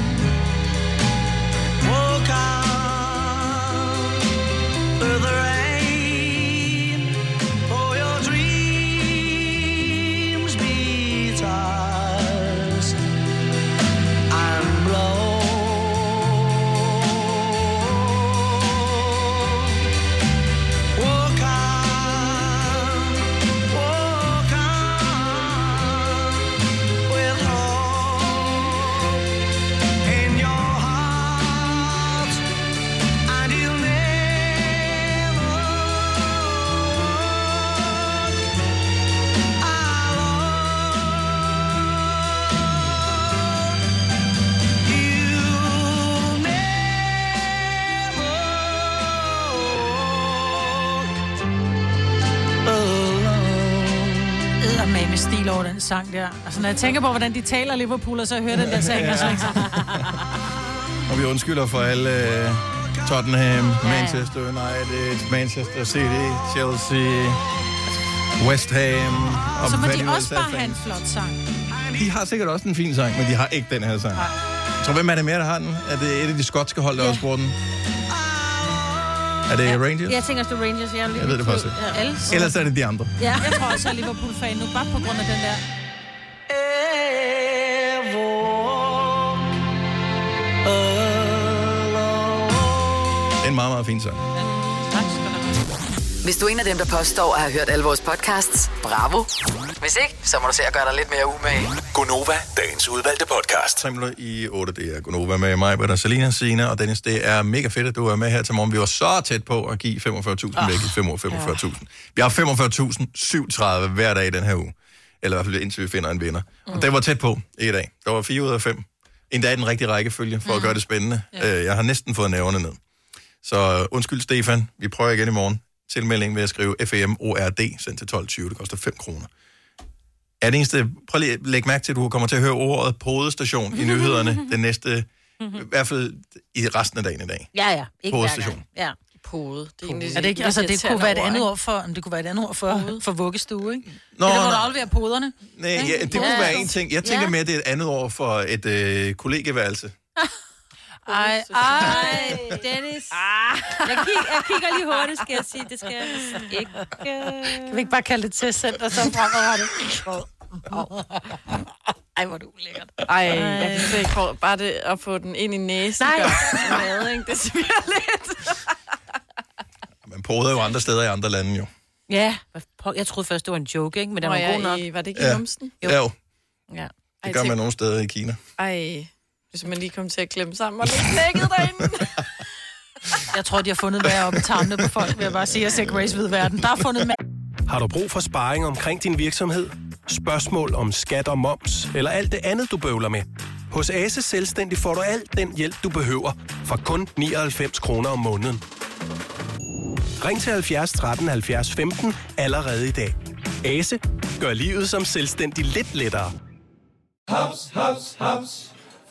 Speaker 17: Walk on through the rain. For your dreams be tossed and blown. Walk on. Walk on with hope in your heart, and you'll never alone. You'll
Speaker 3: med med stil over den sang der. Altså, når jeg tænker på, hvordan de taler i Liverpool, og så hører den der sang, ja. altså, ikke?
Speaker 1: Og vi undskylder for alle øh, Tottenham, Manchester United, Manchester City, Chelsea, West Ham. Og
Speaker 2: Så må
Speaker 1: hvad
Speaker 2: de
Speaker 1: nu
Speaker 2: også
Speaker 1: ellers er
Speaker 2: bare have en flot sang.
Speaker 1: fans. De har sikkert også en fin sang, men de har ikke den her sang. Jeg tror, hvem er det mere, der har den? Er det et af de skotske hold, der også bruger den? Er det Rangers?
Speaker 3: Jeg tænker også, det er Rangers. Jeg, er
Speaker 1: Jeg ved det faktisk ikke.
Speaker 3: Ja, alle.
Speaker 1: Ellers er det de andre.
Speaker 3: Ja, jeg tror også, jeg er Liverpool-fan nu, bare på grund af den der.
Speaker 1: Det er en meget, meget fin sang.
Speaker 5: Hvis du er en af dem, der påstår at have hørt alle vores podcasts, bravo. Hvis ikke, så må du se at gøre dig lidt mere umage.
Speaker 6: Gonova, dagens udvalgte podcast.
Speaker 1: Tre minutter i 8, det er Gunova med mig, Britta, Selina, Sina og Dennis. Det er mega fedt, at du er med her til morgen. Vi var så tæt på at give 45.000
Speaker 6: Ah,
Speaker 1: væk i fem år, 45.000. Vi har 45.037 hver dag i den her uge. Eller i hvert fald indtil vi finder en vinder. Og det var tæt på i dag. Der var 4 ud af 5. Endda i den rigtige rækkefølge, for at gøre det spændende. Øh, Jeg har næsten fået nævnerne ned. Så øh, undskyld, Stefan. Vi prøver igen i morgen. Tilmelding ved at skrive E FAMORD, sendt til 12.20. Det koster 5 kroner. Er det eneste, prøv lige at lægge mærke til, at du kommer til at høre ordet podestation i nyhederne den næste, i hvert fald i resten af dagen i dag.
Speaker 3: Mhm. Ja, ja. Ikke hver
Speaker 1: Podestation.
Speaker 3: gang. Ja.
Speaker 4: Pode. Det er,
Speaker 3: Er det ikke, altså, det kunne være et andet ord for, det kunne være et andet ord for, for vuggestue, ikke? Nå, det er der, hvor du
Speaker 1: nå.
Speaker 3: afleverer poderne.
Speaker 1: Nej, ja, det kunne være en ting. Jeg tænker mere, det er et andet ord for et øh, kollegeværelse.
Speaker 3: Ej, ej, Ah. Dennis. Jeg, kig, jeg kigger lige hurtigt, skal jeg sige. Det skal jeg vist ikke. Kan vi ikke bare kalde det testcenter, så fremadrettet? Ej, hvor er du ulækkert.
Speaker 4: Ej, jeg kan slet ikke få, bare det at få den ind i næsen. Nej. Gør, mad, ikke? Det sviger lidt.
Speaker 1: Man poder jo andre steder i andre lande jo.
Speaker 3: Ja, hvad pokker- jeg troede først, det var en joke, ikke? Men den
Speaker 4: Nå,
Speaker 3: var
Speaker 4: ja,
Speaker 3: god nok.
Speaker 4: I- var det ikke
Speaker 1: Ja.
Speaker 4: i numsen?
Speaker 1: Ja, jo.
Speaker 3: Ja.
Speaker 4: Ej,
Speaker 1: Det gør man
Speaker 4: tænk-
Speaker 1: nogle steder i Kina.
Speaker 4: Ej, hvis man lige kom til at klemme sammen og lidt knækket derinde.
Speaker 2: Jeg tror, de har fundet værre op i tarmene på folk, vil jeg bare sige. Jeg ser Grace ved verden. Der er fundet mand.
Speaker 13: Har du brug for sparring omkring din virksomhed? Spørgsmål om skat og moms, eller alt det andet, du bøvler med? Hos Ase Selvstændig får du alt den hjælp, du behøver, for kun 99 kroner om måneden. Ring til 70 13 70 15 allerede i dag. Ase gør livet som selvstændig lidt lettere.
Speaker 15: Haps, haps, haps.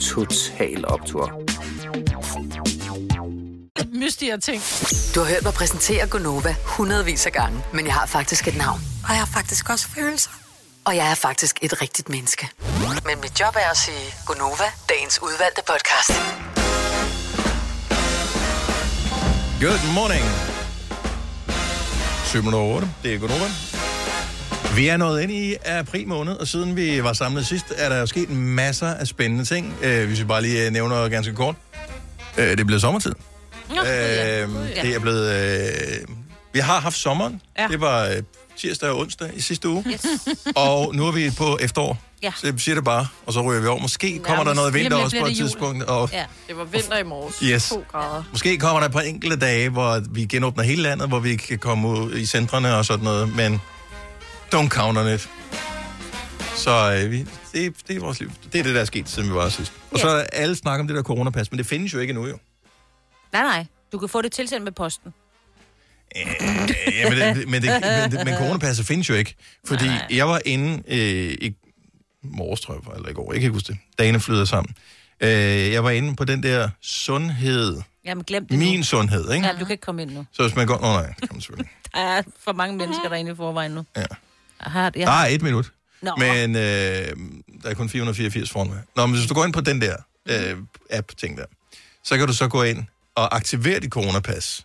Speaker 18: Total Optor.
Speaker 2: Mystige ting.
Speaker 5: Du har hørt mig præsentere Gonova hundredvis af gange, men jeg har faktisk et navn.
Speaker 19: Og jeg har faktisk også følelser.
Speaker 5: Og jeg er faktisk et rigtigt menneske. Men mit job er at sige Gonova, dagens udvalgte podcast.
Speaker 1: Good morning. 708, det er Gunova. Vi er nået ind i april måned, og siden vi var samlet sidst, er der jo sket masser af spændende ting. Øh, hvis vi bare lige øh, nævner ganske kort. Øh, det er blevet sommertid.
Speaker 17: Nå, ja,
Speaker 1: øh,
Speaker 17: ja.
Speaker 1: det er blevet... Øh, vi har haft sommeren.
Speaker 17: Ja.
Speaker 1: Ja. Det var øh, tirsdag og onsdag i sidste uge.
Speaker 17: Yes.
Speaker 1: og nu er vi på efterår.
Speaker 4: Ja.
Speaker 1: Så jeg siger det bare, og så ryger vi over. Måske kommer der noget vinter også på et tidspunkt. Og,
Speaker 4: Ja. Det var vinter i morges.
Speaker 1: Yes.
Speaker 4: 2 grader.
Speaker 1: Måske kommer der et par enkelte dage, hvor vi genåbner hele landet, hvor vi kan komme ud i centrene og sådan noget, men don't count on it. Så øh, vi, det, det er vores liv. Det er det, der er sket, siden vi var her sidst. Og så er alle snakker om det der coronapas, men det findes jo ikke endnu, jo.
Speaker 19: Nej, nej. Du kan få det tilsendt med posten.
Speaker 1: Ja, men, det, men, det, men, det, men coronapasset findes jo ikke, fordi Nej. jeg var inde øh, i morges, tror jeg, det var, eller i går, jeg kan ikke huske det. Dagene flyder sammen. Øh, jeg var inde på den der sundhed,
Speaker 19: Jamen, glem det
Speaker 1: min
Speaker 19: nu.
Speaker 1: sundhed, ikke?
Speaker 19: Ja, du kan ikke komme ind nu.
Speaker 1: Så hvis man går... Nå nej, det kan man selvfølgelig.
Speaker 19: Der er for mange mennesker derinde i forvejen nu.
Speaker 1: Ja.
Speaker 19: Jeg har,
Speaker 1: Ja.
Speaker 19: jeg
Speaker 1: Der
Speaker 19: har,
Speaker 1: er et minut.
Speaker 19: Nå.
Speaker 1: Nå. Men øh, der er kun 484 foran mig. Nå, men hvis du går ind på den der øh, app-ting der, så kan du så gå ind og aktivere dit coronapas.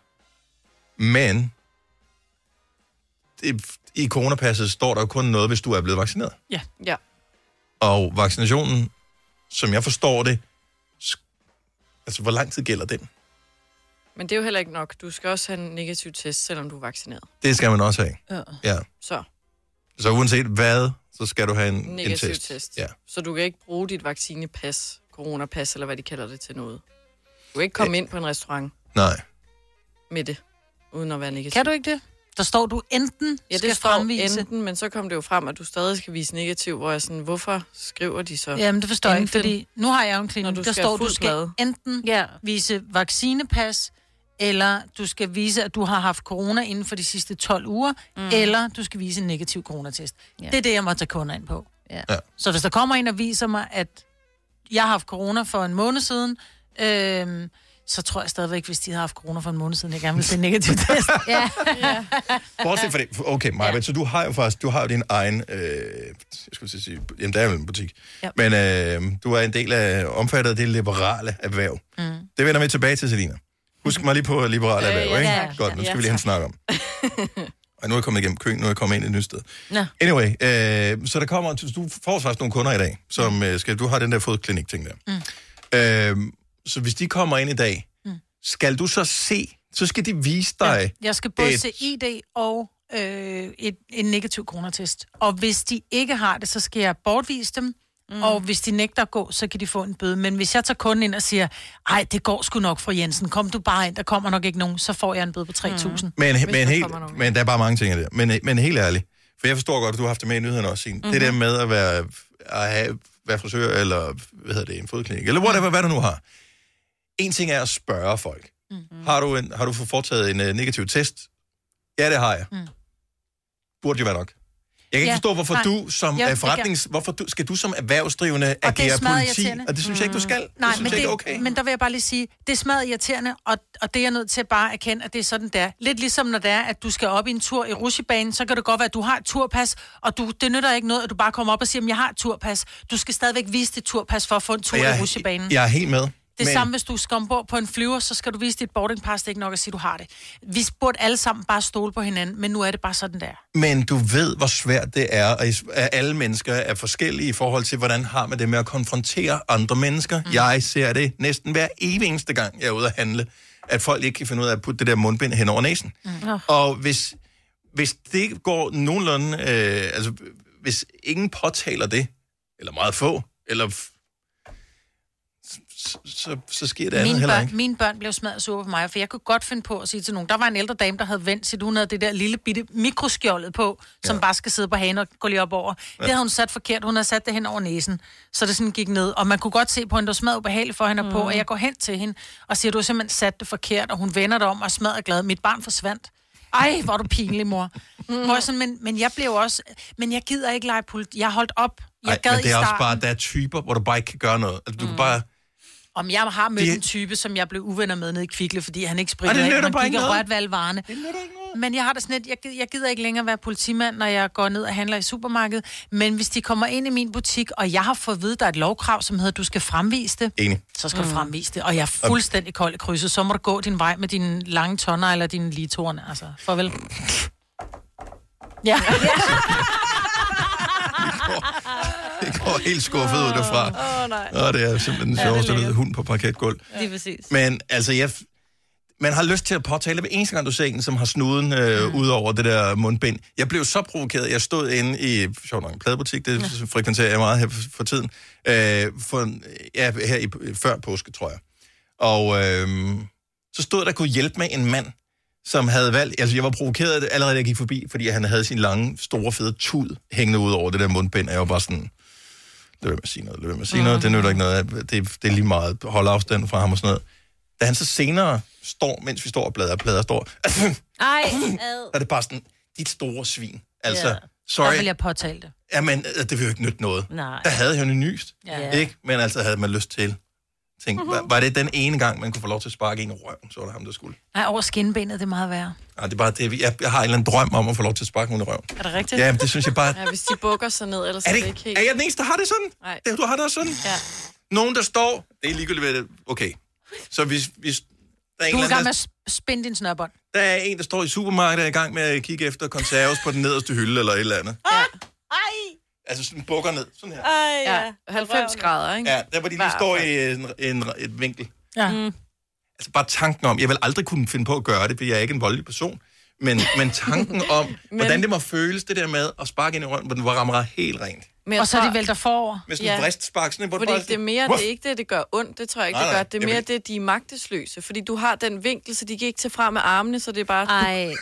Speaker 1: Men det, i coronapasset står der jo kun noget, hvis du er blevet vaccineret.
Speaker 2: Ja.
Speaker 4: Ja.
Speaker 1: Og vaccinationen, som jeg forstår det, sk- altså hvor lang tid gælder den?
Speaker 4: Men det er jo heller ikke nok. Du skal også have en negativ test, selvom du er vaccineret.
Speaker 1: Det skal man også have.
Speaker 4: Ja.
Speaker 1: Ja.
Speaker 4: Så,
Speaker 1: Så uanset hvad, så skal du have en, en
Speaker 4: negativ
Speaker 1: test.
Speaker 4: test. test.
Speaker 1: Ja.
Speaker 4: Så du kan ikke bruge dit vaccinepas, coronapas, eller hvad de kalder det til noget. Du kan ikke komme ind på en restaurant
Speaker 1: Nej.
Speaker 4: med det, uden at være negativ.
Speaker 2: Kan du ikke det? Der står du enten
Speaker 4: Ja, det
Speaker 2: skal
Speaker 4: står
Speaker 2: fremvise.
Speaker 4: enten, men så kom det jo frem, at du stadig skal vise negativ, hvor jeg sådan, hvorfor skriver de så?
Speaker 2: Jamen, det forstår jeg ikke,
Speaker 4: enten,
Speaker 2: fordi nu har jeg jo en
Speaker 4: du
Speaker 2: klinik, der
Speaker 4: skal
Speaker 2: står, du
Speaker 4: fuldt
Speaker 2: skal
Speaker 4: blad?
Speaker 2: enten ja. vise vaccinepas, eller du skal vise, at du har haft corona inden for de sidste 12 uger, mm. eller du skal vise en negativ coronatest. Ja. Det er det, jeg må tage kunder ind på.
Speaker 19: Ja.
Speaker 1: Ja.
Speaker 2: Så hvis der kommer en og viser mig, at jeg har haft corona for en måned siden, øhm, så tror jeg stadigvæk, hvis de havde haft corona for en måned siden, jeg gerne ville se en
Speaker 1: [laughs]
Speaker 2: negativ test.
Speaker 19: ja.
Speaker 1: Bortset fra det, okay, Maja, ja. så du har jo faktisk, du har jo din egen, øh, jeg skulle til at sige, jamen der er vel en butik,
Speaker 2: Ja.
Speaker 1: ja. men øh, du er en del af, omfattet af det liberale erhverv. Mm. Det vender vi tilbage til, Selina. Husk mig lige på liberale
Speaker 17: Øh,
Speaker 1: erhverv,
Speaker 17: ja,
Speaker 1: ikke?
Speaker 17: ja, ja.
Speaker 1: Godt, nu skal
Speaker 17: Ja,
Speaker 1: vi lige have en snak om. Og nu er jeg kommet igennem køen, nu er jeg kommet ind et nyt sted.
Speaker 19: Nå.
Speaker 1: Anyway, øh, så der kommer, du får faktisk nogle kunder i dag, som øh, skal, du har den der fodklinik-ting der.
Speaker 17: Mm.
Speaker 1: Øh, så hvis de kommer ind i dag,
Speaker 2: Mm.
Speaker 1: skal du så se, så skal de vise dig...
Speaker 2: Jeg skal både
Speaker 1: et-
Speaker 2: se ID og øh, et, en negativ coronatest. Og hvis de ikke har det, så skal jeg bortvise dem. Mm. Og hvis de nægter at gå, så kan de få en bøde. Men hvis jeg tager kunden ind og siger, ej, det går sgu nok, fru Jensen, kom du bare ind, der kommer nok ikke nogen, så får jeg en bøde på 3.000. Mm.
Speaker 1: Men, men, helt, men der er bare mange ting af det. Men, men helt ærligt, for jeg forstår godt, at du har haft det med i nyhederne også, Signe. Mm-hmm. Det der
Speaker 2: Mhm.
Speaker 1: med at være, at have, være frisør, eller hvad hedder det, en fodklinik, eller whatever, hvad du nu har. En ting er at spørge folk.
Speaker 2: Mhm.
Speaker 1: Mm-hmm. Har, du en, har du fået foretaget en uh, negativ test? Ja, det har jeg.
Speaker 2: Mm.
Speaker 1: Mm. Burde jo være nok. Jeg kan ikke
Speaker 2: Ja,
Speaker 1: forstå, hvorfor
Speaker 2: nej.
Speaker 1: du som
Speaker 2: Jo,
Speaker 1: jo,
Speaker 2: det
Speaker 1: forretnings... Hvorfor du, skal du som erhvervsdrivende
Speaker 2: Og det er
Speaker 1: agere
Speaker 2: smadret
Speaker 1: politi?
Speaker 2: irriterende. Mm.
Speaker 1: Og det synes jeg ikke, du skal.
Speaker 2: Nej,
Speaker 1: det synes
Speaker 2: men,
Speaker 1: jeg
Speaker 2: det,
Speaker 1: ikke er okay.
Speaker 2: men der vil jeg bare lige sige, det er smadret irriterende, og, og det er jeg nødt til bare at erkende, at det er sådan, der. Lidt ligesom når det er, at du skal op i en tur i rusjebanen, så kan det godt være, at du har et turpas, og du, det nytter ikke noget, at du bare kommer op og siger, at jeg har et turpas. Du skal stadigvæk vise dit turpas for at få en tur
Speaker 1: Og jeg,
Speaker 2: i rusjebanen.
Speaker 1: jeg er helt med.
Speaker 2: Det men... samme, hvis du skal ombord på en flyver, så skal du vise dit boarding pass. Det er ikke nok at sige, du har det. Vi burde alle sammen bare stole på hinanden, men nu er det bare sådan, der.
Speaker 1: Men du ved, hvor svært det er, og is- at alle mennesker er forskellige i forhold til, hvordan har man det med at konfrontere andre mennesker. Mm. Jeg ser det næsten hver evig eneste gang, jeg er ude at handle, at folk ikke kan finde ud af at putte det der mundbind hen over næsen.
Speaker 17: Mm.
Speaker 1: Og hvis, hvis det går nogenlunde, øh, altså hvis ingen påtaler det, eller meget få, eller f- så, så, så sker det andet
Speaker 2: Mine
Speaker 1: heller
Speaker 2: børn,
Speaker 1: ikke.
Speaker 2: mine børn blev smadret sure på mig, for jeg kunne godt finde på at sige til nogen, der var en ældre dame, der havde vendt sit, hun havde det der lille bitte mikroskjoldet på, som bare skal sidde på hagen og gå lige op over. Ja.
Speaker 1: Ja.
Speaker 2: Det havde hun sat forkert, hun havde sat det hen over næsen, så det sådan gik ned, og man kunne godt se på hende, der var smadret ubehageligt for hende mm. på, og jeg går hen til hende og siger, du har simpelthen sat det forkert, og hun vender det om og er smadret glad. Mit barn forsvandt. Ej, hvor er du pinlig, mor. Mm. Hvor jeg sådan, men, men jeg blev også... Men jeg gider ikke lege politi. Jeg holdt op. Jeg
Speaker 1: Ej,
Speaker 2: gad
Speaker 1: men det er
Speaker 2: i
Speaker 1: også
Speaker 2: starten.
Speaker 1: bare, der er typer, hvor du bare ikke kan gøre noget. Altså, du mm. kan bare...
Speaker 2: Om jeg har mødt
Speaker 1: Det-
Speaker 2: en type, som jeg blev uvenner med nede i Kvikle, fordi han ikke
Speaker 1: Og det
Speaker 2: sprittede af,
Speaker 1: nytter
Speaker 2: han
Speaker 1: bare
Speaker 2: gik
Speaker 1: ikke
Speaker 2: og
Speaker 1: noget.
Speaker 2: rørte ved alle varerne. Men jeg har det sådan lidt, jeg, gid- jeg gider ikke længere være politimand, når jeg går ned og handler i supermarkedet. Men hvis de kommer ind i min butik, og jeg har fået at vide, der er et lovkrav, som hedder, du skal fremvise det.
Speaker 1: Enig.
Speaker 2: Så skal mm. du
Speaker 1: Mm.
Speaker 2: fremvise det. Og jeg er fuldstændig kold i krydset. Så må du gå din vej med dine lange tonner eller dine litorne. Altså, farvel. Ja.
Speaker 1: Det går helt skuffet ud derfra.
Speaker 4: Åh, nej.
Speaker 1: Og det er simpelthen den sjoveste ja, hund på parketgulv.
Speaker 4: Lige præcis.
Speaker 1: Men altså, jeg, man har lyst til at påtale hver eneste gang, du ser en, som har snuden øh, ud over det der mundbind. Jeg blev så provokeret. Jeg stod inde i sjovt nok, en pladebutik, det ja. frekventerer jeg meget her for- for tiden, øh, for, ja, her i, før påske, tror jeg. Og øh, så stod der og kunne hjælpe med en mand, som havde valgt... Altså, jeg var provokeret allerede, da jeg gik forbi, fordi han havde sin lange, store, fede tud hængende ud over det der mundbind, og jeg var bare sådan... Lad være med at sige noget, lad være med at sige noget, det nytter ikke noget, af. det, det er lige meget, hold afstand fra ham og sådan noget. Da han så senere står, mens vi står og bladrer, bladrer står, [clears throat]
Speaker 3: Ej,
Speaker 2: [laughs]
Speaker 1: så er det bare sådan, dit store svin. Altså,
Speaker 2: Ja.
Speaker 1: yeah.
Speaker 2: Der
Speaker 1: sorry,
Speaker 2: vil jeg påtale det.
Speaker 1: jamen, øh, det vil jo ikke nytte noget.
Speaker 2: Nej.
Speaker 1: Der havde han jo nyst,
Speaker 2: Ja. Mhm.
Speaker 1: ikke? Men altså havde man lyst til. Tænk, var, var det den ene gang, man kunne få lov til at sparke en i røven, så var det ham, der skulle.
Speaker 2: Ej, over skinbenet, det er meget værre.
Speaker 1: Ej, det er bare det, jeg, jeg har en eller anden drøm om at få lov til at sparke nogen i røven.
Speaker 2: Er det rigtigt?
Speaker 1: Ja, men det synes jeg bare,
Speaker 4: Ja, hvis de bukker sig ned, ellers
Speaker 1: Er
Speaker 4: er
Speaker 1: det
Speaker 4: det ikke helt... Er
Speaker 1: jeg den eneste, der har det sådan?
Speaker 4: Nej.
Speaker 1: Det, du har det også sådan?
Speaker 4: Ja.
Speaker 1: nogen, der står, det er ligegyldigt, hvad det Okay. Så hvis, hvis der er en
Speaker 2: Du er i gang
Speaker 1: eller
Speaker 2: med
Speaker 1: anden,
Speaker 2: at sp- spænde din snørbånd.
Speaker 1: der, der er en, der står i supermarkedet og er i gang med at kigge efter konserves på den nederste hylde eller et eller andet.
Speaker 3: Ej!
Speaker 1: Altså sådan bukker ned. Sådan her.
Speaker 3: Ej, ja.
Speaker 4: Ja, 90 grader, ikke?
Speaker 1: Ja, der hvor de lige står i en, en, et vinkel.
Speaker 2: Ja. Mm.
Speaker 1: Altså bare tanken om, jeg vil aldrig kunne finde på at gøre det, fordi jeg er ikke en voldelig person. Men, men
Speaker 4: [laughs]
Speaker 1: tanken om, men... hvordan det må føles, det der med at sparke ind i røven, hvor den rammer helt rent.
Speaker 4: Men jeg
Speaker 2: og så er
Speaker 4: tror-
Speaker 2: de vælter forover.
Speaker 1: Med sådan en vristspark, sådan en, hvor du
Speaker 4: Fordi
Speaker 1: bare
Speaker 4: det er mere,
Speaker 1: Wuff!
Speaker 4: det er ikke det, det gør ondt, det tror jeg ikke,
Speaker 1: Nej,
Speaker 4: det
Speaker 1: nej,
Speaker 4: gør. Det er
Speaker 1: jeg
Speaker 4: mere
Speaker 1: vil-
Speaker 4: det, de er magtesløse. Fordi du har den vinkel, så de kan ikke tage frem med armene, så det er bare...
Speaker 3: Ej.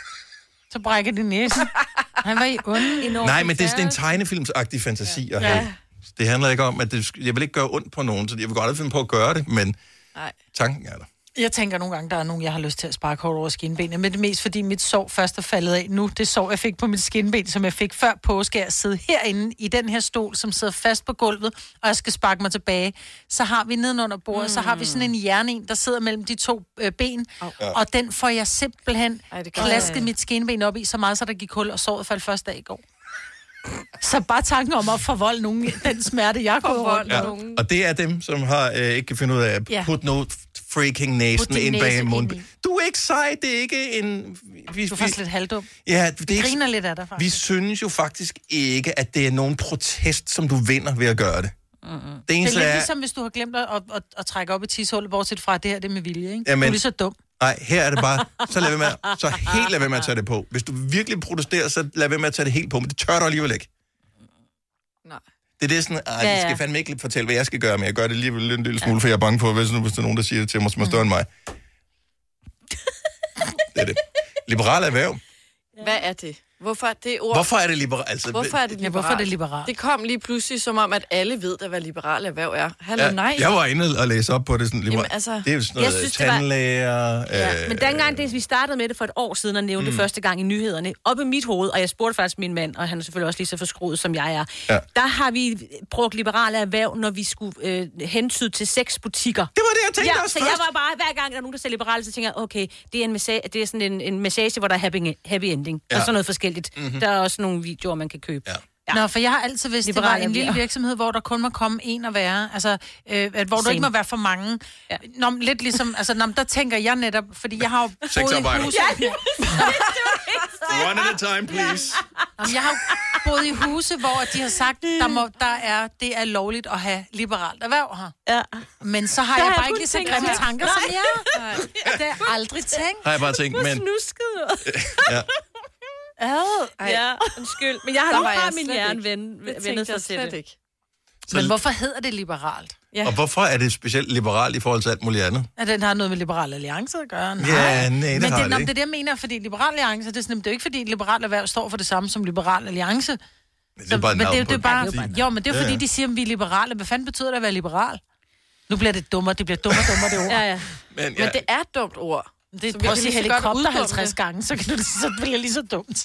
Speaker 2: Så brækker de næsen. Han var i
Speaker 4: [laughs]
Speaker 2: onde.
Speaker 1: Nej, men det er sådan en tegnefilmsagtig fantasi at have.
Speaker 4: Ja.
Speaker 1: Det handler ikke om, at det, sk- jeg vil ikke gøre ondt på nogen, så jeg vil godt aldrig finde på at gøre det, men
Speaker 4: Nej.
Speaker 1: tanken er der.
Speaker 2: Jeg tænker nogle gange, der er nogen, jeg har lyst til at sparke hårdt over skinbenet, men det er mest fordi mit sår først er faldet af nu. Det sår, jeg fik på mit skinben, som jeg fik før påske, jeg sidder herinde i den her stol, som sidder fast på gulvet, og jeg skal sparke mig tilbage. Så har vi nedenunder bordet, mm. så har vi sådan en jernen, der sidder mellem de to øh, ben,
Speaker 4: Ja.
Speaker 2: og den får jeg simpelthen
Speaker 4: Ej,
Speaker 2: Ej,
Speaker 4: det gør
Speaker 2: klasket
Speaker 4: jeg.
Speaker 2: mit skinben op i så meget, så der gik hul, og såret faldt først af i går. Så bare tanken om at forvolde nogen den smerte, jeg kunne rundt med.
Speaker 1: Ja. Og det er dem, som har øh, ikke kan finde ud af at
Speaker 2: Ja.
Speaker 1: putte noget freaking næsen
Speaker 2: Put din
Speaker 1: ind
Speaker 2: næse
Speaker 1: bag
Speaker 2: ind
Speaker 1: munden. Du er ikke sej, det er ikke en... Vi,
Speaker 2: Du er faktisk lidt halvdum.
Speaker 1: Ja, det er
Speaker 2: Vi
Speaker 1: ikke-
Speaker 2: griner lidt af dig, faktisk.
Speaker 1: Vi synes jo faktisk ikke, at det er nogen protest, som du vinder ved at gøre det.
Speaker 2: Mm-hmm. Det,
Speaker 1: Det
Speaker 2: det er
Speaker 1: eneste
Speaker 2: lidt
Speaker 1: er-
Speaker 2: ligesom, hvis du har glemt at, at, at, at trække op i tishullet, bortset fra, at det her det er med vilje, ikke?
Speaker 1: Jamen-
Speaker 2: du er lige så dum.
Speaker 1: Nej, her er det bare, så lad være med, at- så helt lad være med at tage det på. Hvis du virkelig protesterer, så lad være med at tage det helt på, men det tør du alligevel ikke.
Speaker 4: Nej.
Speaker 1: Det er det sådan, at
Speaker 4: Ja,
Speaker 1: ja,
Speaker 4: ja.
Speaker 1: ja. skal fandme ikke fortælle, hvad jeg skal gøre, men jeg gør det alligevel en lille smule, for jeg er bange for, hvis, hvis der er nogen, der siger det til mig, som er større end mig. Det er det. Liberale erhverv.
Speaker 4: Hvad er det? Hvorfor er det ord?
Speaker 1: Hvorfor er det liberalt? Altså,
Speaker 4: Hvorfor er det
Speaker 2: Ja,
Speaker 4: liberalt?
Speaker 2: hvorfor er det liberalt?
Speaker 4: Det kom lige pludselig som om, at alle ved, at hvad liberal erhverv er. Hallo,
Speaker 1: Ja,
Speaker 4: nej.
Speaker 1: jeg var inde og læse op på det. Sådan, liberal.
Speaker 4: Jamen, altså,
Speaker 1: det er jo sådan
Speaker 4: jeg
Speaker 1: noget synes,
Speaker 4: synes, det var-
Speaker 1: tandlæger. Var...
Speaker 20: Ja, men dengang det, vi startede med det for et år siden og nævnte mm.
Speaker 1: øh, Mm.
Speaker 20: det første gang i nyhederne, op i mit hoved, og jeg spurgte faktisk min mand, og han er selvfølgelig også lige så forskruet, som jeg er,
Speaker 1: Ja.
Speaker 20: der har vi brugt liberale erhverv, når vi skulle øh, hentyde til seks butikker.
Speaker 1: Det var det, jeg tænkte
Speaker 20: ja,
Speaker 1: også
Speaker 20: så jeg
Speaker 1: først.
Speaker 20: var bare, hver gang der er nogen, der sælger liberale, så tænker jeg, okay, det er en, massage, det er sådan en, en massage, hvor der er happy, happy ending,
Speaker 2: Ja.
Speaker 20: ja. og sådan noget forskelligt.
Speaker 2: Mhm.
Speaker 20: Mm-hmm. Der er også nogle videoer, man kan købe. Ja.
Speaker 2: Ja. Nå, for jeg har altid vidst, det var
Speaker 20: Liberale
Speaker 2: en lille
Speaker 20: erhverv.
Speaker 2: virksomhed, hvor der kun må komme en at være. Altså, øh, at, hvor du
Speaker 20: Same.
Speaker 2: ikke må være for mange. Ja. Nå, men lidt ligesom, altså, nå, men der tænker jeg netop, fordi jeg har jo boet i
Speaker 1: Sexarbejder.
Speaker 2: hus.
Speaker 1: Ja, One at a time, please.
Speaker 2: Jamen, jeg har jo boet i huse, hvor de har sagt, der, må, der er, det er lovligt at have liberalt erhverv her. Ja. Men så har
Speaker 20: Der
Speaker 2: der
Speaker 20: har
Speaker 2: jeg bare
Speaker 20: jeg
Speaker 2: ikke
Speaker 20: kun
Speaker 2: lige så
Speaker 20: tænkt
Speaker 2: grimme
Speaker 20: på.
Speaker 2: tanker
Speaker 20: Nej. [laughs]
Speaker 2: som jer. Det har jeg aldrig tænkt.
Speaker 1: Har jeg bare tænkt, men... [laughs] Ja.
Speaker 20: Ad. Ja, undskyld. Men jeg har,
Speaker 2: Der
Speaker 20: nu
Speaker 2: var
Speaker 20: har
Speaker 2: jeg
Speaker 20: min
Speaker 2: slet
Speaker 20: hjerne
Speaker 2: ikke.
Speaker 20: ven,
Speaker 2: Det tænkte
Speaker 20: vendet sig
Speaker 2: jeg
Speaker 20: til
Speaker 2: slet
Speaker 20: det.
Speaker 2: Men hvorfor hedder det liberalt?
Speaker 1: Ja. Og hvorfor er det specielt liberalt i forhold til alt muligt andet?
Speaker 2: At den har noget med Liberal Alliance at gøre? Nej.
Speaker 1: Ja, nej, det
Speaker 2: Men
Speaker 1: har
Speaker 2: det,
Speaker 1: det
Speaker 2: nå,
Speaker 1: ikke.
Speaker 2: men det er det, jeg mener, fordi Liberal Alliance, det er, sådan, det er jo ikke fordi Liberal Erhverv står for det samme som Liberal Alliance.
Speaker 1: Men det er bare et
Speaker 2: men
Speaker 1: navn
Speaker 2: det,
Speaker 1: på
Speaker 2: det er
Speaker 1: et
Speaker 2: bare,
Speaker 1: parti.
Speaker 2: jo, men det er
Speaker 1: Ja,
Speaker 2: jo fordi,
Speaker 1: ja.
Speaker 2: de siger, at vi er liberale. Hvad fanden betyder det at være liberal? Nu bliver det dummere, det bliver dummere og dummere, det ord.
Speaker 4: Ja, ja.
Speaker 1: Men,
Speaker 4: Men det er et dumt ord.
Speaker 2: Det, prøv at sige helikopter 50 gange, så, kan du, så bliver det lige så dumt.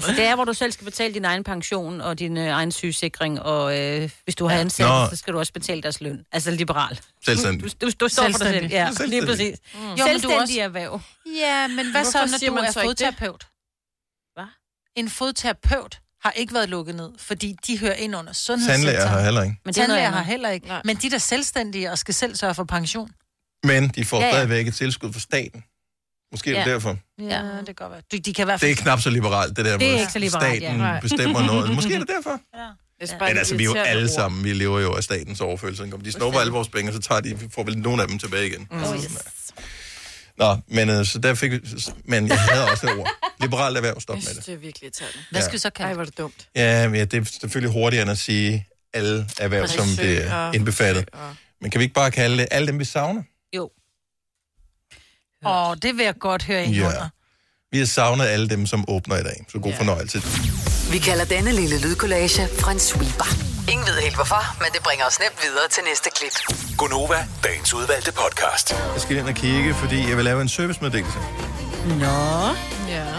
Speaker 20: Så det er, hvor du selv skal betale din egen pension og din øh, egen sygesikring, og øh, hvis du har ansat,
Speaker 1: Nå.
Speaker 20: så skal du også betale deres løn. Altså liberal.
Speaker 1: Selvstændig.
Speaker 20: Du, du, du står for dig selv.
Speaker 2: Selvstændig.
Speaker 20: Ja, lige
Speaker 2: Selvstændig.
Speaker 20: præcis.
Speaker 2: Mm.
Speaker 20: Mm.
Speaker 2: Jo, men du er
Speaker 20: Selvstændig
Speaker 2: også-
Speaker 20: erhverv.
Speaker 2: Ja, men hvad
Speaker 20: Hvorfor
Speaker 2: så, når
Speaker 20: siger
Speaker 2: du
Speaker 20: man
Speaker 2: er
Speaker 20: så ikke det?
Speaker 2: fodterapeut? Hvad? En fodterapeut har ikke været lukket ned, fordi de hører ind under sundhedssektoren.
Speaker 1: Tandlæger har heller ikke.
Speaker 2: Men
Speaker 1: Men
Speaker 2: det
Speaker 1: det er noget
Speaker 2: Tandlæger
Speaker 1: andet.
Speaker 2: har heller ikke. Men de der er selvstændige og skal selv sørge for pension.
Speaker 1: Men de får
Speaker 2: Ja,
Speaker 1: ja,
Speaker 2: ja.
Speaker 1: ja. stadigvæk et tilskud fra staten. Måske ja. derfor.
Speaker 2: Ja, det kan godt være. De, de kan i hvert
Speaker 1: Det
Speaker 2: fald...
Speaker 1: er knap så liberalt, det der
Speaker 2: Det er
Speaker 1: med
Speaker 2: ikke så liberalt,
Speaker 1: staten
Speaker 2: ja. Nej. [laughs]
Speaker 1: bestemmer noget. Måske er det derfor.
Speaker 4: Ja.
Speaker 1: Men altså, vi er jo alle sammen, vi lever jo af statens overførselsindkomst. De snupper alle vores penge, og så tager de, vi får vel nogle af dem tilbage igen.
Speaker 4: Mm.
Speaker 1: Så- Nå, men øh, så der fik vi, men jeg havde også det ord. Liberalt erhverv,
Speaker 4: Jeg
Speaker 1: stop med
Speaker 4: synes,
Speaker 1: det.
Speaker 4: det er virkelig irriterende.
Speaker 1: Hvad skal vi
Speaker 2: så
Speaker 4: kalde Ej, hvor er det dumt.
Speaker 1: Ja, men ja, det er selvfølgelig hurtigere end at sige alle erhverv, som det er
Speaker 4: Frisører,
Speaker 1: indbefattet. Men kan vi ikke bare kalde det alle dem, vi savner?
Speaker 20: Jo.
Speaker 2: Åh, det vil jeg godt høre ind
Speaker 1: Ja.
Speaker 2: under.
Speaker 1: Vi har savnet alle dem, som åbner i dag. Så god fornøjelse.
Speaker 5: Vi kalder denne lille lydkollage en sweeper. Ingen ved helt hvorfor, men det bringer os nemt videre til næste klip.
Speaker 6: Gunova, dagens udvalgte podcast.
Speaker 1: Jeg skal ind og kigge, fordi jeg vil lave en servicemeddelelse.
Speaker 20: Nå.
Speaker 4: Ja.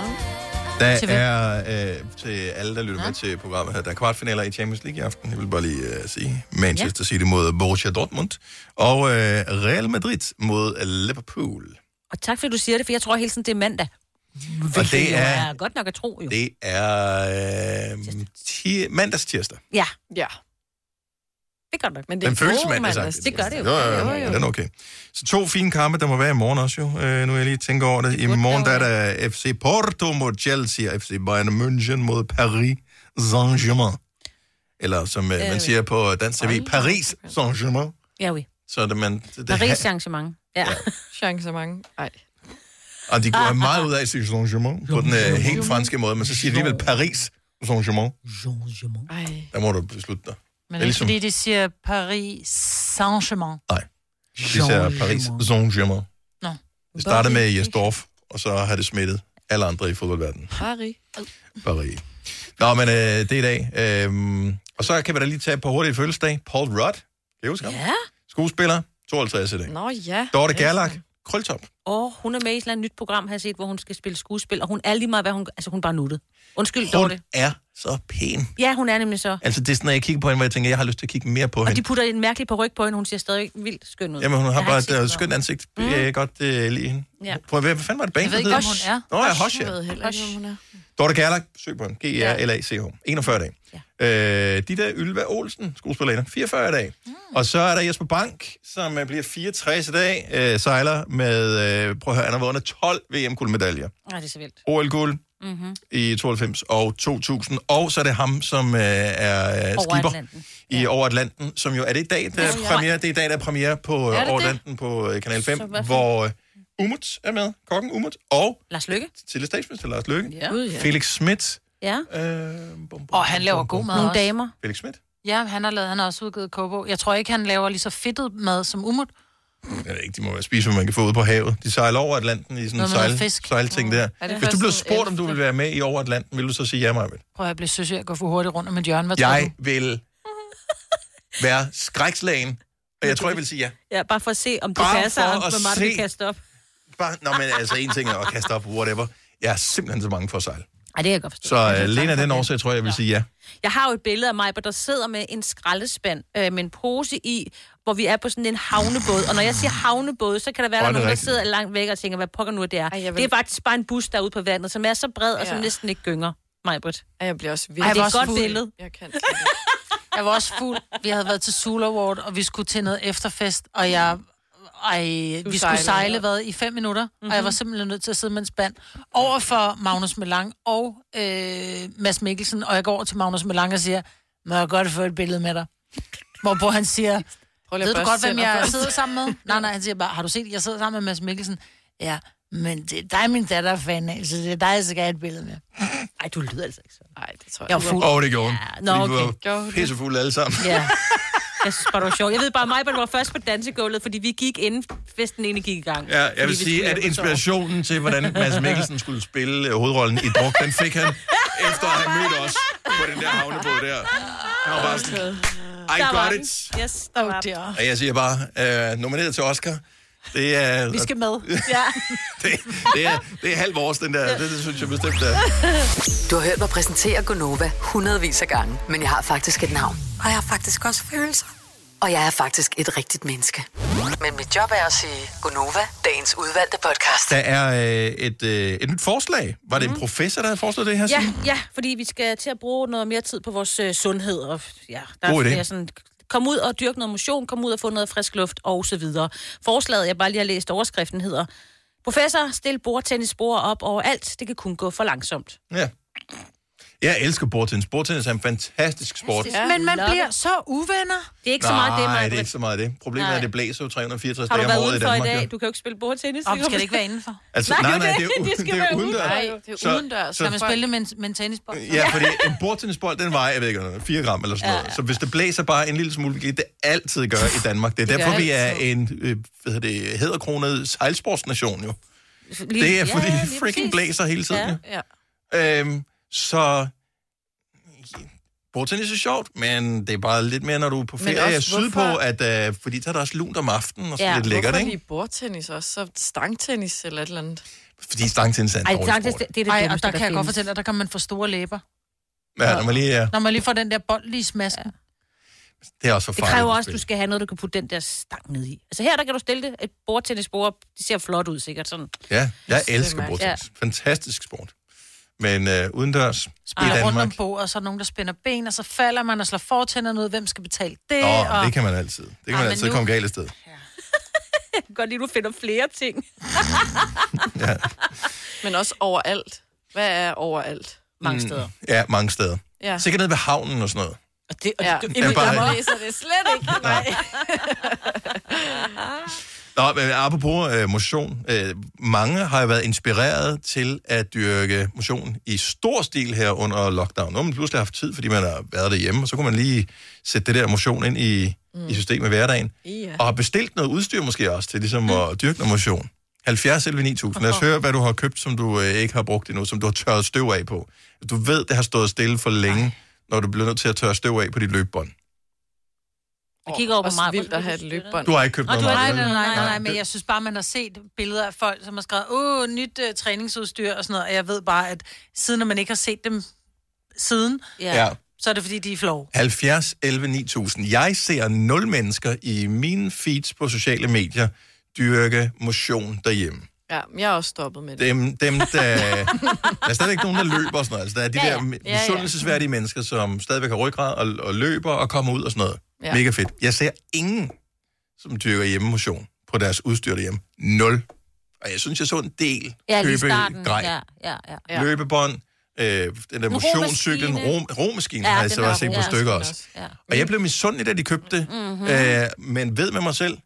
Speaker 1: Der
Speaker 4: Til hvem?
Speaker 1: er øh, til alle, der lytter ja. med til programmet her, der er kvartfinaler i Champions League i aften. Jeg vil bare lige øh, sige Manchester City mod Borussia Dortmund. Og øh, Real Madrid mod Liverpool.
Speaker 20: Og tak fordi du siger det, for jeg tror hele tiden, det er mandag.
Speaker 1: Og
Speaker 20: Det
Speaker 1: det
Speaker 20: er
Speaker 1: er,
Speaker 20: godt nok at tro, jo.
Speaker 1: det er øh, ti- mandags tirsdag.
Speaker 20: Ja.
Speaker 4: Ja.
Speaker 20: Det gør det.
Speaker 4: Men
Speaker 1: Den føles mandag,
Speaker 4: altså.
Speaker 20: Det gør det jo.
Speaker 1: Jo, jo, jo, jo. Den er okay. Så to fine kampe, der må være i morgen også jo. Øh, nu er jeg lige tænker over det. I morgen der er der FC Porto mod Chelsea, og FC Bayern München mod Paris Saint-Germain. Eller som øh, man siger på dansk TV, Paris Saint-Germain.
Speaker 20: Ja, oui.
Speaker 1: Så er det, man, det, det,
Speaker 20: Paris arrangement. Ja.
Speaker 4: Chancer mange. Ej.
Speaker 1: og
Speaker 20: Ah,
Speaker 1: de går meget ud af at sige Saint-Germain på den øh, helt franske måde, men så siger de alligevel Paris Saint-Germain.
Speaker 4: Ej.
Speaker 1: Der må du beslutte dig. Det
Speaker 2: Men
Speaker 1: er
Speaker 2: det er
Speaker 1: ligesom-
Speaker 2: fordi, de siger Paris Saint-Germain.
Speaker 1: De siger Paris Saint-Germain.
Speaker 2: Nå.
Speaker 1: Det startede med Jes Dorf, og så har det smittet alle andre i fodboldverdenen.
Speaker 4: Paris.
Speaker 1: Paris. Nå, men øh, det er i dag. Øhm, og så kan vi da lige tage på hurtigt fødselsdag. Paul Rudd, kan I huske ham?
Speaker 20: Ja.
Speaker 1: Skuespiller, 52 i dag.
Speaker 4: Nå ja.
Speaker 1: Dorte Gerlach, krøltop.
Speaker 20: Og hun er med i et eller andet nyt program, har jeg set, hvor hun skal spille skuespil, og hun er lige meget, hvad hun... Altså, hun er bare nuttet. Undskyld,
Speaker 1: Hun
Speaker 20: Dorte.
Speaker 1: er så pæn.
Speaker 20: Ja, hun er nemlig så.
Speaker 1: Altså, det er sådan, når jeg kigger på hende, hvor jeg tænker, jeg har lyst til at kigge mere på
Speaker 20: Og
Speaker 1: hende.
Speaker 20: de putter en mærkelig peruk på hende, hun ser stadig vildt skøn ud.
Speaker 1: Jamen, hun har
Speaker 20: Jeg
Speaker 1: bare
Speaker 20: ikke set
Speaker 1: et øh,
Speaker 20: noget.
Speaker 1: skønt ansigt. Mm. Jeg kan godt øh, lide hende.
Speaker 20: Ja.
Speaker 1: Prøv, hvad, hvad fanden var det band,
Speaker 20: Jeg ved
Speaker 1: der
Speaker 20: ikke,
Speaker 1: hed?
Speaker 20: om hun er.
Speaker 1: Nå, ja, Hush,
Speaker 4: Jeg ved
Speaker 1: ja.
Speaker 4: heller ikke, hvem hun er.
Speaker 1: Dorte Gerlach, søg på E hende. G-R-L-A-C-H. 41 dage. Ja. Øh, de der Ylva Olsen, skuespillerinde, 44 dage. Mm. Og så er der Jesper Bank, som øh, bliver 64 i dag, øh, sejler med, øh, prøv at høre, han har vundet 12 VM-guldmedaljer.
Speaker 20: Nej, det er så vildt.
Speaker 1: OL-guld
Speaker 20: Mm-hmm.
Speaker 1: i 92 og 2000. Og så er det ham, som øh, er øh,
Speaker 20: Over
Speaker 1: skipper
Speaker 20: Atlanten.
Speaker 1: i Over Atlanten, som jo er det i dag, der er
Speaker 20: Nå, ja.
Speaker 1: premiere, det er i dag, der er premiere på
Speaker 20: Er
Speaker 1: øh,
Speaker 20: det
Speaker 1: Over
Speaker 20: det?
Speaker 1: Atlanten på øh, Kanal 5,
Speaker 20: Så hvad for-
Speaker 1: hvor øh, Umut er med, kokken Umut, og
Speaker 20: Lars Lykke.
Speaker 1: tidligere statsminister Lars Løkke,
Speaker 20: Ja. Gud, ja.
Speaker 1: Felix Schmidt,
Speaker 20: Ja.
Speaker 1: Øh,
Speaker 2: og han laver god mad
Speaker 20: Nogle
Speaker 2: også.
Speaker 20: damer.
Speaker 1: Felix Schmidt.
Speaker 2: Ja, han har, lavet, han har også udgivet Kobo. Jeg tror ikke, han laver lige så fedtet mad som Umut.
Speaker 1: Jeg ved ikke, de må være spise, hvad man kan få ud på havet. De sejler over Atlanten i sådan en
Speaker 2: Noget med noget
Speaker 1: sejl,
Speaker 2: fisk.
Speaker 1: sejlting der.
Speaker 2: Er det
Speaker 1: Hvis du
Speaker 2: først
Speaker 1: blev
Speaker 2: den
Speaker 1: spurgt, om du ville være med i over Atlanten, ville du så sige ja, Marvind?
Speaker 2: Prøv at jeg bliver søs, jeg går for hurtigt rundt om et hjørne. Hvad tror
Speaker 1: Jeg vil være skrækslagen, og jeg tror, jeg vil sige ja.
Speaker 20: Ja, bare for at se, om det
Speaker 1: Bare
Speaker 20: passer,
Speaker 1: for
Speaker 20: og
Speaker 1: at
Speaker 20: hvor meget du kan
Speaker 1: se.
Speaker 20: kaste op.
Speaker 1: Bare, nå, men altså, en ting er at kaste op, whatever. Jeg er simpelthen så mange for at sejle.
Speaker 20: Ej, det kan jeg godt forstå.
Speaker 1: Så
Speaker 20: Jeg kan
Speaker 1: uh,
Speaker 20: sagtens
Speaker 1: alene af den
Speaker 20: forstå.
Speaker 1: årsag, tror jeg, jeg vil sige ja.
Speaker 20: Jeg har jo et billede af mig, hvor der sidder med en skraldespand øh, med en pose i, hvor vi er på sådan en havnebåd. Og når jeg siger havnebåd, så kan der være,
Speaker 1: Åh,
Speaker 20: der er
Speaker 1: det er
Speaker 20: nogen, der
Speaker 1: rigtigt.
Speaker 20: sidder langt væk og tænker, hvad pokker nu er det er. Ej, vil... Det er faktisk bare en bus derude på vandet, som er så bred og som
Speaker 4: Ja.
Speaker 20: næsten ikke gynger. Majbrit.
Speaker 4: Ej, jeg bliver også
Speaker 20: vildt. Ej, det er et godt billede.
Speaker 4: Jeg kan.
Speaker 2: Jeg var også fuld. Vi havde været til Sula Award, og vi skulle til noget efterfest, og jeg... Ej, vi skulle
Speaker 3: sejlede.
Speaker 2: sejle hvad, i fem minutter, mm-hmm. og jeg var simpelthen nødt til at sidde med en spand over for Magnus Melang og øh, Mads Mikkelsen, og jeg går over til Magnus Melang og siger, må jeg godt få et billede med dig? Hvorpå han siger,
Speaker 4: lige at
Speaker 2: ved du
Speaker 4: børste
Speaker 2: godt, hvem
Speaker 4: tænder
Speaker 2: jeg
Speaker 4: først."
Speaker 2: sidder sammen med? Nej, nej, han siger bare, har du set, jeg sidder sammen med Mads Mikkelsen? Ja, men det er dig, min datter er fan af, så det er dig, jeg skal have et billede med.
Speaker 20: Ej, du lyder altså ikke så.
Speaker 4: Nej, det tror
Speaker 2: Jeg var fuld.
Speaker 1: Åh, oh, det gjorde hun.
Speaker 2: Nå,
Speaker 1: Fordi vi
Speaker 2: okay.
Speaker 1: var pissefulde alle sammen.
Speaker 2: Ja.
Speaker 20: Jeg synes bare, det var sjovt. Jeg ved bare, mig var først på dansegulvet, fordi vi gik inden festen egentlig gik i gang.
Speaker 1: Ja,
Speaker 20: Fordi
Speaker 1: jeg
Speaker 20: vi
Speaker 1: vil sige,
Speaker 20: skulle hjem
Speaker 1: at
Speaker 20: og sove.
Speaker 1: inspirationen til, hvordan Mads Mikkelsen skulle spille øh, hovedrollen i Druk, den fik
Speaker 20: [laughs]
Speaker 1: han, efter han mødte os på den der havnebåd der. Han var bare sådan, I
Speaker 20: Der var
Speaker 1: got
Speaker 20: den.
Speaker 1: it.
Speaker 20: Yes, der var der.
Speaker 1: Og jeg siger bare, øh, nomineret til Oscar, det er,
Speaker 20: Vi skal
Speaker 17: [laughs]
Speaker 20: med. Ja.
Speaker 1: det er, det er halv vores, den der. Det, det synes jeg bestemt, det er.
Speaker 5: Du har hørt mig præsentere Gonova hundredvis af gange, men jeg har faktisk et navn.
Speaker 7: Og jeg har faktisk også følelser.
Speaker 5: Og jeg er faktisk et rigtigt menneske. Men mit job er at sige Gonova, dagens udvalgte podcast.
Speaker 1: Der er øh, et, øh, et nyt forslag. Var det en professor, der havde foreslået det her?
Speaker 20: Mhm. Ja,
Speaker 1: Signe?
Speaker 20: ja, fordi vi skal til at bruge noget mere tid på vores øh, sundhed. Og, ja, der
Speaker 1: God idé.
Speaker 20: er flere sådan, kom ud og dyrk noget motion, kom ud og få noget frisk luft og så videre. Forslaget, jeg bare lige har læst overskriften, hedder Professor, stil bordtennisbord op overalt. Det kan kun gå for langsomt.
Speaker 1: Ja. Jeg elsker bordtennis. Bordtennis er en fantastisk sport.
Speaker 2: Men man bliver så uvenner.
Speaker 20: Det er
Speaker 1: Nej, det er ikke så meget det. Problemet er,
Speaker 20: Nej.
Speaker 1: at det blæser jo 364
Speaker 20: Har du
Speaker 1: dage om
Speaker 20: været
Speaker 1: året i
Speaker 20: udenfor i
Speaker 1: Danmark. jo.
Speaker 20: dag? Du kan jo ikke spille bordtennis.
Speaker 2: Om, skal det ikke være indenfor?
Speaker 1: Altså, nej, nej, det er, u- det er udendørs. Så- så-
Speaker 2: Kan man spille det med en, med en tennisbold?
Speaker 1: Ja, fordi en bordtennisbold, den vejer, jeg ved ikke, 4 gram eller sådan noget. Så hvis det blæser bare en lille smule, hvilket det altid gør i Danmark. Det er
Speaker 20: Det gør
Speaker 1: derfor, vi er
Speaker 20: altid.
Speaker 1: en øh, hvad hedder det, hedderkronet sejlsportsnation jo. Det er, fordi det
Speaker 20: lige
Speaker 1: freaking
Speaker 20: præcis.
Speaker 1: blæser hele tiden,
Speaker 20: Ja, ja.
Speaker 1: Øhm, så bordtennis er sjovt, men det er bare lidt mere, når du er på
Speaker 4: Men
Speaker 1: ferie
Speaker 4: også,
Speaker 1: sydpå,
Speaker 4: hvorfor-
Speaker 1: at, øh, fordi der er der også lunt om aftenen Mm, og sådan ja, lidt lækkert,
Speaker 4: hvorfor
Speaker 1: ikke?
Speaker 4: lige bordtennis også? Så stangtennis eller et eller andet.
Speaker 1: Fordi stangtennis er en
Speaker 4: Ej,
Speaker 1: dårlig
Speaker 4: stangtennis,
Speaker 1: sport.
Speaker 4: det- det er det
Speaker 2: Ej, og
Speaker 4: dummeste,
Speaker 2: der
Speaker 4: der
Speaker 2: kan jeg godt
Speaker 4: findes.
Speaker 2: fortælle dig, der kan man få store læber.
Speaker 1: Ja, når man lige er,
Speaker 2: Når man lige får den der bold lige i smasken.
Speaker 1: det er også for
Speaker 20: Det
Speaker 1: farligt.
Speaker 20: kræver
Speaker 1: at
Speaker 20: også, at du
Speaker 1: spille.
Speaker 20: skal have noget, du kan putte den der stang ned i. Altså her, der kan du stille det. Et bordtennisbord, op. det ser flot ud sikkert. Sådan.
Speaker 1: Ja, jeg
Speaker 20: Det er
Speaker 1: elsker
Speaker 20: mærkeligt.
Speaker 1: bordtennis. Fantastisk sport. Men øh, udendørs i
Speaker 2: Spiller rundt om
Speaker 1: Danmark,
Speaker 2: bordet, og så er der nogen, der spænder ben, og så falder man og slår fortænderne ud. Hvem skal betale det?
Speaker 1: Nå,
Speaker 2: og... [laughs]
Speaker 1: det kan man altid. Det kan
Speaker 2: Ej,
Speaker 1: man
Speaker 2: men
Speaker 1: altid
Speaker 2: nu-
Speaker 1: komme galt af sted.
Speaker 20: Jeg kan godt lide, at du finder flere
Speaker 1: [laughs]
Speaker 20: ting.
Speaker 4: Men også overalt. Hvad er overalt?
Speaker 1: Mm, Ja, mange steder.
Speaker 4: Ja.
Speaker 1: Sikkert nede ved havnen og sådan noget.
Speaker 20: Og det,
Speaker 4: og ja.
Speaker 1: du-
Speaker 4: det,
Speaker 1: Ja,
Speaker 4: det,
Speaker 1: bare-
Speaker 4: bare... læser det slet ikke.
Speaker 17: [laughs]
Speaker 4: Nej.
Speaker 1: Nå, men apropos øh, motion. Øh, mange har jo været inspireret til at dyrke motion i stor stil her under lockdown. Nu har man pludselig haft tid, fordi man har været derhjemme, og så kunne man lige sætte det der motion ind i, mm. i systemet i hverdagen.
Speaker 4: Ja.
Speaker 1: Og har bestilt noget udstyr måske også til ligesom at dyrke noget motion. 70 eller 9000. Lad os høre, hvad du har købt, som du øh, ikke har brugt endnu, som du har tørret støv af på. Du ved, det har stået stille for længe, når du bliver nødt til at tørre støv af på dit løbebånd.
Speaker 20: Jeg kigger over på
Speaker 4: Også
Speaker 20: mig.
Speaker 4: vildt at have et løbbånd.
Speaker 1: Du har ikke købt
Speaker 2: Nå,
Speaker 1: noget.
Speaker 2: du har- nej, nej,
Speaker 1: Maja, vel?
Speaker 2: nej, nej, nej, men jeg synes bare, man har set billeder af folk, som har skrevet, åh, nyt uh, træningsudstyr og sådan noget, og jeg ved bare, at siden at man ikke har set dem siden,
Speaker 1: Ja.
Speaker 2: så er det fordi, de er flove.
Speaker 1: 70 11 9000. Jeg ser nul mennesker i mine feeds på sociale medier dyrke motion derhjemme.
Speaker 4: Ja, men jeg er også stoppet med det.
Speaker 1: Dem, dem der... der er stadigvæk nogen, der
Speaker 4: [laughs]
Speaker 1: løber og sådan noget. Altså, der er de
Speaker 4: Ja, ja.
Speaker 1: der
Speaker 4: Ja, ja.
Speaker 1: misundelsesværdige mennesker, som stadigvæk har ryggrad og, og løber og kommer ud og sådan noget.
Speaker 4: Ja.
Speaker 1: Ja. Mega fedt. Jeg ser ingen, som dyrker hjemme motion på deres udstyr derhjemme. Nul. Og jeg synes, jeg så en del
Speaker 20: Ja, lige i
Speaker 1: købe
Speaker 20: starten.
Speaker 1: grej.
Speaker 20: Ja, ja, ja.
Speaker 1: ja. løbebånd, øh, den der
Speaker 20: En
Speaker 1: motionscykel, en
Speaker 20: romaskine.
Speaker 1: rom, romaskine
Speaker 20: Ja,
Speaker 1: ja, har jeg
Speaker 20: den
Speaker 1: så
Speaker 20: der
Speaker 1: også set på
Speaker 20: romaskine
Speaker 1: stykker
Speaker 20: også.
Speaker 1: også. Ja. Og jeg blev misundelig, da de købte det,
Speaker 20: Mhm.
Speaker 1: mm-hmm. øh, men ved med mig selv,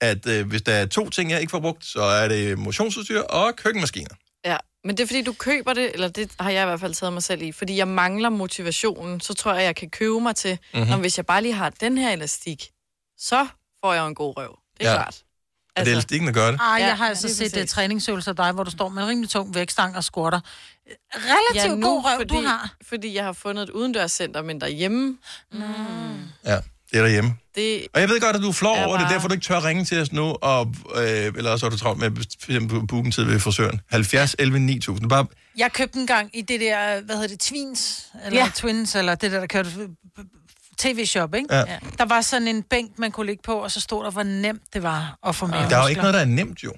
Speaker 1: at øh, hvis der er to ting, jeg ikke får brugt, så er det motionsudstyr og køkkenmaskiner.
Speaker 4: Ja, men det er fordi, du køber det, eller det har jeg i hvert fald taget mig selv i, fordi jeg mangler motivationen, så tror jeg, jeg kan købe mig til,
Speaker 1: Mhm.
Speaker 4: mm-hmm. når hvis jeg bare lige har den her elastik, så får jeg jo en god røv. Det er
Speaker 1: Ja.
Speaker 4: ja. klart. Altså. Ah.
Speaker 1: Og det er elastikken, der gør det.
Speaker 2: Ej,
Speaker 4: Ja,
Speaker 2: jeg har altså
Speaker 4: lige
Speaker 2: set uh,
Speaker 4: præcis.
Speaker 2: træningsøvelser af dig, hvor du står med en rimelig tung vægtstang og squatter. Øh, Relativt
Speaker 4: Ja, nu,
Speaker 2: god røv,
Speaker 4: fordi,
Speaker 2: du har. Mm.
Speaker 4: Fordi jeg har fundet et udendørscenter, men derhjemme,
Speaker 1: Ja, det er derhjemme.
Speaker 4: det...
Speaker 1: Og jeg ved godt, at du er flov
Speaker 4: Er
Speaker 1: over det,
Speaker 4: bare-
Speaker 1: derfor du ikke tør ringe til os nu, og, øh, eller også er du travlt med at bestemme booken tid ved frisøren. 70 11 9000. Bare,
Speaker 2: Jeg købte en gang i det der, hvad hedder det, Twins, eller
Speaker 20: Ja.
Speaker 2: ja. Twins, eller det der, der kørte tv-shop, ikke?
Speaker 1: Ja.
Speaker 2: Ja. Der var sådan en bænk, man kunne ligge på, og så stod der, hvor nemt det var at få mavemuskler.
Speaker 1: Ah. der er jo ikke noget, der er nemt jo.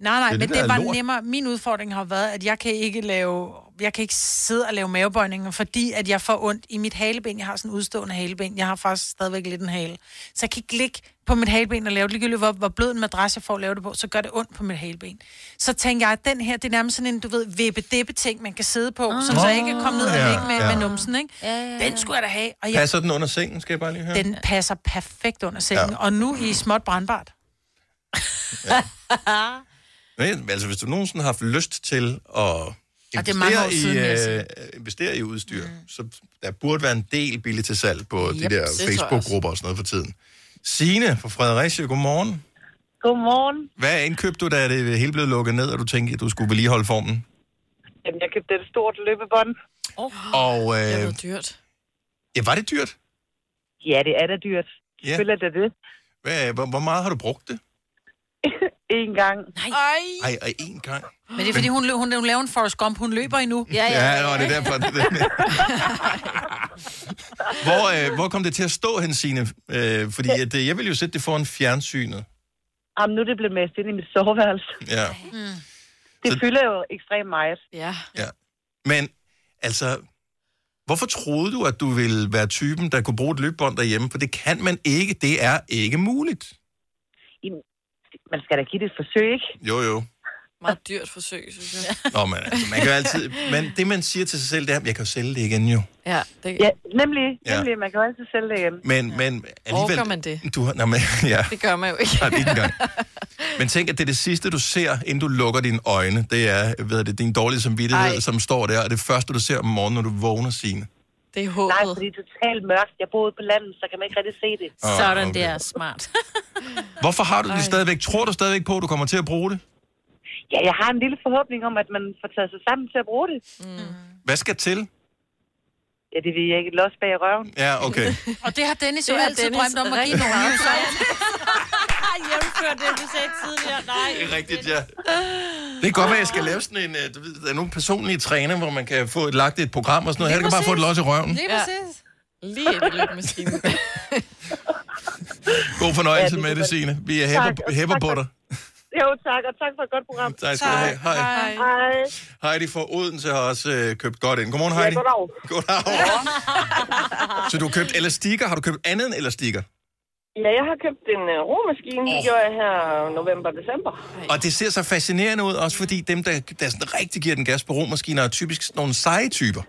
Speaker 2: Nej, nej,
Speaker 1: Det er
Speaker 2: det men
Speaker 1: det, der
Speaker 2: det,
Speaker 1: er
Speaker 2: var
Speaker 1: lort.
Speaker 2: nemmere. Min udfordring har været, at jeg kan ikke lave, jeg kan ikke sidde og lave mavebøjninger, fordi at jeg får ondt i mit haleben. Jeg har sådan en udstående haleben. Jeg har faktisk stadigvæk lidt en hale. Så jeg kan ikke ligge på mit haleben og lave det. Ligegyldigt hvor, hvor blød en madras jeg får at lave det på, så gør det ondt på mit haleben. Så tænker jeg, at den her, det er nærmest sådan en, du ved, vippe-dippe-ting, man kan sidde på, ah, så jeg ikke kan komme ned og
Speaker 1: Ja,
Speaker 2: ligge med,
Speaker 1: ja.
Speaker 2: ja. med numsen, ikke? Ja, ja, ja. Den skulle jeg da have. Og jeg,
Speaker 1: Passer den under sengen, skal jeg bare lige høre?
Speaker 2: den passer perfekt under sengen, ja. og nu i småt brandbart. [laughs]
Speaker 1: Men, altså, hvis du nogensinde har haft lyst til at
Speaker 2: Og det er mange år siden, vil jeg
Speaker 1: i,
Speaker 2: sige.
Speaker 1: øh, investere i udstyr, mm. så der burde være en del billigt til salg på yep,
Speaker 2: Yep,
Speaker 1: de der
Speaker 2: det tror jeg
Speaker 1: Facebook-grupper og sådan noget for tiden. Signe fra Fredericia, godmorgen.
Speaker 7: Godmorgen.
Speaker 1: Hvad indkøbte du, da det hele blev lukket ned, og du tænkte, at du skulle vedligeholde formen?
Speaker 7: Jamen, jeg købte et stort løbebånd.
Speaker 4: Oh.
Speaker 1: Og, øh,
Speaker 4: dyrt.
Speaker 1: Ja, var det dyrt?
Speaker 7: Ja, det er da dyrt.
Speaker 1: Ja.
Speaker 7: Selvfølgelig er det det.
Speaker 1: Hvad, hvor, hvor meget har du brugt det?
Speaker 7: En gang.
Speaker 2: Nej. Ej.
Speaker 1: Ej, og én gang.
Speaker 2: Men det er, fordi hun, lø- hun, hun laver en Forrest Gump. Hun løber endnu.
Speaker 1: Ja, nå, det er derfor. Det er hvor, øh, hvor kom det til at stå hen, Signe? Øh, fordi at, øh, jeg ville jo sætte det foran fjernsynet.
Speaker 7: Jamen, nu er det blevet mest ind i mit soveværelse.
Speaker 1: Ja.
Speaker 7: Mm. Det fylder jo ekstremt meget.
Speaker 4: Ja.
Speaker 1: Ja. Men altså, hvorfor troede du, at du ville være typen, der kunne bruge et løbebånd derhjemme? For det kan man ikke. Det er ikke muligt.
Speaker 7: Jamen, Man skal da give det et forsøg, ikke?
Speaker 1: Jo, jo.
Speaker 4: Meget dyrt forsøg, synes jeg.
Speaker 1: Nå, men altså, man kan jo altid... Men det, man siger til sig selv, det er, jeg kan jo sælge det igen jo.
Speaker 4: Ja, det...
Speaker 7: ja nemlig.
Speaker 1: Ja.
Speaker 7: Nemlig, man kan jo altid sælge det igen.
Speaker 1: Men, men alligevel...
Speaker 7: Orker man det?
Speaker 1: Du, har- nå, men, ja.
Speaker 4: Det gør man jo ikke.
Speaker 1: Nej, det er ikke engang. Men tænk, at det er det sidste, du ser, inden du lukker dine øjne. Det er, ved det, din dårlige samvittighed,
Speaker 7: Ej.
Speaker 1: som står der, og det første, du ser om morgenen, når du vågner, Signe.
Speaker 4: Det er håbet.
Speaker 7: Nej, fordi det er totalt mørkt. Jeg boede på landet, så kan man ikke rigtig se det.
Speaker 1: Ah, Sådan okay.
Speaker 7: der, smart.
Speaker 1: Hvorfor har du det
Speaker 7: Ej.
Speaker 1: stadigvæk? Tror du stadigvæk på, at du kommer til at bruge det?
Speaker 7: Ja, jeg har en lille forhåbning om, at man får taget sig sammen til at bruge det. Mm.
Speaker 1: Hvad skal til?
Speaker 7: Ja, det vil jeg ikke. Los bag i røven.
Speaker 1: Ja, okay.
Speaker 2: Og det har Dennis
Speaker 7: Det
Speaker 2: jo
Speaker 7: har
Speaker 2: altid
Speaker 7: Dennis
Speaker 2: drømt om at give
Speaker 7: rigtig
Speaker 2: nogen.
Speaker 7: meget.
Speaker 2: Så
Speaker 20: Jævnfør det, du sagde tidligere. Nej.
Speaker 1: Det er rigtigt, ja. Det kan godt være, jeg skal lave sådan en... øh, Du ved, der er nogle personlige træner, hvor man kan få et lagt et program og sådan noget. Her kan bare få et los i røven.
Speaker 4: Lige præcis. Lige et løb maskinen.
Speaker 1: God fornøjelse med det, Signe. Vi
Speaker 7: Tak,
Speaker 1: hæpper,
Speaker 7: og
Speaker 1: hæpper
Speaker 7: tak
Speaker 1: på
Speaker 7: for-
Speaker 1: dig.
Speaker 7: Jo, tak, og tak for et godt program.
Speaker 1: Tak skal du Tak. have. Hej. Hej.
Speaker 7: Hej.
Speaker 1: Heidi fra Odense har også øh, købt godt ind. Godmorgen, Heidi.
Speaker 7: Ja, goddag.
Speaker 1: Goddag. Så du har købt elastikker. Har du købt andet end elastikker?
Speaker 7: Ja, jeg har købt en uh, romaskine. Det gjorde jeg her november-december.
Speaker 1: Og det ser så fascinerende ud, også fordi dem, der, der sådan rigtig giver den gas på romaskiner, er typisk sådan nogle seje typer.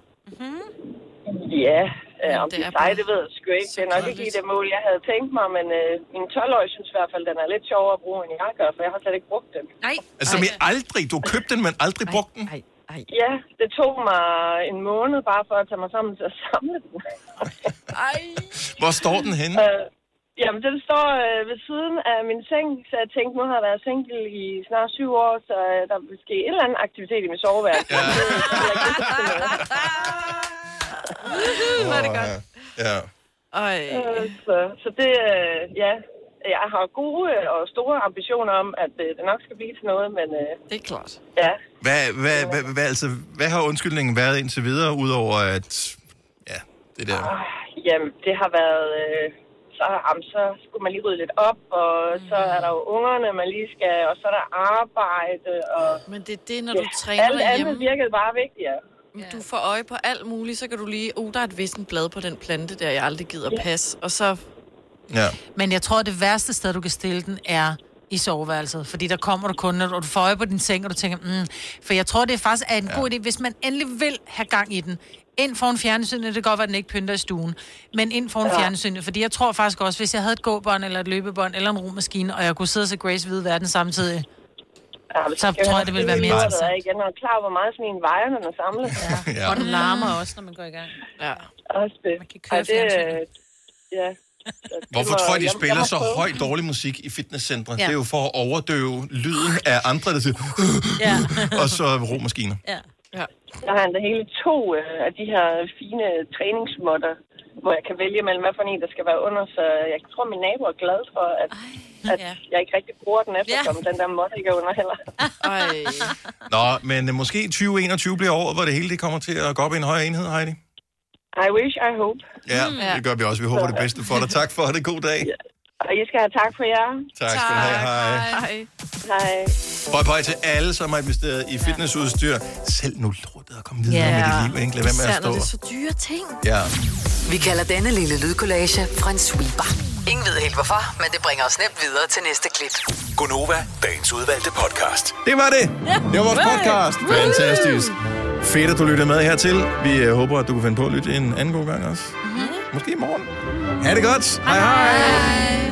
Speaker 7: Ja, øh, om det er dig, det ved jeg sgu ikke. Det er nok ikke i det mål, jeg havde tænkt mig, men øh, min 12-årige synes i hvert fald, den er lidt sjovere at bruge, end jeg gør, for jeg har slet ikke brugt den. Nej.
Speaker 1: Altså, som jeg aldrig... Du købte den, men aldrig brugte den.
Speaker 7: Ja, det tog mig en måned bare for at tage mig sammen til at samle den. Ej.
Speaker 1: Hvor står den henne?
Speaker 7: Øh, jamen, den står øh, ved siden af min seng, så jeg tænkte, nu har jeg været single i snart syv år, så øh, der vil ske en eller anden aktivitet i mit [laughs] soveværelse. Ja.
Speaker 4: Hvor er det godt.
Speaker 1: Ja.
Speaker 4: Ej.
Speaker 7: Øh, Så, så det, øh, ja, jeg har gode øh, og store ambitioner om, at øh, det nok skal blive til noget, men... øh,
Speaker 4: Det er klart.
Speaker 7: Ja,
Speaker 1: Hvad, hvad, hvad, hvad, altså, hvad har undskyldningen været indtil videre, udover at... Ja, det der...
Speaker 7: jamen, det har været... Øh, så, jamen, så skulle man lige rydde lidt op, og så er der jo ungerne, man lige skal... Og så er der arbejde, og...
Speaker 4: Men det er det, når du træner
Speaker 7: alt andet
Speaker 4: derhjemme.
Speaker 7: virkede bare vigtigere.
Speaker 4: Du får øje på alt muligt, så kan du lige... Uh, der er et vissent blad på den plante der, jeg aldrig gider at passe. Og så...
Speaker 1: Ja.
Speaker 2: Men jeg tror, det værste sted, du kan stille den, er i soveværelset. Fordi der kommer du kun, og du får øje på din seng, og du tænker, mm. for jeg tror, det faktisk er en god idé, hvis man endelig vil have gang i den. Ind foran fjernsynet, det kan godt være, at den ikke pynter i stuen, men ind foran ja.
Speaker 7: Ja.
Speaker 2: fjernsynet. Fordi jeg tror faktisk også, hvis jeg havde et gåbånd, eller et løbebånd, eller en romaskine, og jeg kunne sidde og se Grace Hvide Verden samtidig,
Speaker 7: Ja,
Speaker 2: så tror jeg, det ville være mere interessant.
Speaker 7: Jeg er klar, over, hvor meget sådan en vejer, når man samler. Ja.
Speaker 1: Ja.
Speaker 20: Og den larmer også, når man går i gang.
Speaker 4: Ja.
Speaker 7: Også det. Man kan
Speaker 20: køre fjernsynet.
Speaker 7: Ja.
Speaker 1: Hvorfor tror jeg, de spiller så høj dårlig musik i fitnesscentre?
Speaker 7: Ja.
Speaker 1: Det er jo for at overdøve lyden af andre, der siger... [laughs] og så romaskiner.
Speaker 20: Ja.
Speaker 4: ja.
Speaker 7: Jeg har endda hele to øh, af de her fine træningsmåtter, hvor jeg kan vælge mellem, hvad for en, der skal være under. Så jeg tror, min nabo er glad for, at, at
Speaker 4: ja.
Speaker 7: jeg ikke rigtig bruger den efter, som den der måtte ikke er under heller.
Speaker 4: Ej.
Speaker 1: Nå, men øh, måske 2021 bliver året, hvor det hele det kommer til at gå op i en højere enhed, Heidi.
Speaker 7: I wish, I hope.
Speaker 1: Mm. Ja, det gør vi også. Vi håber det bedste for dig. Tak for det. God dag.
Speaker 7: Og I skal have tak for jer.
Speaker 1: Tak skal du have. Hej.
Speaker 7: Hej. Hej.
Speaker 1: Bøj, bøj til alle, som har investeret i fitnessudstyr. Selv nu lortet at komme videre med dit liv, ikke? Lad være med at stå.
Speaker 7: dyre ting.
Speaker 1: Ja.
Speaker 5: Vi kalder denne lille lydkollage Frans sweeper. Ingen ved helt hvorfor, men det bringer os nemt videre til næste klip.
Speaker 6: Gunova, dagens udvalgte podcast.
Speaker 1: Det var det. Det var vores podcast. Fantastisk. Fedt, at du lyttede med hertil. Vi øh, håber, at du kan finde på at lytte en anden god gang også. Måske i morgen. Ha' det godt. Hej hej.
Speaker 17: Hej.